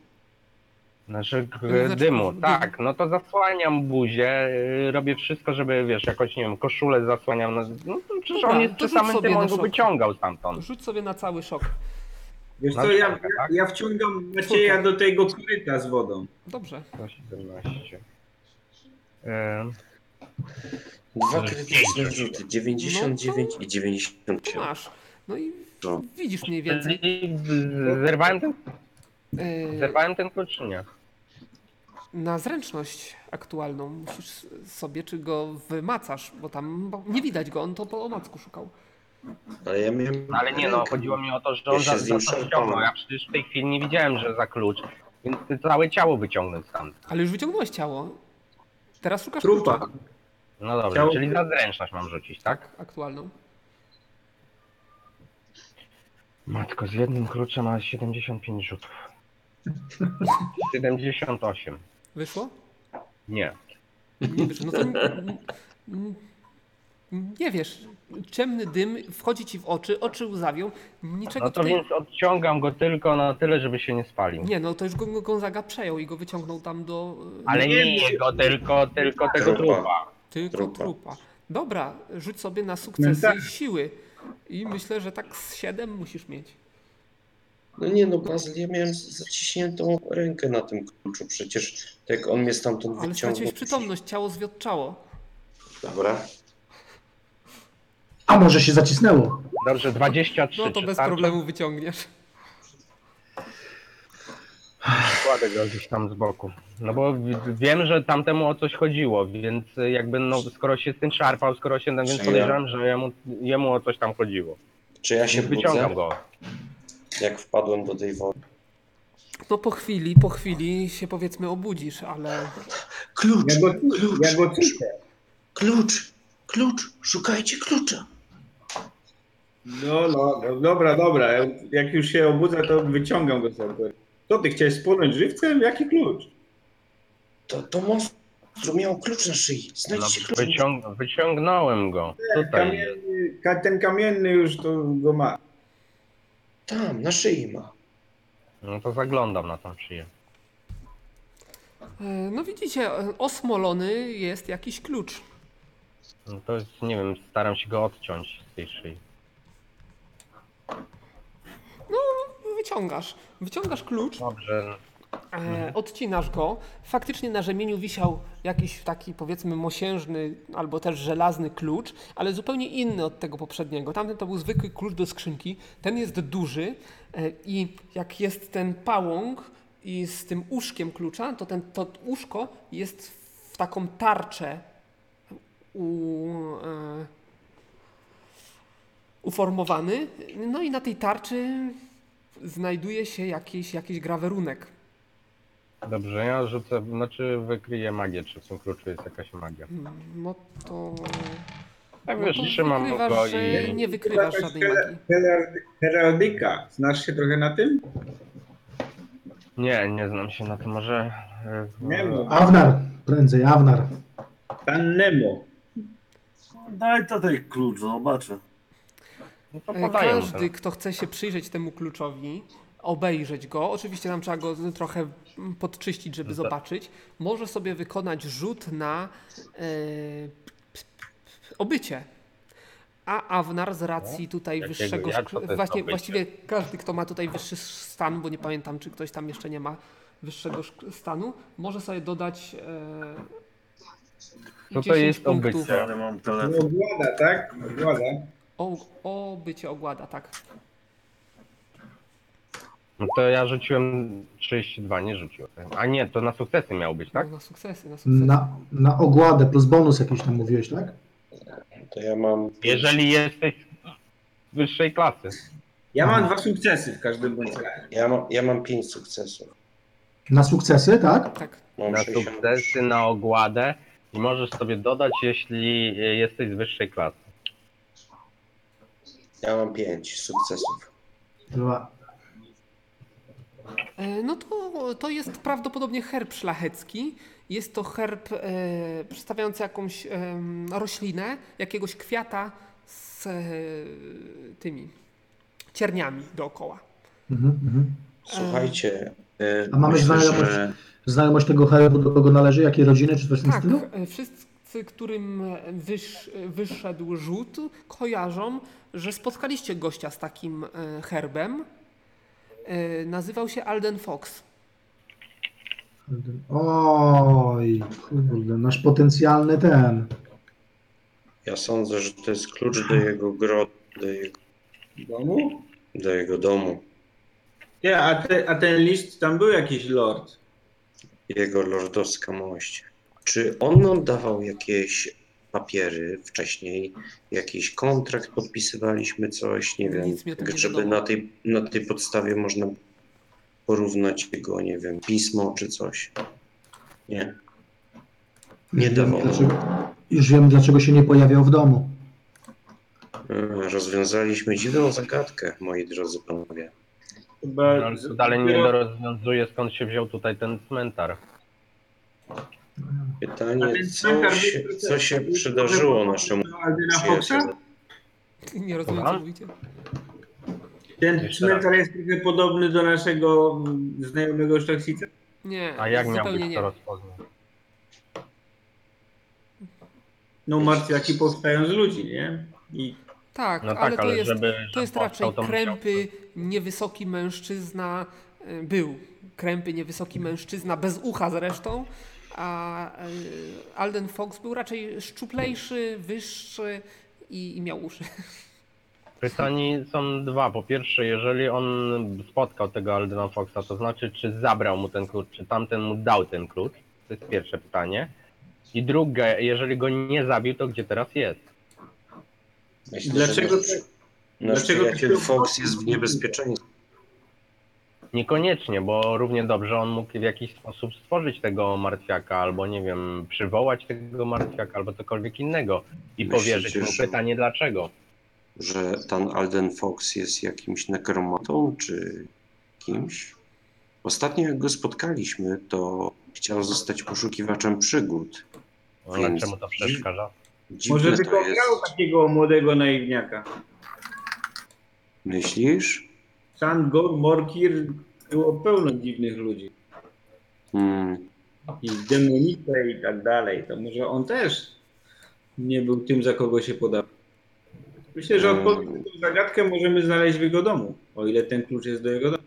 G: Znaczy k-
A: Znaczy,
G: dymu,
A: dymu.
G: tak, no to zasłaniam buzię, y, robię wszystko, żeby, wiesz, jakoś, nie wiem, koszulę zasłaniam, no, no to przecież
A: Dobra,
G: on jest
A: tak, to
G: przy
A: rzuć
G: samym
A: sobie
G: tym,
A: na
G: on go
A: szoku.
G: wyciągał stamtąd.
A: Rzuć sobie na cały szok.
F: Wiesz
G: Na
F: co, ja,
G: czwórkę, tak?
F: ja wciągam Macieja do tego koryta z wodą.
A: Dobrze.
G: 17. Ym,
D: Dwa krytyczne rzuty, 99 i
A: To
D: 97.
A: masz. No i
D: No.
A: widzisz mniej więcej.
G: i z- Zerwałem ten,
A: Yy,
G: zerwałem ten klucz, czy nie?
A: na zręczność aktualną musisz sobie, czy go wymacasz, bo tam bo nie widać go, on to po omacku szukał.
D: Ale ja miałem...
G: No ale nie no, chodziło mi o to, że on
D: Ja się
G: za,
D: z
G: za
D: nim
G: to ściągnął,
D: szarpałem.
G: ja przecież w tej chwili nie widziałem, że za klucz, więc całe ciało wyciągnąć stamtąd.
A: Ale już wyciągnąłeś ciało. Teraz szukasz
F: Trupa.
A: klucza
G: No dobrze,
F: Ciało-
G: czyli za zręczność mam rzucić, tak?
A: aktualną.
G: Matko, z jednym kluczem ma 75 rzutów. 78.
A: Wyszło?
G: Nie.
A: Nie wiesz, no to n- n- n- nie wiesz, ciemny dym wchodzi ci w oczy, oczy łzawią, niczego
G: No to
A: tutaj...
G: więc odciągam go tylko na tyle, żeby się nie spalił.
A: Nie, no to już go go Gonzaga przejął i go wyciągnął tam do... y,
G: Ale nie jego, tylko, tylko tego
D: Trupa.
G: trupa.
A: Tylko trupa.
D: trupa.
A: Dobra, rzuć sobie na sukcesy
F: No
A: i siły. I myślę, że tak z 7 musisz mieć.
D: No nie no, Bazyl, ja miałem z- zaciśniętą rękę na tym kluczu, przecież tak jak on mnie stamtąd
A: Ale
D: wyciągnął...
A: straciłeś przytomność, ciało zwiotczało.
D: Dobra.
C: A może się zacisnęło?
G: Dobrze, 23.
A: No to
G: czy
A: bez
G: tak?
A: problemu wyciągniesz.
G: Kładę go gdzieś tam z boku. No bo w- wiem, że tamtemu o coś chodziło, więc jakby no, skoro się z tym szarpał, skoro się, no, więc
D: Czy ja-
G: podejrzewam, że jemu, jemu o coś tam chodziło.
D: Czy ja się budzę,
G: Wyciągam go.
D: jak wpadłem do tej wody?
A: No po chwili, po chwili się powiedzmy obudzisz, ale
D: Klucz!
F: Ja go,
D: Klucz!
F: ja go tuszę.
D: Klucz! Klucz! Szukajcie klucza!
F: No, no, no, dobra, dobra. Jak już się obudzę, to wyciągam go sobie. To ty chciałeś spłonąć żywcem? Jaki klucz?
D: To, to monstrum miał klucz na szyi.
G: No,
D: Znajdźcie klucz.
G: wyciąg- wyciągnąłem go. Tutaj. jest.
F: Kamienny, ka- ten kamienny już to go ma.
D: Tam, na szyi ma.
G: No to zaglądam na tą szyję.
A: e, no widzicie, e, osmolony jest jakiś klucz.
G: No to jest, nie wiem, staram się go odciąć z tej szyi.
A: No, Wyciągasz, wyciągasz klucz,
G: Dobrze.
A: e, odcinasz go. Faktycznie na rzemieniu wisiał jakiś taki powiedzmy mosiężny albo też żelazny klucz, ale zupełnie inny od tego poprzedniego. Tamten to był zwykły klucz do skrzynki, ten jest duży e, i jak jest ten pałąk i z tym uszkiem klucza, to ten, to uszko jest w taką tarczę u, e, uformowany. No i na tej tarczy znajduje się jakiś, jakiś grawerunek.
G: Dobrze, ja rzucę, znaczy wykryję magię, czy w tym kluczu jest jakaś magia.
A: No to.
G: Tak
A: no
G: wiesz,
A: to
G: trzymam
A: wykrywasz,
G: go
A: że
G: i...
A: Nie wykrywasz żadnej magii.
F: Herald- Heraldyka. Znasz się trochę na tym?
G: Nie, nie znam się na tym, może...
A: Hmm.
G: y,
F: Nie no.
C: Awnar, prędzej, Awnar.
F: Pan Nemo.
B: Daj tutaj klucz, zobaczę.
G: No to
A: E,
G: podaję mu
A: Każdy,
G: ten.
A: kto chce się przyjrzeć temu kluczowi, obejrzeć go, oczywiście tam trzeba go trochę mm, podczyścić, żeby
G: Zda-
A: zobaczyć, może sobie wykonać rzut na e, obycie. A Awnar z racji tutaj
G: No, Jakiego?
A: wyższego.
G: Jak to to jest
A: Właśnie,
G: obycie?
A: właściwie każdy, kto ma tutaj wyższy stan, bo nie pamiętam, czy ktoś tam jeszcze nie ma wyższego szk- stanu, może sobie dodać. E,
G: Co No to
A: 10
G: jest
A: punktów.
G: obycie?
B: Ale mam telefon.
F: No, Ogłada, tak? Ogłada.
A: O, o bycie ogłada, tak.
G: No to ja rzuciłem 32, nie rzuciłem. A nie, to na sukcesy miał być, tak?
A: No, na sukcesy, na sukcesy.
C: Na, na ogładę plus bonus jakiś tam mówiłeś, tak?
D: to ja mam.
G: Jeżeli jesteś wyższej klasy.
F: Ja mam dwa sukcesy w każdym bądź razie.
D: Ja mam, ja mam pięć sukcesów.
C: Na sukcesy, tak?
A: Tak.
D: Mam
G: Na
D: 60.
G: sukcesy, na ogładę i możesz sobie dodać, jeśli e, jesteś z wyższej klasy.
D: Ja mam pięć sukcesów.
C: Dwa.
A: E, No to, to jest prawdopodobnie herb szlachecki. Jest to herb e, przedstawiający jakąś em, roślinę, jakiegoś kwiata z e, tymi cierniami dookoła.
C: Mhm, mhm.
D: Słuchajcie. y,
C: A mamy
D: myślę,
C: znajomość-
D: że
C: Znajomość tego herbu, do kogo należy, jakiej rodziny, czy coś w tym
A: Tak,
C: stylu?
A: e, wszyscy, którym wysz, wyszedł rzut, kojarzą, że spotkaliście gościa z takim e, herbem. E, Nazywał się Alden Fox. (laughs)
C: Oj, kurde, nasz potencjalny ten.
D: ja sądzę, że to jest klucz do jego grodu, do jego,
F: W domu?
D: do jego domu.
F: Nie, a, te, a ten list, tam był jakiś lord.
D: Jego lordowska mość. Czy on nam dawał jakieś papiery wcześniej? Jakiś kontrakt podpisywaliśmy, coś? Nie wiem.
A: Nic mi o tym
D: tak
A: nie
D: żeby
A: wiadomo.
D: na tej, na tej podstawie można porównać jego, nie wiem, pismo czy coś. Nie. Nie
C: Już wiem,
D: dawał.
C: dlaczego- Już wiem, dlaczego się nie pojawiał w domu.
D: E, Rozwiązaliśmy dziwną zagadkę, moi drodzy panowie.
F: Chyba
G: No, Ale to dalej nie rozwiązuje, skąd się wziął tutaj ten cmentarz.
F: A
D: Pytanie,
F: więc
D: co
F: cmentarz
D: się,
F: jest-
D: co się przydarzyło naszemu
F: Aldyna Foxa?
D: przyjacielowi?
A: Nie rozumiem, co
G: Aha.
A: mówicie.
F: Ten
G: Jeszcze
F: cmentarz jest trochę podobny do naszego mm, znajomego szlachcica?
A: Nie,
G: A jak
A: zupełnie
G: miałbyś
A: nie.
G: to rozpoznać?
F: No martwiaki powstają z ludzi, nie? I
A: Tak,
G: No tak,
A: ale to
G: ale
A: jest,
G: żeby-
A: to jest
G: żeby
A: raczej
G: powstał, to
A: krępy, niewysoki mężczyzna, y, był krępy, niewysoki mężczyzna, bez ucha zresztą, a y, Alden Fox był raczej szczuplejszy, wyższy i, i miał uszy.
G: Pytani są dwa. Po pierwsze, jeżeli on spotkał tego Aldena Foxa, to znaczy, czy zabrał mu ten klucz, czy tamten mu dał ten klucz? To jest pierwsze pytanie. I drugie, jeżeli go nie zabił, to gdzie teraz jest?
D: Myślę,
F: Dlaczego-
D: że nasz, nasz
F: dlaczego-
D: przyjaciel Fox jest w niebezpieczeństwie.
G: Niekoniecznie, bo równie dobrze on mógł w jakiś sposób stworzyć tego martwiaka, albo nie wiem, przywołać tego martwiaka, albo cokolwiek innego i
D: Myślicie,
G: powierzyć mu
D: że-
G: pytanie dlaczego.
D: Że ten Alden Fox jest jakimś nekromatą czy kimś? Ostatnio jak go spotkaliśmy, to chciał zostać poszukiwaczem przygód.
G: No, Ale
D: Więc-
G: czemu to przeszkadza?
D: Dziwne
F: może by
D: to
F: to
D: jest.
F: miał takiego młodego naiwniaka.
D: Myślisz?
F: Sangor, Morkir, było pełno dziwnych ludzi.
D: Hmm.
F: I demonice i tak dalej. To może on też nie był tym, za kogo się podał. Myślę, że odpowiedź na tę zagadkę możemy znaleźć w jego domu, o ile ten klucz jest do jego domu.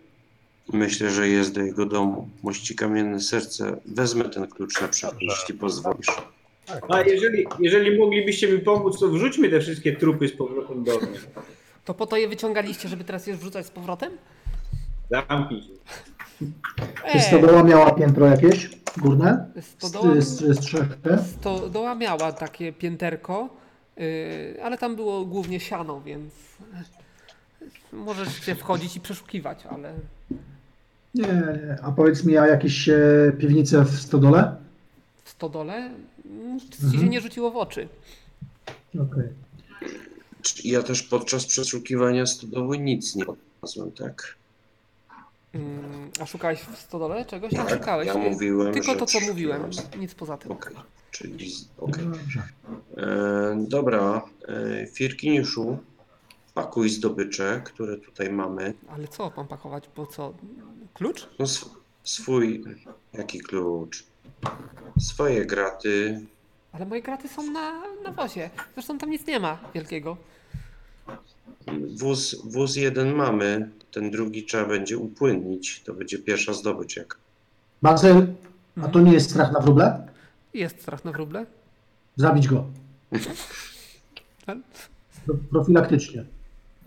D: Myślę, że jest do jego domu. Mości kamienne serce. Wezmę ten klucz na przekrój, jeśli pozwolisz.
F: A jeżeli, jeżeli moglibyście mi pomóc, to wrzućmy te wszystkie trupy z powrotem do mnie.
A: To po to je wyciągaliście, żeby teraz je wrzucać z powrotem?
F: Zamknij się.
C: Czy
A: Ej,
C: stodoła miała piętro jakieś górne? Z,
A: E, stodoła,
C: z, z, z trzech.
A: stodoła miała takie pięterko, y, ale tam było głównie siano, więc y, możesz się wchodzić i przeszukiwać, ale...
C: Nie, nie. A powiedz mi, a jakieś e, piwnice w stodole?
A: w stodole, mm, nic ci
C: Mhm.
A: się nie rzuciło w oczy.
C: Okej.
D: Czy Ja też podczas przeszukiwania stodoły nic nie odnalazłem, tak?
A: Mm, A szukałeś w stodole czegoś? Nie
D: Tak,
A: szukałeś.
D: ja
A: y,
D: mówiłem,
A: Tylko
D: że
A: to, co
D: przeszukiwałem
A: mówiłem,
D: stodoły.
A: nic poza tym.
D: Okej, czyli z- okej.
C: Dobrze.
D: E, Dobra, e, Firkiniuszu, pakuj zdobycze, które tutaj mamy.
A: Ale co mam pakować? Bo co? Klucz?
D: No sw- swój, jaki klucz? Swoje graty.
A: Ale moje graty są na, na wozie. Zresztą tam nic nie ma wielkiego.
D: Wóz, wóz jeden mamy, ten drugi trzeba będzie upłynnić. To będzie pierwsza zdobycz, jak
C: Marcel, a to nie jest strach na wróble?
A: Jest strach na wróble.
C: Zabić go.
A: ale-
C: Pro- Profilaktycznie.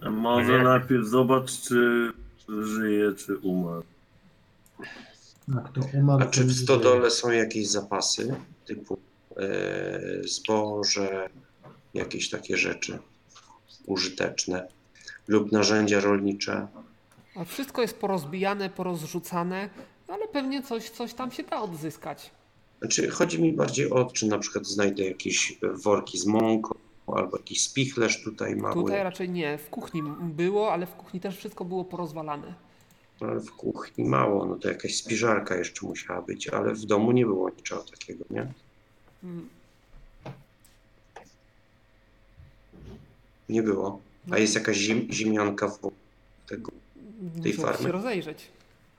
B: A Może najpierw zobacz, czy żyje, czy umarł.
C: Tak, to umarł.
D: A czy
C: to
D: w
C: nie
D: stodole są jakieś zapasy typu e, zboże, jakieś takie rzeczy użyteczne lub narzędzia rolnicze.
A: A wszystko jest porozbijane, porozrzucane, ale pewnie coś, coś tam się da odzyskać.
D: Znaczy, chodzi mi bardziej o, czy na przykład znajdę jakieś e, worki z mąką albo jakiś spichlerz tutaj mały,
A: Tutaj raczej nie. W kuchni m- było, ale w kuchni też wszystko było porozwalane.
D: ale e, w kuchni mało, no to jakaś spiżarka jeszcze musiała być, ale w domu nie było niczego takiego, nie?
A: Mm,
D: Nie było. A jest jakaś zim, ziemianka w tego.
A: Musiałbyś się
D: farmy?
A: rozejrzeć.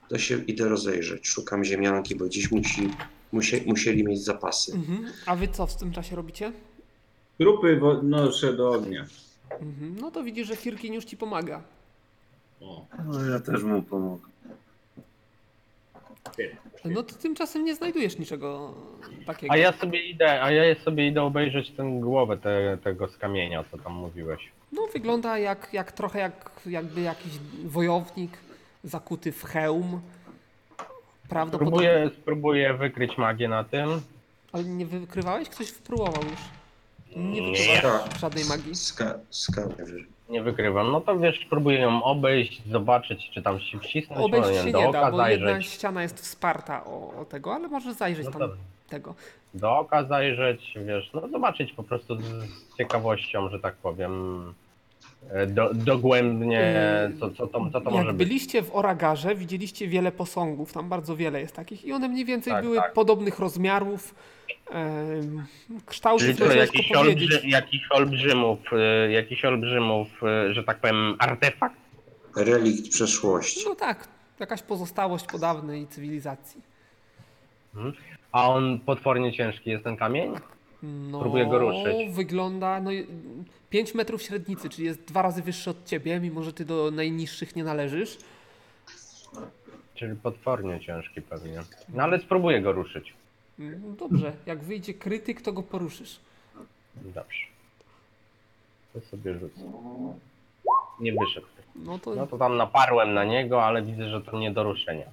D: To się idę rozejrzeć, szukam ziemianki, bo dziś musi, musie, musieli mieć zapasy.
A: Mhm. A wy co w tym czasie robicie?
F: Trupy wo- noszę do ognia.
A: Mhm. No to widzisz, że Firkin już ci pomaga.
F: O.
B: No ja też mu pomogę.
A: No to tymczasem nie znajdujesz niczego takiego.
G: A ja sobie idę, a ja sobie idę obejrzeć tę głowę te, tego z kamienia, co tam mówiłeś.
A: No wygląda jak, jak trochę jak jakby jakiś wojownik zakuty w hełm. Prawdopodobnie.
G: Spróbuję, spróbuję wykryć magię na tym.
A: Ale nie wykrywałeś? Ktoś próbował już. Nie
G: Nie.
A: wykrywałeś żadnej magii.
D: Ska, skałę wyżej.
G: Nie wykrywam. No to wiesz, spróbuję ją obejść, zobaczyć, czy tam się wcisnąć,
A: Obejść
G: może
A: się
G: do
A: nie da,
G: oka
A: bo jedna
G: zajrzeć.
A: ściana jest wsparta o, o tego, ale możesz zajrzeć
G: No
A: tam
G: dobra.
A: tego.
G: Do oka zajrzeć, wiesz, no zobaczyć po prostu z, z ciekawością, że tak powiem, e, do, dogłębnie,
A: Mm,
G: co, co to, co to
A: Jak
G: może być.
A: byliście w Oragarze, widzieliście wiele posągów, tam bardzo wiele jest takich i one mniej więcej
G: Tak,
A: były
G: tak.
A: podobnych rozmiarów, em, kształtów,
G: Czyli
A: no
G: to
A: ciężko
G: jakiś,
A: powiedzieć.
G: olbrzy, jakiś olbrzymów, e, jakiś olbrzymów, e, że tak powiem, artefakt.
D: Relikt przeszłości.
A: No tak, jakaś pozostałość po dawnej cywilizacji.
G: A on potwornie ciężki jest ten kamień?
A: No,
G: Próbuję go ruszyć.
A: wygląda no, 5 metrów średnicy, czyli jest dwa razy wyższy od ciebie, mimo że ty do najniższych nie należysz.
G: Czyli potwornie ciężki pewnie. No ale spróbuję go ruszyć.
A: Mm, Dobrze, jak wyjdzie krytyk, to go poruszysz.
G: Dobrze. To sobie rzucę. Nie wyszedł.
A: No to
G: No to tam naparłem na niego, ale widzę, że to nie do ruszenia.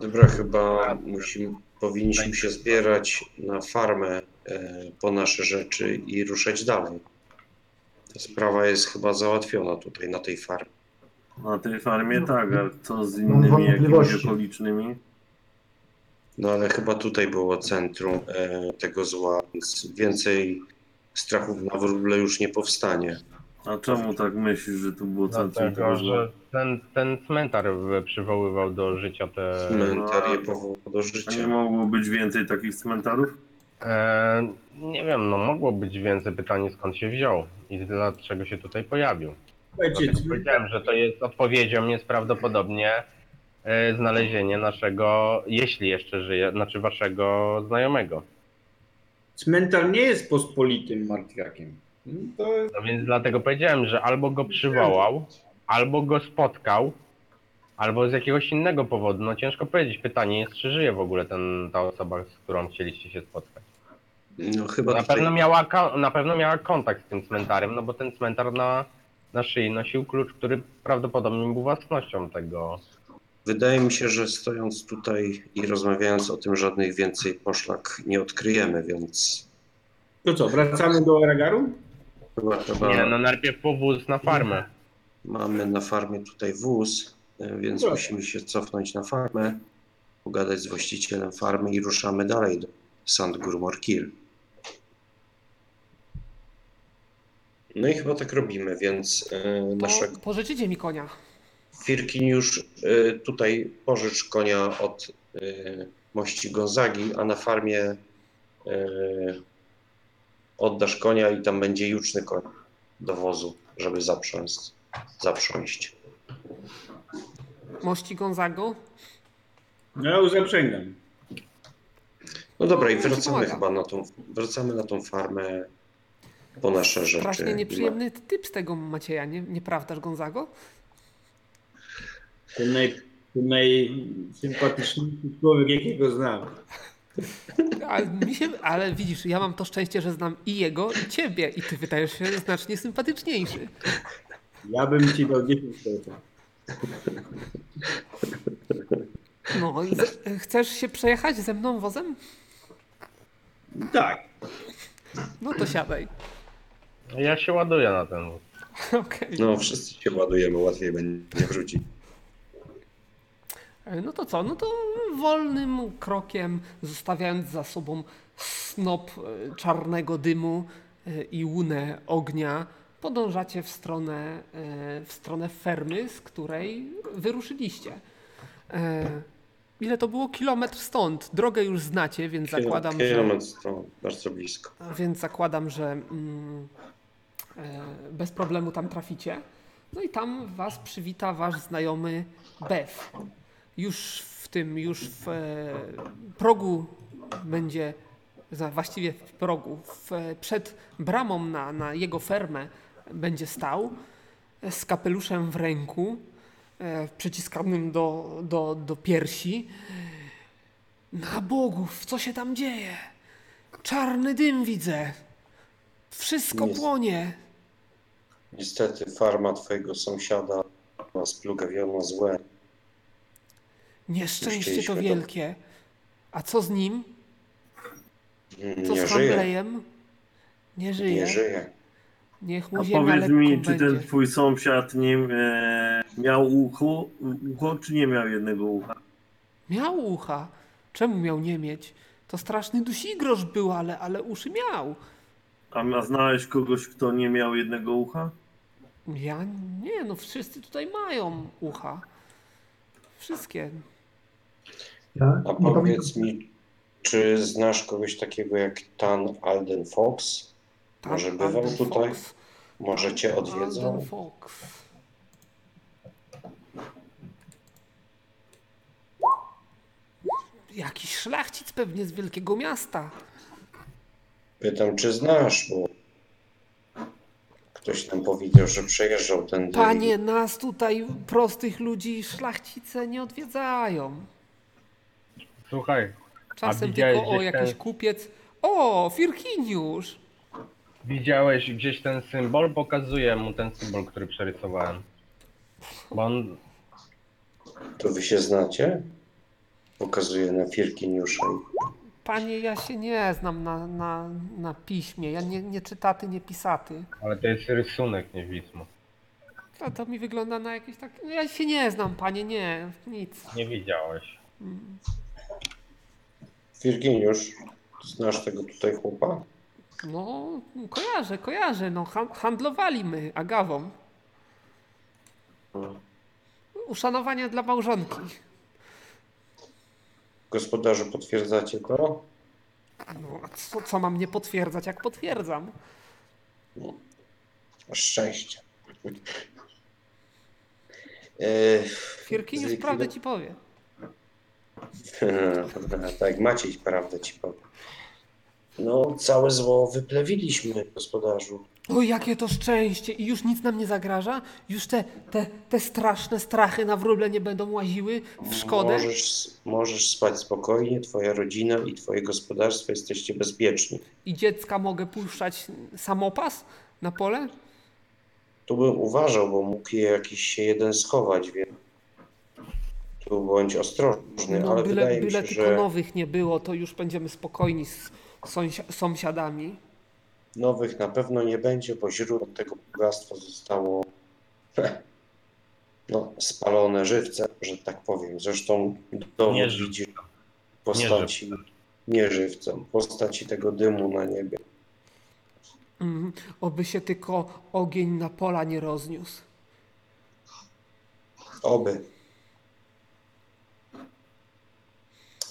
D: Dobra, chyba musimy, powinniśmy się zbierać na farmę e, po nasze rzeczy i ruszać dalej. Ta sprawa jest chyba załatwiona tutaj na tej farmie.
B: Na tej farmie
C: No.
B: tak, ale co z
C: Mam
B: innymi jakimiś
C: wątpliwości.
B: okolicznymi?
D: No ale chyba tutaj było centrum e, tego zła, więc więcej strachów na wróble już nie powstanie.
B: A czemu tak myślisz, że tu
E: No,
B: było
E: tak,
B: centrum
G: Dlatego,
B: tego zła?
G: No, że ten, ten cmentarz w- przywoływał do życia te.
D: Cmentar
G: No.
D: je powołał do
B: A nie
D: życia.
B: mogło być więcej takich cmentarów?
G: E, nie wiem, no mogło być więcej pytanie skąd się wziął i dlaczego się tutaj pojawił.
F: Słuchajcie,
G: Dlatego powiedziałem, że to jest odpowiedzią jest prawdopodobnie e, znalezienie naszego, jeśli jeszcze żyje, znaczy waszego znajomego.
F: cmentarz nie jest pospolitym martwiakiem. No To
G: No więc dlatego powiedziałem, że albo go przywołał, albo go spotkał, albo z jakiegoś innego powodu. No ciężko powiedzieć. Pytanie jest, czy żyje w ogóle ten, ta osoba, z którą chcieliście się spotkać.
D: No chyba
G: Na
D: tutaj-
G: pewno miała, ko- na pewno miała kontakt z tym cmentarem, no bo ten cmentar na, na szyi nosił klucz, który prawdopodobnie był własnością tego.
D: Wydaje mi się, że stojąc tutaj i rozmawiając o tym, żadnych więcej poszlak nie odkryjemy, więc
F: To co, wracamy do Ragaru?
D: chyba, chyba
G: Nie, no najpierw powóz na farmę.
D: mamy na farmie tutaj wóz, e, więc
F: Dobra.
D: musimy się cofnąć na farmę, pogadać z właścicielem farmy i ruszamy dalej do Sand Gurmorkir. No i chyba tak robimy, więc e,
A: to
D: naszego
A: pożyczycie mi konia.
D: Firkin już e, tutaj pożycz konia od e, mości Gonzagi, a na farmie e, oddasz konia i tam będzie juczny koń do wozu, żeby zaprząść. zaprząść.
A: Mości Gonzago.
F: No ja już zaprzęgam.
D: No dobra, i
A: No, to ci
D: wracamy
A: pomaga.
D: chyba na tą, wracamy na tą farmę po nasze rzeczy.
A: Strasznie nieprzyjemny typ z tego Macieja, nie, nieprawdaż Gonzago?
F: To naj, to najsympatyczniejszy człowiek, jakiego znam.
A: Ale, mi się, ale widzisz, ja mam to szczęście, że znam i jego, i ciebie, i ty wydajesz się znacznie sympatyczniejszy.
F: Ja bym ci dał 10 lat.
A: No, z, chcesz się przejechać ze mną wozem?
F: Tak.
A: No to siadaj. (laughs)
G: Ja się ładuję na ten wóz.
A: Okej.
D: No, wszyscy się ładujemy, łatwiej będzie wrócić.
A: E, No to co? No to wolnym krokiem, zostawiając za sobą snop e, czarnego dymu e, i łunę ognia, podążacie w stronę, e, w stronę fermy, z której wyruszyliście. E, Ile to było? Kilometr stąd. Drogę już znacie, więc zakładam, że...
D: Kilometr stąd, bardzo blisko.
A: A Więc zakładam, że mm, e, bez problemu tam traficie. No i tam was przywita wasz znajomy Bew. Już w tym, już w e, progu będzie, za, właściwie w progu, w, e, przed bramą na, na jego fermę będzie stał e, z kapeluszem w ręku, e, przyciskanym do, do, do piersi. Na bogów, co się tam dzieje? Czarny dym widzę. Wszystko
D: Jest.
A: płonie.
D: Niestety farma twojego sąsiada ma splugawiona złe.
A: Nieszczęście to
D: Chcieliśmy to-
A: wielkie. A co z nim? Co
D: Nie
A: z
D: żyje.
A: Hamblejem? Nie żyje.
D: Nie żyje.
A: Niech
B: A
A: mu ziemia
B: powiedz
A: lekką
B: mi, czy
A: będzie.
B: ten twój sąsiad nie e, miał ucho, ucho, czy nie miał jednego ucha?
A: Miał ucha. Czemu miał nie mieć? To straszny dusigrosz był, ale, ale uszy miał.
B: A, a znałeś kogoś, kto nie miał jednego ucha?
A: Ja nie, no wszyscy tutaj mają ucha. Wszystkie.
C: Ja
D: A
C: nie pamiętam.
D: powiedz mi, czy znasz kogoś takiego jak Tan Alden Fox?
A: Tak,
D: Może bywał
A: Alden
D: tutaj?
A: Fox.
D: Może cię
A: Alden
D: odwiedzał?
A: Fox. Jakiś szlachcic pewnie z wielkiego miasta.
D: Pytam, czy znasz, bo ktoś nam powiedział, że przejeżdżał ten dym.
A: Panie, nas tutaj, prostych ludzi, szlachcice nie odwiedzają.
G: Słuchaj,
A: Czasem
G: widziałeś
A: tylko o
G: gdzieś
A: jakiś
G: ten-
A: kupiec. O, Firkiniusz!
G: widziałeś gdzieś ten symbol? Pokazuję mu ten symbol, który przerysowałem. Bo on
D: To wy się znacie? Pokazuje na Firkiniusza.
A: Panie, ja się nie znam na, na, na piśmie. Ja nie, nie czytaty, nie pisaty.
G: Ale to jest rysunek, nie widmo.
A: To, to mi wygląda na jakieś tak. No, ja się nie znam, panie, nie, nic.
G: Nie widziałeś.
D: Firkiniusz, znasz tego tutaj chłopa?
A: No, kojarzę, kojarzę. No, han- handlowali my agawą. Uszanowanie dla małżonki.
D: Gospodarzu, potwierdzacie to?
A: No, a co, co mam nie potwierdzać, jak potwierdzam?
D: Szczęście. (laughs) E, (laughs)
A: Firkiniusz
D: Zlikwido-
A: prawdę ci powie.
D: tak, Maciej, prawdę ci powiem. No, całe zło wyplewiliśmy, gospodarzu.
A: O, jakie to szczęście! I już nic nam nie zagraża? Już te, te, te straszne strachy na wróble nie będą łaziły w szkodę?
D: Możesz, możesz spać spokojnie, twoja rodzina i twoje gospodarstwo jesteście bezpieczni.
A: I dziecka mogę puszczać samopas na pole?
D: Tu bym uważał, bo mógł je jakiś się jeden schować, więc tu bądź ostrożny,
A: No,
D: ale
A: byle
D: wydaje mi
A: byle
D: się,
A: tylko
D: że...
A: nowych nie było, to już będziemy spokojni z sąsia- sąsiadami.
D: Nowych na pewno nie będzie, bo źródło tego bogactwa zostało no, spalone żywcem, że tak powiem. Zresztą
G: Nie
D: dowód
G: żywcem.
D: widzi w postaci
G: żywcem.
D: nie żywcem, w postaci tego dymu na niebie.
A: Mhm. Oby się tylko ogień na pola nie rozniósł.
D: Oby.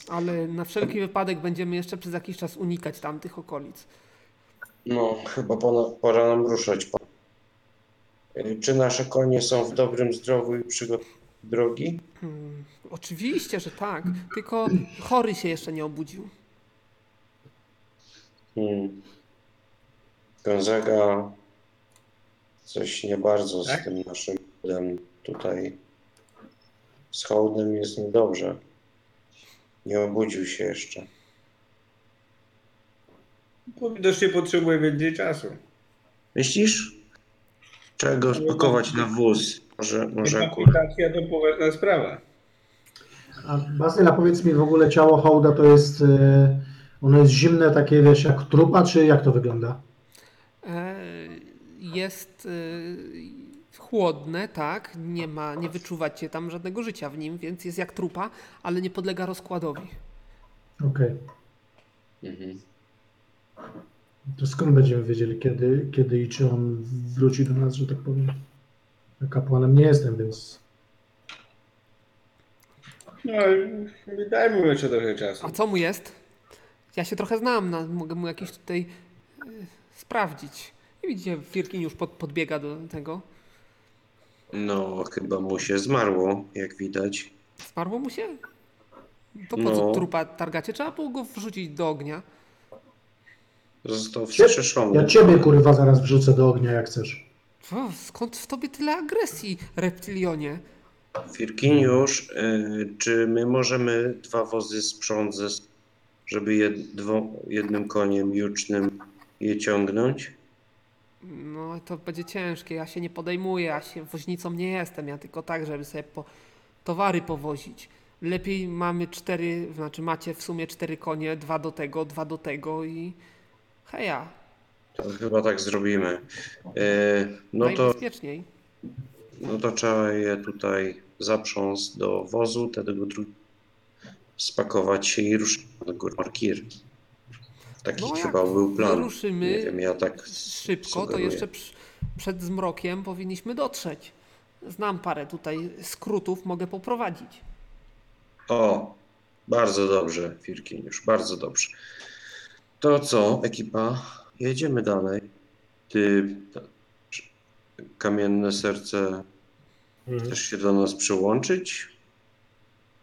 A: Ale na wszelki wypadek będziemy jeszcze przez jakiś czas unikać tamtych okolic.
D: No, chyba pora, pora nam ruszać. pan. Y, Czy nasze konie są w dobrym zdrowiu i przygotowane drogi?
A: Mm, Oczywiście, że tak, tylko chory się jeszcze nie obudził.
D: Hmm. Gonzaga coś nie bardzo z
G: Tak?
D: tym naszym hołdem tutaj. Z hołdem jest niedobrze. Nie obudził się jeszcze.
F: Bo widocznie potrzebuje więcej czasu.
D: Myślisz? Trzeba go spakować na wóz. Może, może
F: Tak,
D: akurat.
F: Aplikacja to poważna sprawa.
C: A Bazyla, powiedz mi w ogóle ciało hołda to jest e, Ono jest zimne, takie wiesz, jak trupa, czy jak to wygląda?
A: E, Jest e, chłodne, tak? Nie ma, nie wyczuwacie tam żadnego życia w nim, więc jest jak trupa, ale nie podlega rozkładowi.
C: Okej.
D: Mhm.
C: To skąd będziemy wiedzieli, kiedy, kiedy i czy on wróci do nas, że tak powiem? Ja Kapłanem nie jestem, więc
F: No, dajmy mu jeszcze trochę czasu.
A: A co mu jest? Ja się trochę znam, na, mogę mu jakieś tutaj e, sprawdzić. I widzicie, Firkin już pod, podbiega do tego.
D: No, chyba mu się zmarło, jak widać.
A: Zmarło mu się? To po co
D: No.
A: trupa targacie? Trzeba było go wrzucić do ognia.
D: Został
C: Cię-
D: wskrzeszony.
C: ja ciebie kurwa zaraz wrzucę do ognia, jak chcesz.
A: O, skąd w tobie tyle agresji, reptilionie?
D: Firkiniusz, y, czy my możemy dwa wozy sprząc, ze- żeby jed, dwo, jednym koniem jucznym je ciągnąć?
A: No to będzie ciężkie, ja się nie podejmuję, ja się woźnicą nie jestem, ja tylko tak, żeby sobie po towary powozić. Lepiej mamy cztery, znaczy macie w sumie cztery konie, dwa do tego, dwa do tego i heja,
D: To chyba tak zrobimy. Y, No to,
A: najbezpieczniej.
D: no to trzeba je tutaj zaprząc do wozu, tego dru- spakować się i ruszyć na górę Markir. Taki
A: No jak
D: chyba był plan.
A: wyruszymy
D: Nie wiem, ja tak
A: Szybko, to
D: sugeruję.
A: jeszcze przy, przed zmrokiem powinniśmy dotrzeć. Znam parę tutaj skrótów, mogę poprowadzić.
D: O, bardzo dobrze, Firkiniusz, bardzo dobrze. To co, ekipa? Jedziemy dalej. Ty, ta, czy- kamienne serce,
G: Mhm.
D: chcesz się do nas przyłączyć?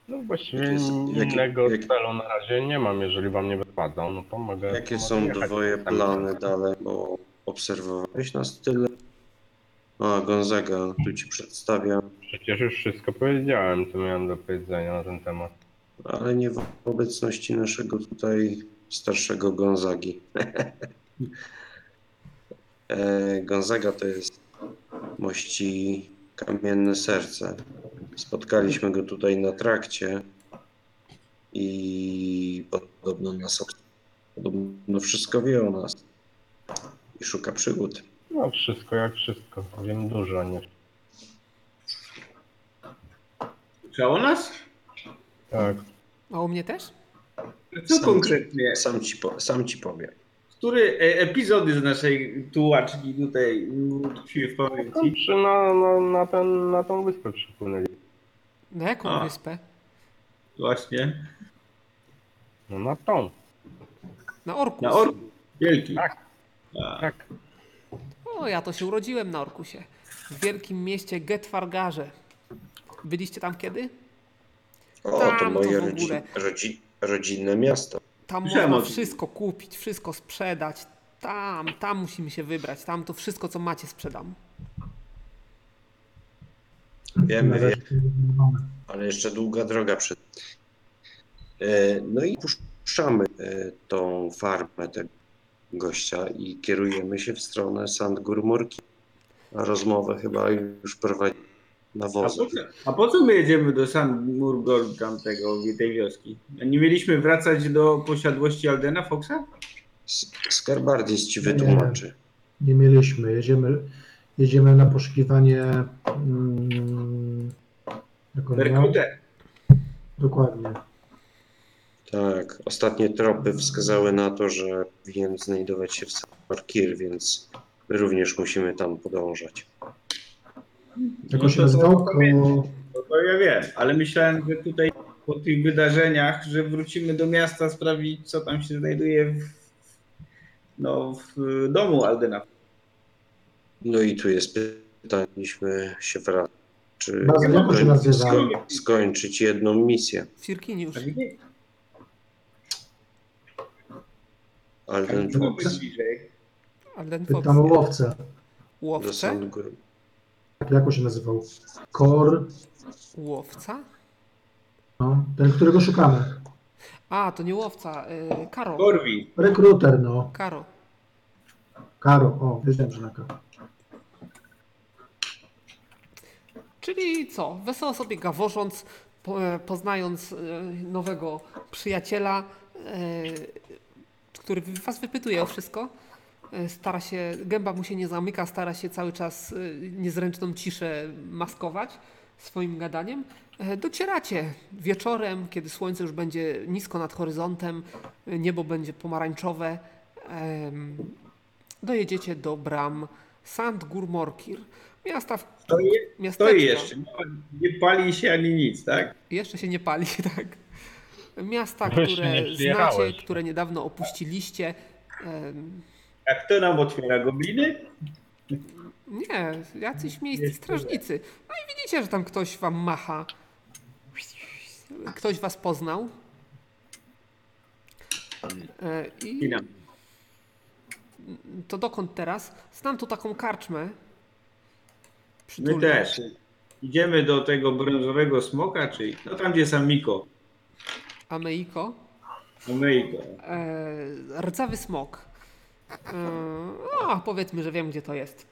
G: No właściwie
D: Jakie jest- jakie-
G: innego
D: jakie-
G: celu na razie nie mam, jeżeli wam nie wypadzą, no to mogę...
D: Jakie
G: mogę
D: są
G: jechać.
D: twoje plany tak? dalej, bo obserwowałeś nas tyle? A, Gonzaga, tu ci przedstawiam,
G: Przecież już wszystko powiedziałem, co miałem do powiedzenia na ten temat.
D: ale nie w obecności naszego tutaj starszego Gonzagi. (laughs) E, Gonzaga to jest mości kamienne serce. Spotkaliśmy go tutaj na trakcie i podobno nas obs- podobno wszystko wie o nas i szuka przygód.
G: No wszystko jak wszystko, wiem dużo, nie...
F: Czy o nas?
G: Tak.
A: A u mnie też?
F: Co
D: Sam-
F: konkretnie?
D: Sam ci, po, sam ci powiem.
F: Który e, epizody z naszej tułaczki tutaj mm, tkwi w
G: No,
F: pamięci?
G: przy, na, na, na, ten, na tą wyspę przypłynęli.
A: Na jaką
F: A.
A: wyspę?
F: Właśnie.
G: No na tą,
A: Na Orkus.
F: Na orku. Wielki.
G: Tak.
F: A,
G: tak.
A: O, ja to się urodziłem na Orkusie. W wielkim mieście Getwargarze. Byliście tam kiedy?
D: O,
A: Tam Tak, to
D: to moje
A: w
D: rodzi,
A: ogóle.
D: rodzi, rodzinne miasto.
A: Tam
F: Słyszałem o
A: można
F: tym.
A: wszystko kupić, wszystko sprzedać. Tam, tam musimy się wybrać. Tam to wszystko, co macie, sprzedam.
D: Wiemy,
C: Na
D: wiemy.
C: razie nie mamy.
D: ale jeszcze długa droga przed. E, No i puszczamy e, tą farmę tego gościa i kierujemy się w stronę Sandgur Murki. A rozmowę chyba już prowadzi na
F: a, po
D: wozu.
F: co, a po co my jedziemy do San Murgol tamtego, tej wioski? A Nie mieliśmy wracać do posiadłości Aldena Foxa?
D: S- Skarbardis ci wytłumaczy.
C: Nie mieliśmy. Jedziemy, jedziemy na poszukiwanie. Mm, jak on miał?
F: Berkuter.
C: Dokładnie.
D: Tak, ostatnie tropy wskazały na to, że powinien znajdować się w Sandmarkir, więc my również musimy tam podążać.
C: Jak
F: No
C: on się
F: to-
C: nazywał?
F: to-
C: Ko-
F: No to ja wiem, ale myślałem, że tutaj po tych wydarzeniach, że wrócimy do miasta sprawdzić, co tam się znajduje w, no, w domu Aldena.
D: No i tu jest pytanie, mieliśmy się wracać, czy
C: Bazyl, jak on się nazywa?
D: sko- skończyć jedną misję.
A: Firkiniusz.
F: A gdzie-
D: Ale
F: a
D: ten
F: gdzie
D: człowiek
F: byłby bliżej?
A: Alden Fox.
C: Pytam o łowcę. Tak,
D: do
A: Łowca?
D: Sandgur
C: Jak on się nazywał? Kor.
A: Łowca?
C: No, ten, którego szukamy.
A: A, to nie łowca. Y, karo.
F: Korwi.
C: Rekruter, no.
A: Karo.
C: Karo. O, wiedziałem, że na K.
A: Czyli co? Wesoło sobie gaworząc, po, poznając e, nowego przyjaciela, e, który was wypytuje o wszystko. E, Stara się, gęba mu się nie zamyka, stara się cały czas e, niezręczną ciszę maskować swoim gadaniem. E, Docieracie wieczorem, kiedy słońce już będzie nisko nad horyzontem, e, niebo będzie pomarańczowe. Em, Dojedziecie do bram Sant Gurmorkir, miasta w
F: To, je, to
A: miasteczka.
F: jeszcze. Nie pali się ani nic, tak?
A: Jeszcze się nie pali, (laughs) tak. Miasta,
G: Jeszcze nie
A: które
G: przyjechałeś.
A: znacie, które niedawno opuściliście. Em,
F: A kto nam otwiera gobliny?
A: Nie, jacyś miejscy strażnicy. No i widzicie, że tam ktoś wam macha. Ktoś was poznał. E,
F: I
A: I
F: nam.
A: to dokąd teraz? Znam tu taką karczmę.
F: My
A: Przytulną.
F: też. Idziemy do tego brązowego smoka, czyli no tam gdzie sam Miko.
A: Ameiko.
F: No Omejko.
A: E, Rdzawy smok. E, A, powiedzmy, że wiem, gdzie to jest.